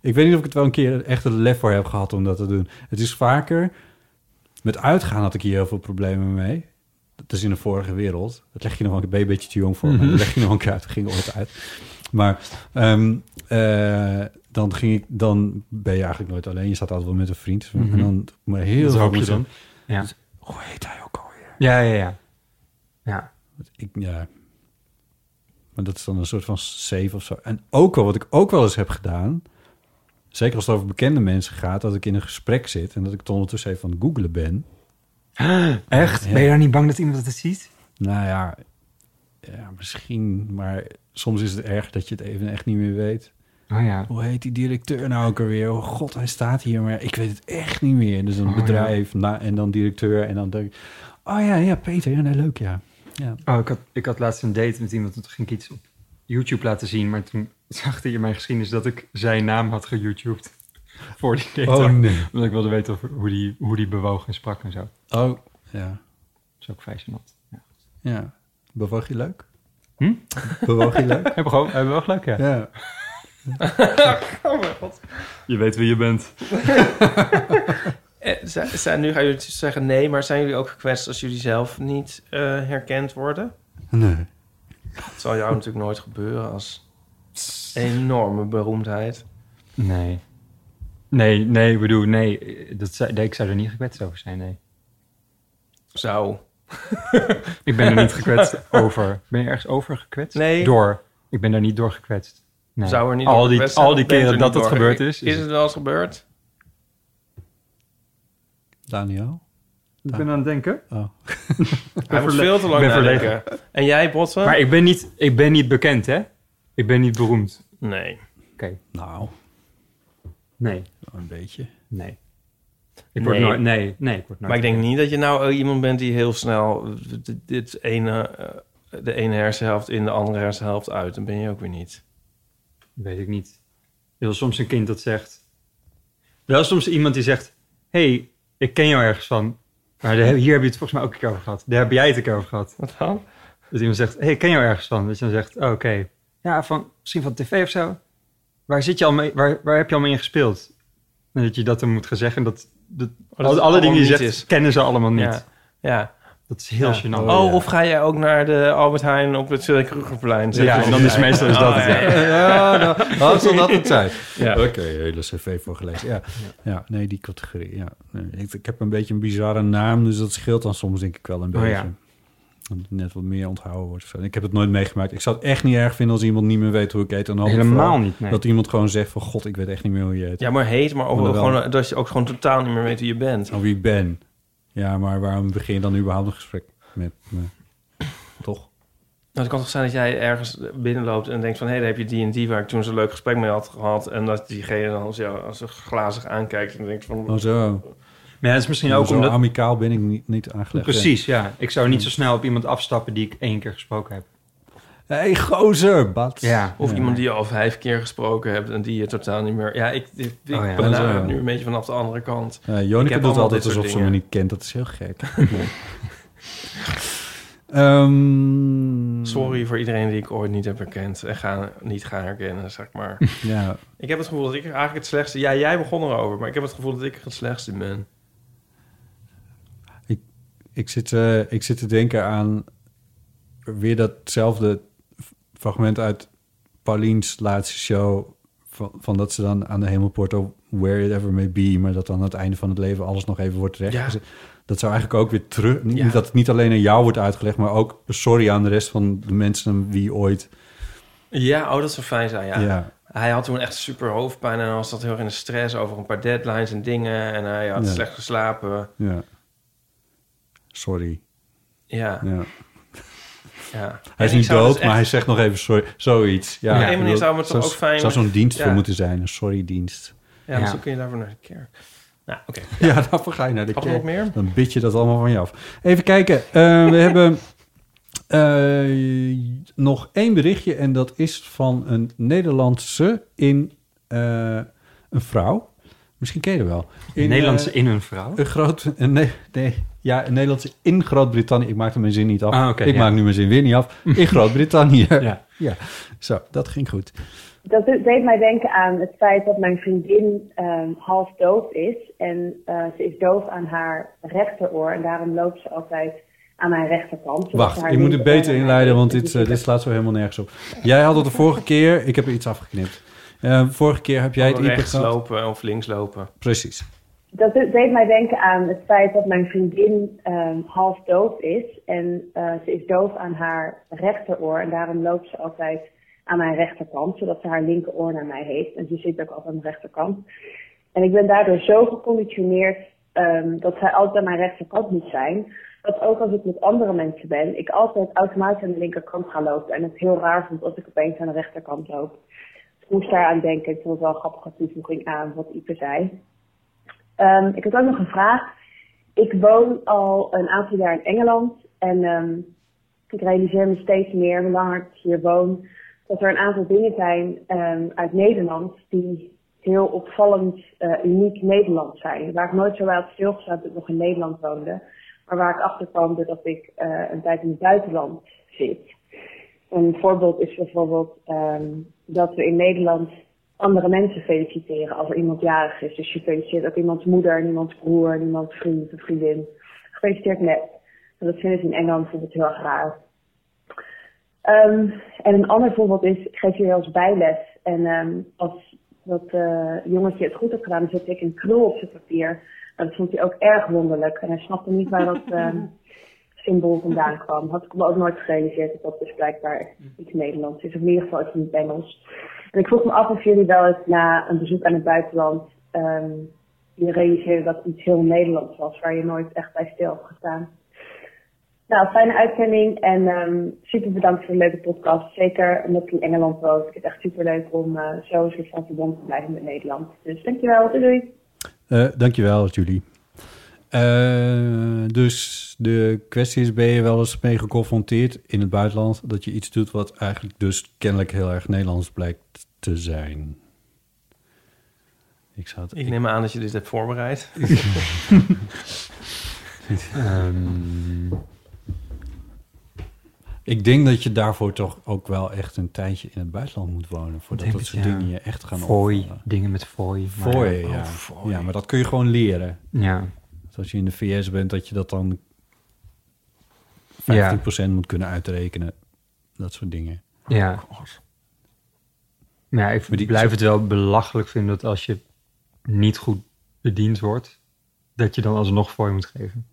Ik weet niet of ik het wel een keer echt een lef voor heb gehad om dat te doen. Het is vaker... Met uitgaan had ik hier heel veel problemen mee. Dat is in de vorige wereld. Dat leg je nog wel een ben je een beetje te jong voor. Maar dat leg je nog een keer uit. Dat ging ooit uit. Maar ehm, eh, dan, ging ik, dan ben je eigenlijk nooit alleen. Je staat altijd wel met een vriend. En dan maar heel Dat veel Dus- hoop je moeten- dan. Ja. Hoe heet hij ook alweer? Ja, ja, ja. Ja. Want Ik, ja. Maar dat is dan een soort van save of zo. En ook wel, wat ik ook wel eens heb gedaan... zeker als het over bekende mensen gaat... dat ik in een gesprek zit en dat ik het ondertussen even aan het googelen ben. Echt? Ben je daar niet bang dat iemand het ziet? Nou ja, ja, misschien. Maar soms is het erg dat je het even echt niet meer weet. Oh ja. Hoe heet die directeur nou ook alweer? Oh god, hij staat hier, maar ik weet het echt niet meer. Dus een Oh, bedrijf na, en dan directeur en dan denk ik... Oh ja, ja, Peter, ja, nee, leuk, ja. ja. Oh, ik had, ik had laatst een date met iemand. Toen ging ik iets op YouTube laten zien. Maar toen zag hij in mijn geschiedenis dat ik zijn naam had geYouTubed. Voor die date. Oh, nee. Omdat ik wilde weten of, hoe, die, hoe die bewoog en sprak en zo. Dat Oh, ja. is ook vrij gênant. Ja. Ja. Bewoog je leuk? Hm? Bewoog je leuk? Hebben we gewoon, hebben we wel geluk, ja. Ja. Je weet wie je bent. Eh, zijn, zijn- nu gaan jullie zeggen nee, maar zijn jullie ook gekwetst als jullie zelf niet eh, herkend worden? Nee. Dat zal jou natuurlijk nooit gebeuren als enorme beroemdheid. Nee. Nee, nee, ik bedoel, nee. Dat, zei- nee, ik zou er niet gekwetst over zijn, nee. Zou. Ik ben er niet gekwetst over. Ben je ergens over gekwetst? Nee. Door. Ik ben daar niet door gekwetst. Nee. Zou er niet al door die, gekwetst zijn? al die Bent keren er dat niet dat door gebeurd ge- is. Is het wel eens gebeurd? Daniel? Ik ben aan het denken. Oh. Hij moet verle- veel te lang ik ben nadenken. En jij, Botten? Maar ik ben niet, ik ben niet bekend, hè? Ik ben niet beroemd. Nee. Oké. Nou, Nee. een beetje. Nee. Ik word Nee. nooit... Nee, nee, ik word nooit... Maar ik denk niet dat je nou eh, iemand bent die heel snel eh, dit- dit ene, eh, de ene hersenhelft in de andere hersenhelft uit. Dan ben je ook weer niet. Weet ik niet. Wel soms een kind dat zegt... Wel soms iemand die zegt... hey, ik ken jou ergens van. Maar daar heb- hier heb je het volgens mij ook een keer over gehad. Daar heb jij het een keer over gehad. Wat dan? Dat Dus iemand zegt, hey, ik ken jou ergens van. Dat je dan zegt, oh, oké. Ja, van, misschien van tv of zo. Waar, zit je al mee, waar, waar heb je al mee in gespeeld? En dat je dat dan moet gaan zeggen. Dat, Oh, dat, dat alle, het alle dingen die je allemaal zegt, niet is. kennen ze allemaal niet. Ja. ja. Dat is heel Ja. gênant. Oh, of ga jij ook naar de Albert Heijn op het Willem Krugerplein zitten? ja, en dan is meestal is dat het. Oh, ja, Ja. ja. Ja, nou, wat zal dat het zijn? Ja. Oké, hele cv voorgelezen. Ja. ja, nee, die categorie. Ja. Nee, ik, ik heb een beetje een bizarre naam, dus dat scheelt dan soms denk ik wel een Oh, beetje. ja. Dat het net wat meer onthouden wordt. of zo. Ik heb het nooit meegemaakt. Ik zou het echt niet erg vinden als iemand niet meer weet hoe ik heet. En dan Helemaal vooral niet, nee. Dat iemand gewoon zegt van... God, ik weet echt niet meer hoe je heet. Ja, maar heet, maar ook Maar wel. gewoon, eh, dat je ook gewoon totaal niet meer weet wie je bent. Of wie ik ben. Ja, maar waarom begin je dan überhaupt een gesprek met me? Toch? Nou, het kan toch zijn dat jij ergens binnenloopt en denkt van... hé, hey, daar heb je die en die waar ik toen zo'n leuk gesprek mee had gehad... en dat diegene dan als, jou, als ze glazig aankijkt en denkt van... Oh zo. Maar ja, dat is misschien ook zo omdat... amicaal ben ik niet, niet aangelegd. Precies, ja. Ik zou niet zo snel op iemand afstappen die ik één keer gesproken heb. Hé, hey, gozer, Bats. Ja. Of iemand die je al vijf keer gesproken hebt en die je totaal niet meer... Ja, ik, ik, ik Oh ja. ben daar Oh, zo. nu een beetje vanaf de andere kant. Eh, Ik Jonica heb doet allemaal altijd dit soort alsof ze me dingen. niet kent. Dat is heel gek. Hmm. Ehm, Sorry voor iedereen die ik ooit niet heb herkend en ga, niet ga herkennen, zeg maar. Ja, ik heb het gevoel dat ik eigenlijk het slechtste... Ja, jij begon erover, maar ik heb het gevoel dat ik het slechtste ben. ik, ik, zit, eh, ik zit te denken aan weer datzelfde v- fragment uit Paulien's laatste show... Van, van dat ze dan aan de hemelpoort op where it ever may be... maar dat dan aan het einde van het leven alles nog even wordt rechtgezet. Dat zou eigenlijk ook weer terug... niet- Ja. Dat het niet alleen aan jou wordt uitgelegd... maar ook sorry aan de rest van de mensen aan wie ooit... Ja, oh, dat zou fijn zijn, ja. Ja. Hij had toen echt super hoofdpijn en was dat heel erg in de stress over een paar deadlines en dingen. En hij had Ja. slecht geslapen. Ja. Sorry. Ja. Ja. Ja. Hij is En ik niet zou dood, dus maar echt- hij zegt nog even sorry. Zoiets. Ja, Op een Ik manier bedoel, zou het toch zou- ook fijn- zou zo'n dienst Ja. voor moeten zijn, een sorry-dienst. Ja, dus dan kun je daarvoor naar de kerk. Nou, oké. Ja, daarvoor ga je naar de Had er kerk. nog meer? Dan bid je dat allemaal van je af. Even kijken. Eh, we hebben eh, nog één berichtje. En dat is van een Nederlandse in eh, een vrouw. Misschien ken je er wel. Een Nederlandse eh, in een vrouw? Een groot... Een, nee, nee, ja, een Nederlandse in Groot-Brittannië. Ik maakte mijn zin niet af. Ah, oké, ik ja. maak nu mijn zin weer niet af. In Groot-Brittannië. Ja. ja. Zo, dat ging goed. Dat de- deed mij denken aan het feit dat mijn vriendin ehm, half doof is. En eh, ze is doof aan haar rechteroor. En daarom loopt ze altijd aan mijn rechterkant. zodat ze Wacht, haar ik moet het linkeroor beter aan haar inleiden, want dit, linkerkant eh, dit slaat zo helemaal nergens op. Jij had het de vorige keer, ik heb er iets afgeknipt. Eh, vorige keer heb jij het Oh, Gewoon IPE rechts gehad. lopen of links lopen. Precies. Dat de- deed mij denken aan het feit dat mijn vriendin ehm, half doof is. En eh, ze is doof aan haar rechteroor. En daarom loopt ze altijd aan mijn rechterkant. Zodat ze haar linkeroor naar mij heeft. En ze zit ook altijd aan de rechterkant. En ik ben daardoor zo geconditioneerd ehm, dat zij altijd aan mijn rechterkant moet zijn. Dat ook als ik met andere mensen ben, ik altijd automatisch aan de linkerkant ga lopen. En het heel raar vond als ik opeens aan de rechterkant loop. Ik moest daar aan denken. Ik vond het wel een grappige toevoeging aan wat Ipe zei. Ehm, ik had ook nog een vraag. Ik woon al een aantal jaar in Engeland. En ehm, ik realiseer me steeds meer, hoe langer ik hier woon, dat er een aantal dingen zijn ehm, uit Nederland die heel opvallend eh, uniek Nederlands zijn. Waar ik nooit zo bij had stilgestaan dat ik nog in Nederland woonde. Maar waar ik achter kwam doordat ik eh, een tijd in het buitenland zit. Een voorbeeld is bijvoorbeeld ehm, dat we in Nederland andere mensen feliciteren als er iemand jarig is. Dus je feliciteert ook iemands moeder, en iemands broer, en iemands vriend of vriendin. Gefeliciteerd met. En dat vinden ze in Engeland bijvoorbeeld heel erg raar. Ehm, en een ander voorbeeld is, ik geef jullie als bijles. En ehm, als dat eh, jongetje het goed had gedaan, dan zette ik een krul op zijn papier. En dat vond hij ook erg wonderlijk. En hij snapte niet waar dat... ehm, symbool vandaan kwam. Had ik me ook nooit gerealiseerd dat dat dus blijkbaar iets Nederlands is. Of in ieder geval iets niet Engels. En ik vroeg me af of jullie wel eens na een bezoek aan het buitenland... ehm, je realiseerde dat het iets heel Nederlands was... waar je nooit echt bij stil hebt gestaan. Nou, fijne uitzending en ehm, super bedankt voor een leuke podcast. Zeker omdat ik in Engeland woon. Ik vind het echt super leuk om eh, zo een soort van verbond te blijven met Nederland. Dus dankjewel, doei doei! Eh dankjewel, Julie. Eh, dus de kwestie is, ben je wel eens mee geconfronteerd in het buitenland... dat je iets doet wat eigenlijk dus kennelijk heel erg Nederlands blijkt te zijn? Ik zou het... Ik neem aan dat je dit hebt voorbereid. Ehm, ik denk dat je daarvoor toch ook wel echt een tijdje in het buitenland moet wonen... voordat Denk dat het, soort ja. dingen je echt gaan Fooi, opvallen. dingen met fooi. maar- eh, Fooi, ja. Oh, fooi. ja. Maar dat kun je gewoon leren. Ja. Dus als je in de VS bent, dat je dat dan 15% moet kunnen uitrekenen. Dat soort dingen. Ja. Oh, Maar ja, ik blijf het wel belachelijk vinden dat als je niet goed bediend wordt, dat je dan alsnog voor je moet geven.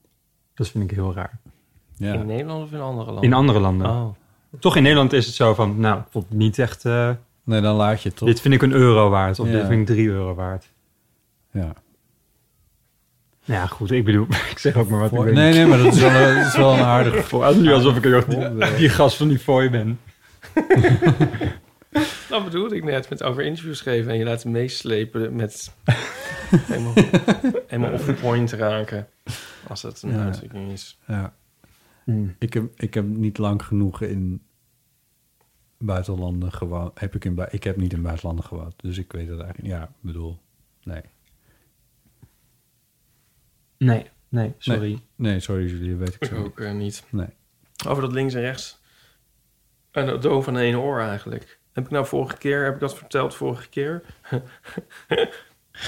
Dat vind ik heel raar. In Nederland of in andere landen? In andere landen. Oh. Toch in Nederland is het zo van, nou, ik vond het niet echt... eh, Nee, dan laat je het toch. Dit vind ik een euro waard of Ja. dit vind ik drie euro waard. Nou Ja. Ja, goed, ik bedoel, ik zeg ook maar wat Voor- ik nee, nee, maar dat is wel een- dat is wel een aardig- Het nu alsof ik heel- voorbeeld. die gast van die fooi ben. Dat bedoelde ik net met over interviews geven en je laten meeslepen met helemaal, helemaal off the point raken. Als dat een Ja. uitdrukking is. Ja. Ik, heb, ik heb niet lang genoeg in buitenlanden gewoond. Heb ik, in, bui- ik heb niet in buitenlanden gewoond, dus ik weet dat eigenlijk niet. Ja, ik bedoel, nee. Nee, nee, sorry. Nee, nee sorry jullie, dat weet ik Ik zo. ook eh, niet. Nee. Over dat links en rechts. En dat doof aan één oor eigenlijk. Heb ik nou vorige keer, heb ik dat verteld vorige keer?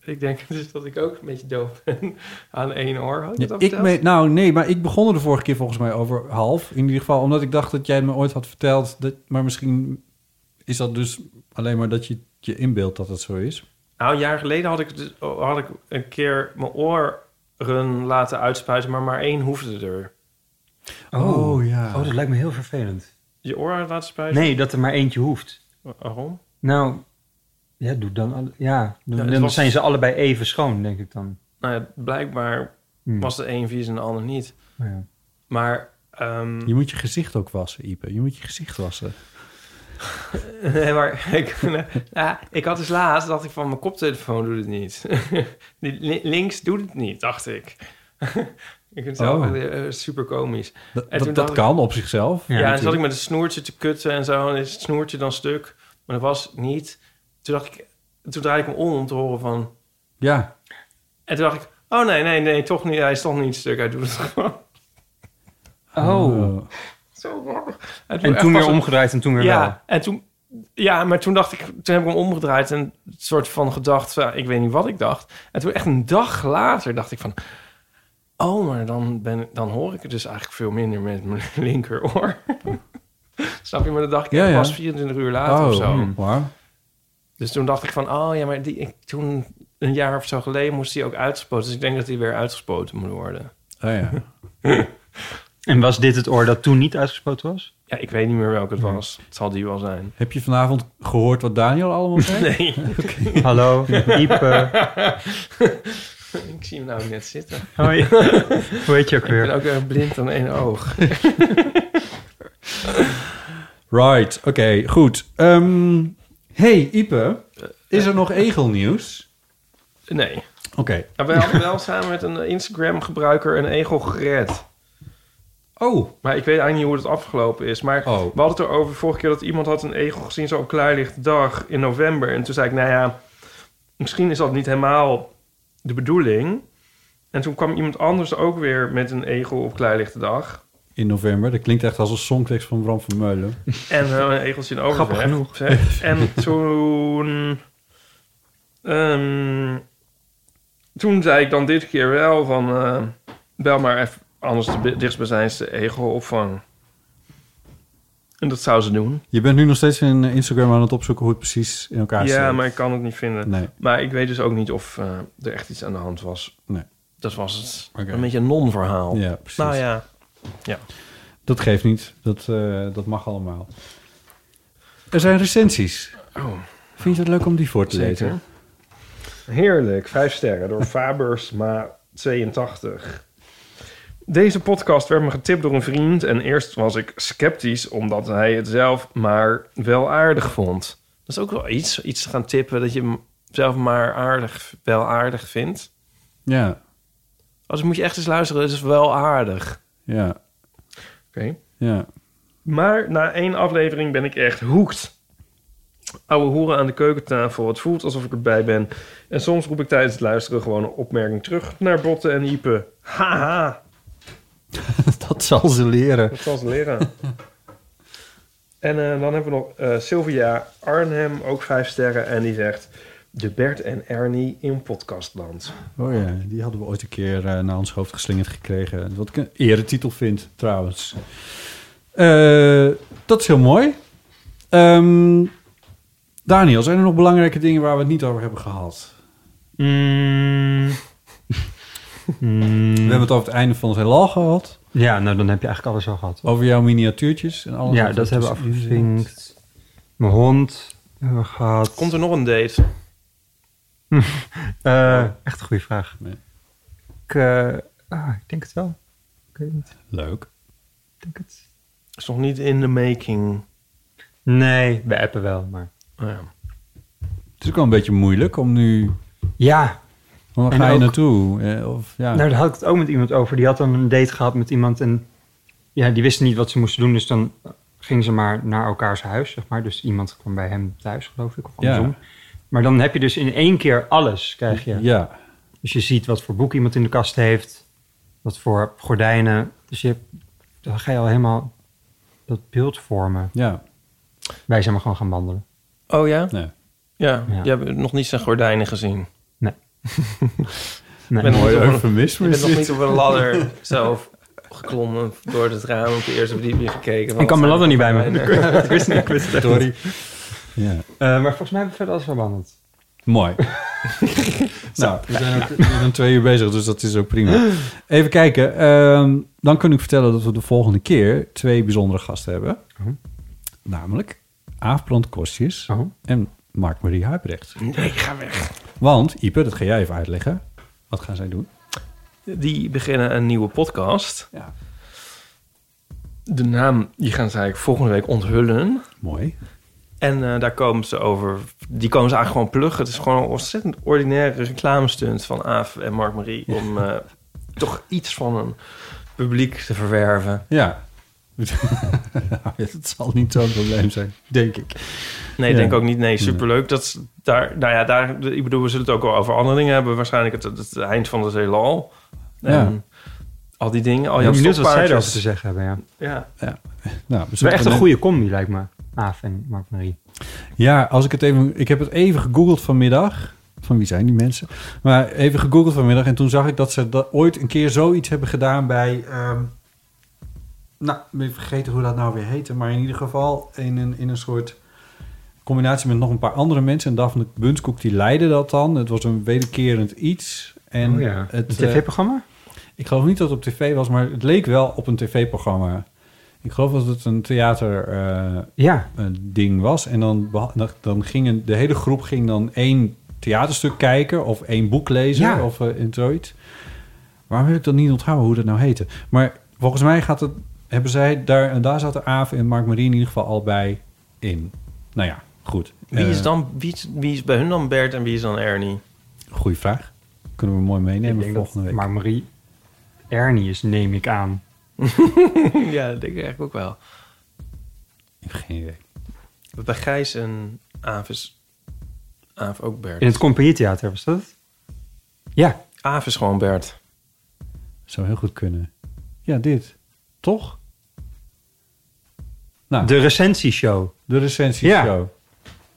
Ik denk dus dat ik ook een beetje doof ben aan één oor. Had ik Ja, dat al ik verteld? me- nou, nee, maar ik begon er de vorige keer volgens mij over half. In ieder geval, omdat ik dacht dat jij het me ooit had verteld. Dat, maar misschien is dat dus alleen maar dat je het je inbeeldt dat het zo is. Nou, een jaar geleden had ik, dus, had ik een keer mijn oren laten uitspuiten, maar maar één hoefde er. Oh, ja. Oh, dat lijkt me heel vervelend. Je oren laten spuiten? Nee, dat er maar eentje hoeft. Wa- Waarom? Nou, ja, doe dan... alle- Ja, dan, Ja, het dan was- zijn ze allebei even schoon, denk ik dan. Nou ja, blijkbaar Hmm. was de een vies en de ander niet. Oh ja. Maar ehm, Je moet je gezicht ook wassen, Ipe. Je moet je gezicht wassen. Nee, maar ik, ja, ik had dus laatst, dacht ik van mijn koptelefoon doet het niet. Die li- Links doet het niet, dacht ik. ik vind het zelf Oh. weer, eh, super komisch. Dat, En toen dat, dat dacht ik- kan op zichzelf. Ja, en toen zat ik met een snoertje te kutten en zo. En is het snoertje dan stuk. Maar dat was niet. Toen dacht ik, toen draaide ik hem om om te horen van... Ja. En toen dacht ik, oh nee, nee, nee, toch niet. Hij is toch niet stuk. Hij doet het gewoon. Oh. Zo grappig. En toen echt pas weer een- omgedraaid en toen weer ja, wel. En toen, ja, maar toen dacht ik, toen heb ik hem omgedraaid en een soort van gedacht, ja, ik weet niet wat ik dacht. En toen echt een dag later dacht ik van, oh, maar dan, ben, dan hoor ik het dus eigenlijk veel minder met mijn linkeroor. Snap je? Maar dat dacht ik Ja, ja. pas 24 uur later Oh, of zo. hmm, wauw. Dus toen dacht ik van, oh ja, maar die, ik, toen een jaar of zo geleden moest die ook uitgespoten. Dus ik denk dat die weer uitgespoten moet worden. Oh ja. En was dit het oor dat toen niet uitgespoten was? Ja, ik weet niet meer welke het was. Het zal die wel zijn. Heb je vanavond gehoord wat Daniel allemaal zei? Nee. Oké. Hallo, Ipe. ik zie hem nou net zitten. Hoi. Hoe heet je ook weer? Ik ben ook weer blind aan één oog. Right, oké, goed. Ehm, hey, Ipe. Eh. Is er nog egelnieuws? nee. Oké. Maar wij hadden Ah, wel samen met een Instagram-gebruiker een egel gered. Oh. Maar ik weet eigenlijk niet hoe het afgelopen is. Maar we hadden het erover vorige keer dat iemand had een egel gezien... zo op klaarlichte dag in november. En toen zei ik, nou ja, misschien is dat niet helemaal de bedoeling. En toen kwam iemand anders ook weer met een egel op klaarlichte dag. In november. Dat klinkt echt als een songtekst van Bram van Meulen. En eh, een egeltje in overweg. Grappig genoeg. zeg. En toen... ehm, toen zei ik dan dit keer wel van... eh, bel maar even anders de bi- dichtstbijzijnde egel opvang. En dat zou ze doen. Je bent nu nog steeds in eh, Instagram aan het opzoeken hoe het precies in elkaar zit. ja, maar ik kan het niet vinden. Nee. Maar ik weet dus ook niet of eh, er echt iets aan de hand was. Nee. Dat was het. Een beetje een non-verhaal. Ja, precies. Nou ja. ja. Dat geeft niet. Dat, eh, dat mag allemaal. Er zijn recensies. Oh. Vind je het leuk om die voor te Zeker. lezen? Heerlijk, vijf sterren door Fabersma 82. Deze podcast werd me getipt door een vriend en eerst was ik sceptisch omdat hij het zelf maar wel aardig vond. Dat is ook wel iets, iets te gaan tippen dat je hem zelf maar aardig, wel aardig vindt. Ja, Als moet je echt eens luisteren, het is wel aardig. ja, Oké. ja. Maar na één aflevering ben ik echt hoekt. Oude hoeren aan de keukentafel. Het voelt alsof ik erbij ben. En soms roep ik tijdens het luisteren gewoon een opmerking terug naar Botten en Iepen. Haha, Dat zal ze leren. dat zal ze leren. en eh, dan hebben we nog eh, Sylvia Arnhem, ook vijf sterren. En die zegt... De Bert en Ernie in podcastland. Oh ja, die hadden we ooit een keer eh, naar ons hoofd geslingerd gekregen. Wat ik een eretitel vind, trouwens. Eh, dat is heel mooi. Ehm, Daniel, zijn er nog belangrijke dingen waar we het niet over hebben gehad? Mm, We Hmm. hebben het over het einde van het heelal gehad. Ja, nou dan heb je eigenlijk alles al gehad. Over jouw miniatuurtjes en alles. ja, wat dat er hebben we tussenin afgevinkt. Mijn hond hebben we gehad. Komt er nog een date? Eh, echt een goede vraag. Ik, eh, ah, ik denk het wel. Ik weet het niet. Leuk. Is nog niet in de making. Oh Nee, we appen wel, maar... Het is ook wel een beetje moeilijk om nu... Ja. Waar En ga je ook- naartoe? Eh, Of, ja. Nou, daar had ik het ook met iemand over. Die had dan een date gehad met iemand en ja, die wisten niet wat ze moesten doen. Dus dan gingen ze maar naar elkaars huis, zeg maar. Dus iemand kwam bij hem thuis, geloof ik, of Ja. andersom. Maar dan heb je dus in één keer alles, krijg je. Ja. Dus je ziet wat voor boek iemand in de kast heeft, wat voor gordijnen. Dus je, dan ga je al helemaal dat beeld vormen. Ja. Wij zijn maar gewoon gaan wandelen. Oh ja? Nee. Ja, Ja. je hebt nog niet zijn gordijnen gezien. Nee. Ik Nee. nog Mooi niet op een- eufemisme Ik ben is nog dit. niet op een ladder zelf geklommen door het raam op de eerste verdieping gekeken. Ik kan mijn ladder niet bij me. me. ik wist niet, ik wist het echt Sorry. niet. Ja. Eh, maar volgens mij hebben we verder alles wel behandeld. Mooi. nou, we zijn ook we zijn twee uur bezig, dus dat is ook prima. Even kijken. ehm, dan kun ik vertellen dat we de volgende keer twee bijzondere gasten hebben. Namelijk Aafbrand Kostjes en Mark-Marie Huibrecht. Nee, ga weg. Want, Ipe, dat ga jij even uitleggen. Wat gaan zij doen? Die beginnen een nieuwe podcast. De naam, die gaan ze eigenlijk volgende week onthullen. Mooi. En eh, daar komen ze over. Die komen ze eigenlijk gewoon pluggen. Het is gewoon een ontzettend ordinaire reclamestunt van Aaf en Mark Marie. Om eh, toch iets van een publiek te verwerven. Ja. het zal niet zo'n probleem zijn, denk ik. Nee, Ja. denk ook niet. Nee, superleuk. Dat is daar, nou ja, daar, ik bedoel, we zullen het ook wel over andere dingen hebben. Waarschijnlijk het, het eind van de zeelal. En nou, al die dingen. Al ik ben jouw benieuwd wat zij stokpaardjes. erover te zeggen hebben, ja. Ja. ja. Nou, Nou, we zijn echt een dan- goede combi, lijkt me. Aaf en Mark-Marie. Ja, als ik het even. Ik heb het even gegoogeld vanmiddag. Van wie zijn die mensen? Maar even gegoogeld vanmiddag. En toen zag ik dat ze dat ooit een keer zoiets hebben gedaan bij. ehm, nou, ik ben vergeten hoe dat nou weer heette. Maar in ieder geval in een, in een soort combinatie met nog een paar andere mensen. En Daphne Bunskoek die leidde dat dan. Het was een wederkerend iets. En Oh ja, een eh, TV-programma? ik geloof niet dat het op tv was, maar het leek wel op een tv-programma. Ik geloof dat het een theater eh, een ding was. En dan, beha- dan- dan gingen de hele groep ging dan één theaterstuk kijken of één boek lezen Ja. of eh, en zoiets. Waarom heb ik dat niet onthouden hoe dat nou heette? Maar volgens mij gaat het, hebben zij daar, en daar zaten Aaf en Mark Marie in ieder geval al bij in. Nou ja, goed. Wie is, Eh, dan, wie, is- wie is bij hun dan Bert en wie is dan Ernie? Goeie vraag. Kunnen we mooi meenemen volgende week. Maar Marie Ernie is, neem ik aan. ja, dat denk ik eigenlijk ook wel. Ik heb geen idee. Bij Gijs en Aaf is Aaf ook Bert. In het Compagnietheater was dat het? Ja. Aaf is gewoon Bert. Zou heel goed kunnen. Ja, dit. Toch? Nou, Ah. De recensieshow. De recensieshow. Ik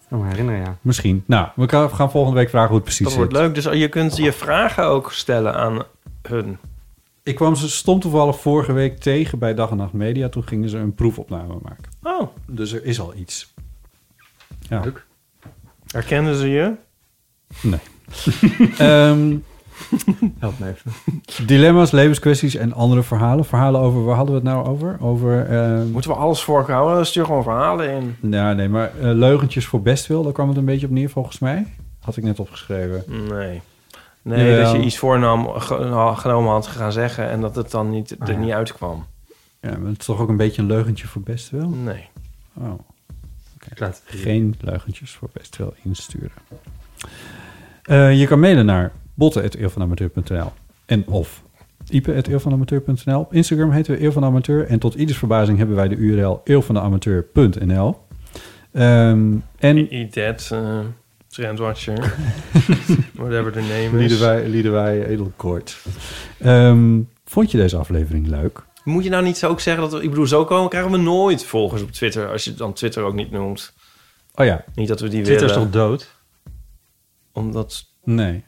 kan Oh, me herinneren, ja. Misschien. Nou, we gaan- we gaan volgende week vragen hoe het precies Dat zit. wordt leuk. Dus je kunt je vragen ook stellen aan hun. Ik kwam ze stom toevallig vorige week tegen bij Dag en Nacht Media. Toen gingen ze een proefopname maken. Oh. Dus er is al iets. Ja. Leuk. Herkennen ze je? Nee. Ehm, Help me even. dilemma's, levenskwesties en andere verhalen. Verhalen over, waar hadden we het nou over? Over, ehm, Moeten we alles voorhouden? Stuur gewoon verhalen in. nou, nee, maar eh, leugentjes voor bestwil. Daar kwam het een beetje op neer volgens mij. Had ik net opgeschreven. Nee. Nee, Jawel. dat je iets voornam, ge- genomen had gaan zeggen en dat het dan niet, er niet uitkwam. Ja, maar het is toch ook een beetje een leugentje voor bestwil? Nee. Oh. Geen leugentjes voor best wel insturen. Eh, je kan mailen naar botten.eeuwvanamateur.nl en of ipe.eeuwvanamateur.nl. Op Instagram heten we Eeuw van de Amateur. En tot ieders verbazing hebben wij de URL eeuwvanamateur.nl. Ehm en Eat that, eh, Trendwatcher. Whatever the name is. lieden wij, lieden wij edelkort. Ehm, vond je deze aflevering leuk? Moet je nou niet zo ook zeggen dat we, ik bedoel, zo komen krijgen we nooit volgers op Twitter, als je dan Twitter ook niet noemt. Oh ja. Niet dat we die Twitter is eh, willen. toch dood? Omdat... Nee.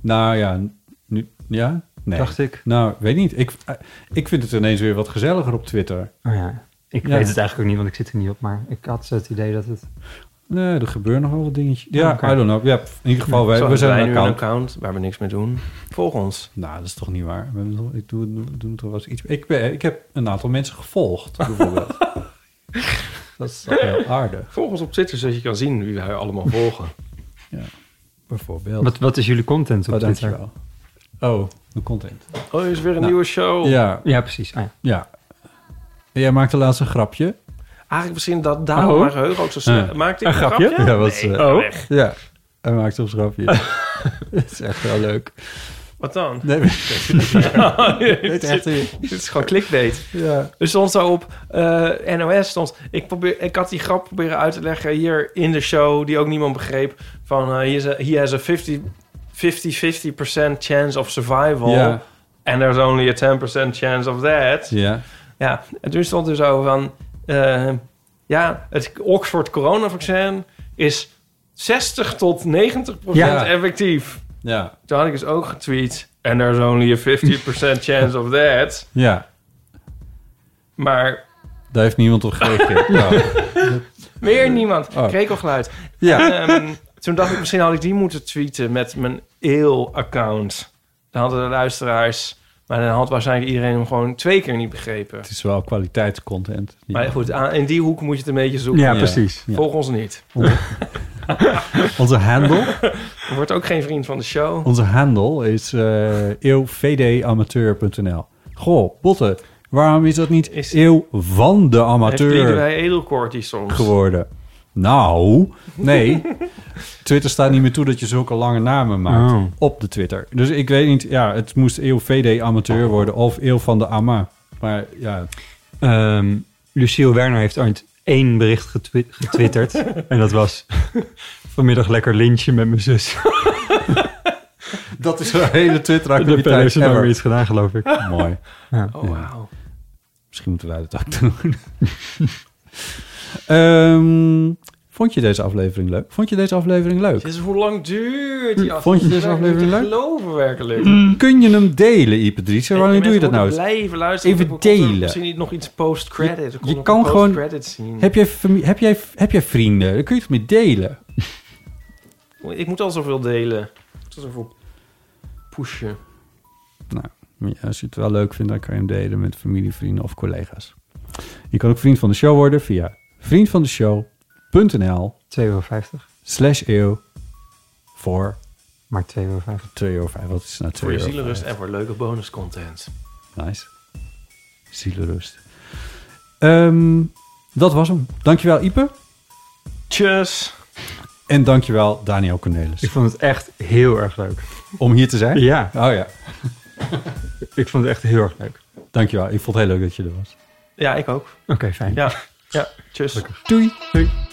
Nou ja, nu, ja? Nee. Dacht ik. Nou, weet niet. Ik, eh, ik vind het ineens weer wat gezelliger op Twitter. Oh ja. Ik weet het eigenlijk ook niet, want ik zit er niet op. Maar ik had het idee dat het... Nee, er gebeuren nogal wat dingetjes. Oh, Ja, Oké. I don't know. Ja, in ieder geval, wij, Zo we hebben zijn wij een nu een account. account waar we niks mee doen. Volg ons. Nou, dat is toch niet waar. We hebben toch- Ik doe, doe, doe toch wel eens iets. Ik, ben, ik heb een aantal mensen gevolgd, bijvoorbeeld. dat is toch heel aardig, Volg ons op Twitter, zodat je kan zien wie wij allemaal volgen. bijvoorbeeld. Wat, wat is jullie content op Oh, Twitter? dankjewel. Oh, de content. Oh, er is weer een Nou, nieuwe show. Ja. Ja, precies. Ah, ja. Ja. Jij maakte laatst een grapje. Eigenlijk misschien dat daarom mijn geheugen ook zo snel... Oh. Ja. Maakt ik een grapje? Ja, was, Nee, Oh. eh, ga weg. Ja, hij maakte een grapje. dat is echt wel leuk. Wat dan? Nee, maar- Weet echt niet. Dit is gewoon clickbait. Ja. Er stond zo op eh, NOS stond. Ik, probeer, ik had die grap proberen uit te leggen hier in de show, die ook niemand begreep. Van eh, he, is a- he has a 50, 50, 50% chance of survival. Ja. And there's only a 10% chance of that. Ja. Ja, en toen stond er zo van... eh, ja, het Oxford coronavaccin is 60 tot 90% Ja. effectief. Ja. Toen had ik dus ook getweet... And there's only a 50% chance of that. Ja, Maar daar heeft niemand op gereageerd. Nou, Meer niemand. Oh. Krekelgeluid. Ja. Ehm, toen dacht ik, misschien had ik die moeten tweeten met mijn eeuw-account. Dan hadden de luisteraars... Maar dan had waarschijnlijk iedereen hem gewoon twee keer niet begrepen. het is wel kwaliteitscontent. Maar goed, aan- in die hoek moet je het een beetje zoeken. Ja, precies. Ja. Volg ons niet. Onze handle, Wordt ook geen vriend van de show. onze handle is eh eeuwvdamateur.nl. Goh, Botte, waarom is dat niet eeuw van de Heeft amateur wij edelkortie soms. geworden? Nou, nee. Twitter staat niet meer toe dat je zulke lange namen maakt Oh. op de Twitter. Dus ik weet niet, ja, het moest eeuw VD amateur worden of eeuw van de ama. Maar ja, Ehm, Lucille Werner heeft ooit één bericht getwi- getwitterd. en dat was vanmiddag lekker lintje met mijn zus. dat is haar hele Twitter-activiteit Daar heeft ze nooit ever. meer iets gedaan, geloof ik. nou Mooi. Ja. Oh, wauw. Misschien moeten wij dat ook doen. Ehm, vond je deze aflevering leuk? Vond je deze aflevering leuk? Dit is hoe lang duurt die aflevering? Hm, Vond je deze aflevering Niet te leuk? geloven werkelijk. Kun je hem delen, Ipe Driessen? Waarom doe je dat Mensen nou? moeten Blijven luisteren. Even want er komt er delen. Misschien niet nog iets post-credit. Er komt Je nog kan een gewoon... post-credit zien. Heb jij, fami- heb, jij, heb jij vrienden? Dan kun je het mee delen. Ik moet al zoveel delen. Ik moet al zoveel pushen. Nou, ja, als je het wel leuk vindt, dan kan je hem delen met familie, vrienden of collega's. Je kan ook vriend van de show worden via vriendvandeshow.nl 2,50 euro. slash eeuw voor Maar 2,50 euro. 2,50 euro. Wat is nou 2,50 Voor je zielenrust en voor leuke bonuscontent. Nice. Zielerust. Ehm, dat was hem. Dankjewel, Ipe. Tjus. En dankjewel, Daniel Cornelis. Ik vond het echt heel erg leuk. Om hier te zijn? Ja. Oh ja. Ik vond het echt heel erg leuk. Dankjewel. Ik vond het heel leuk dat je er was. Ja, ik ook. Oké, fijn. Ja, ja. tjus. Doei. Doei.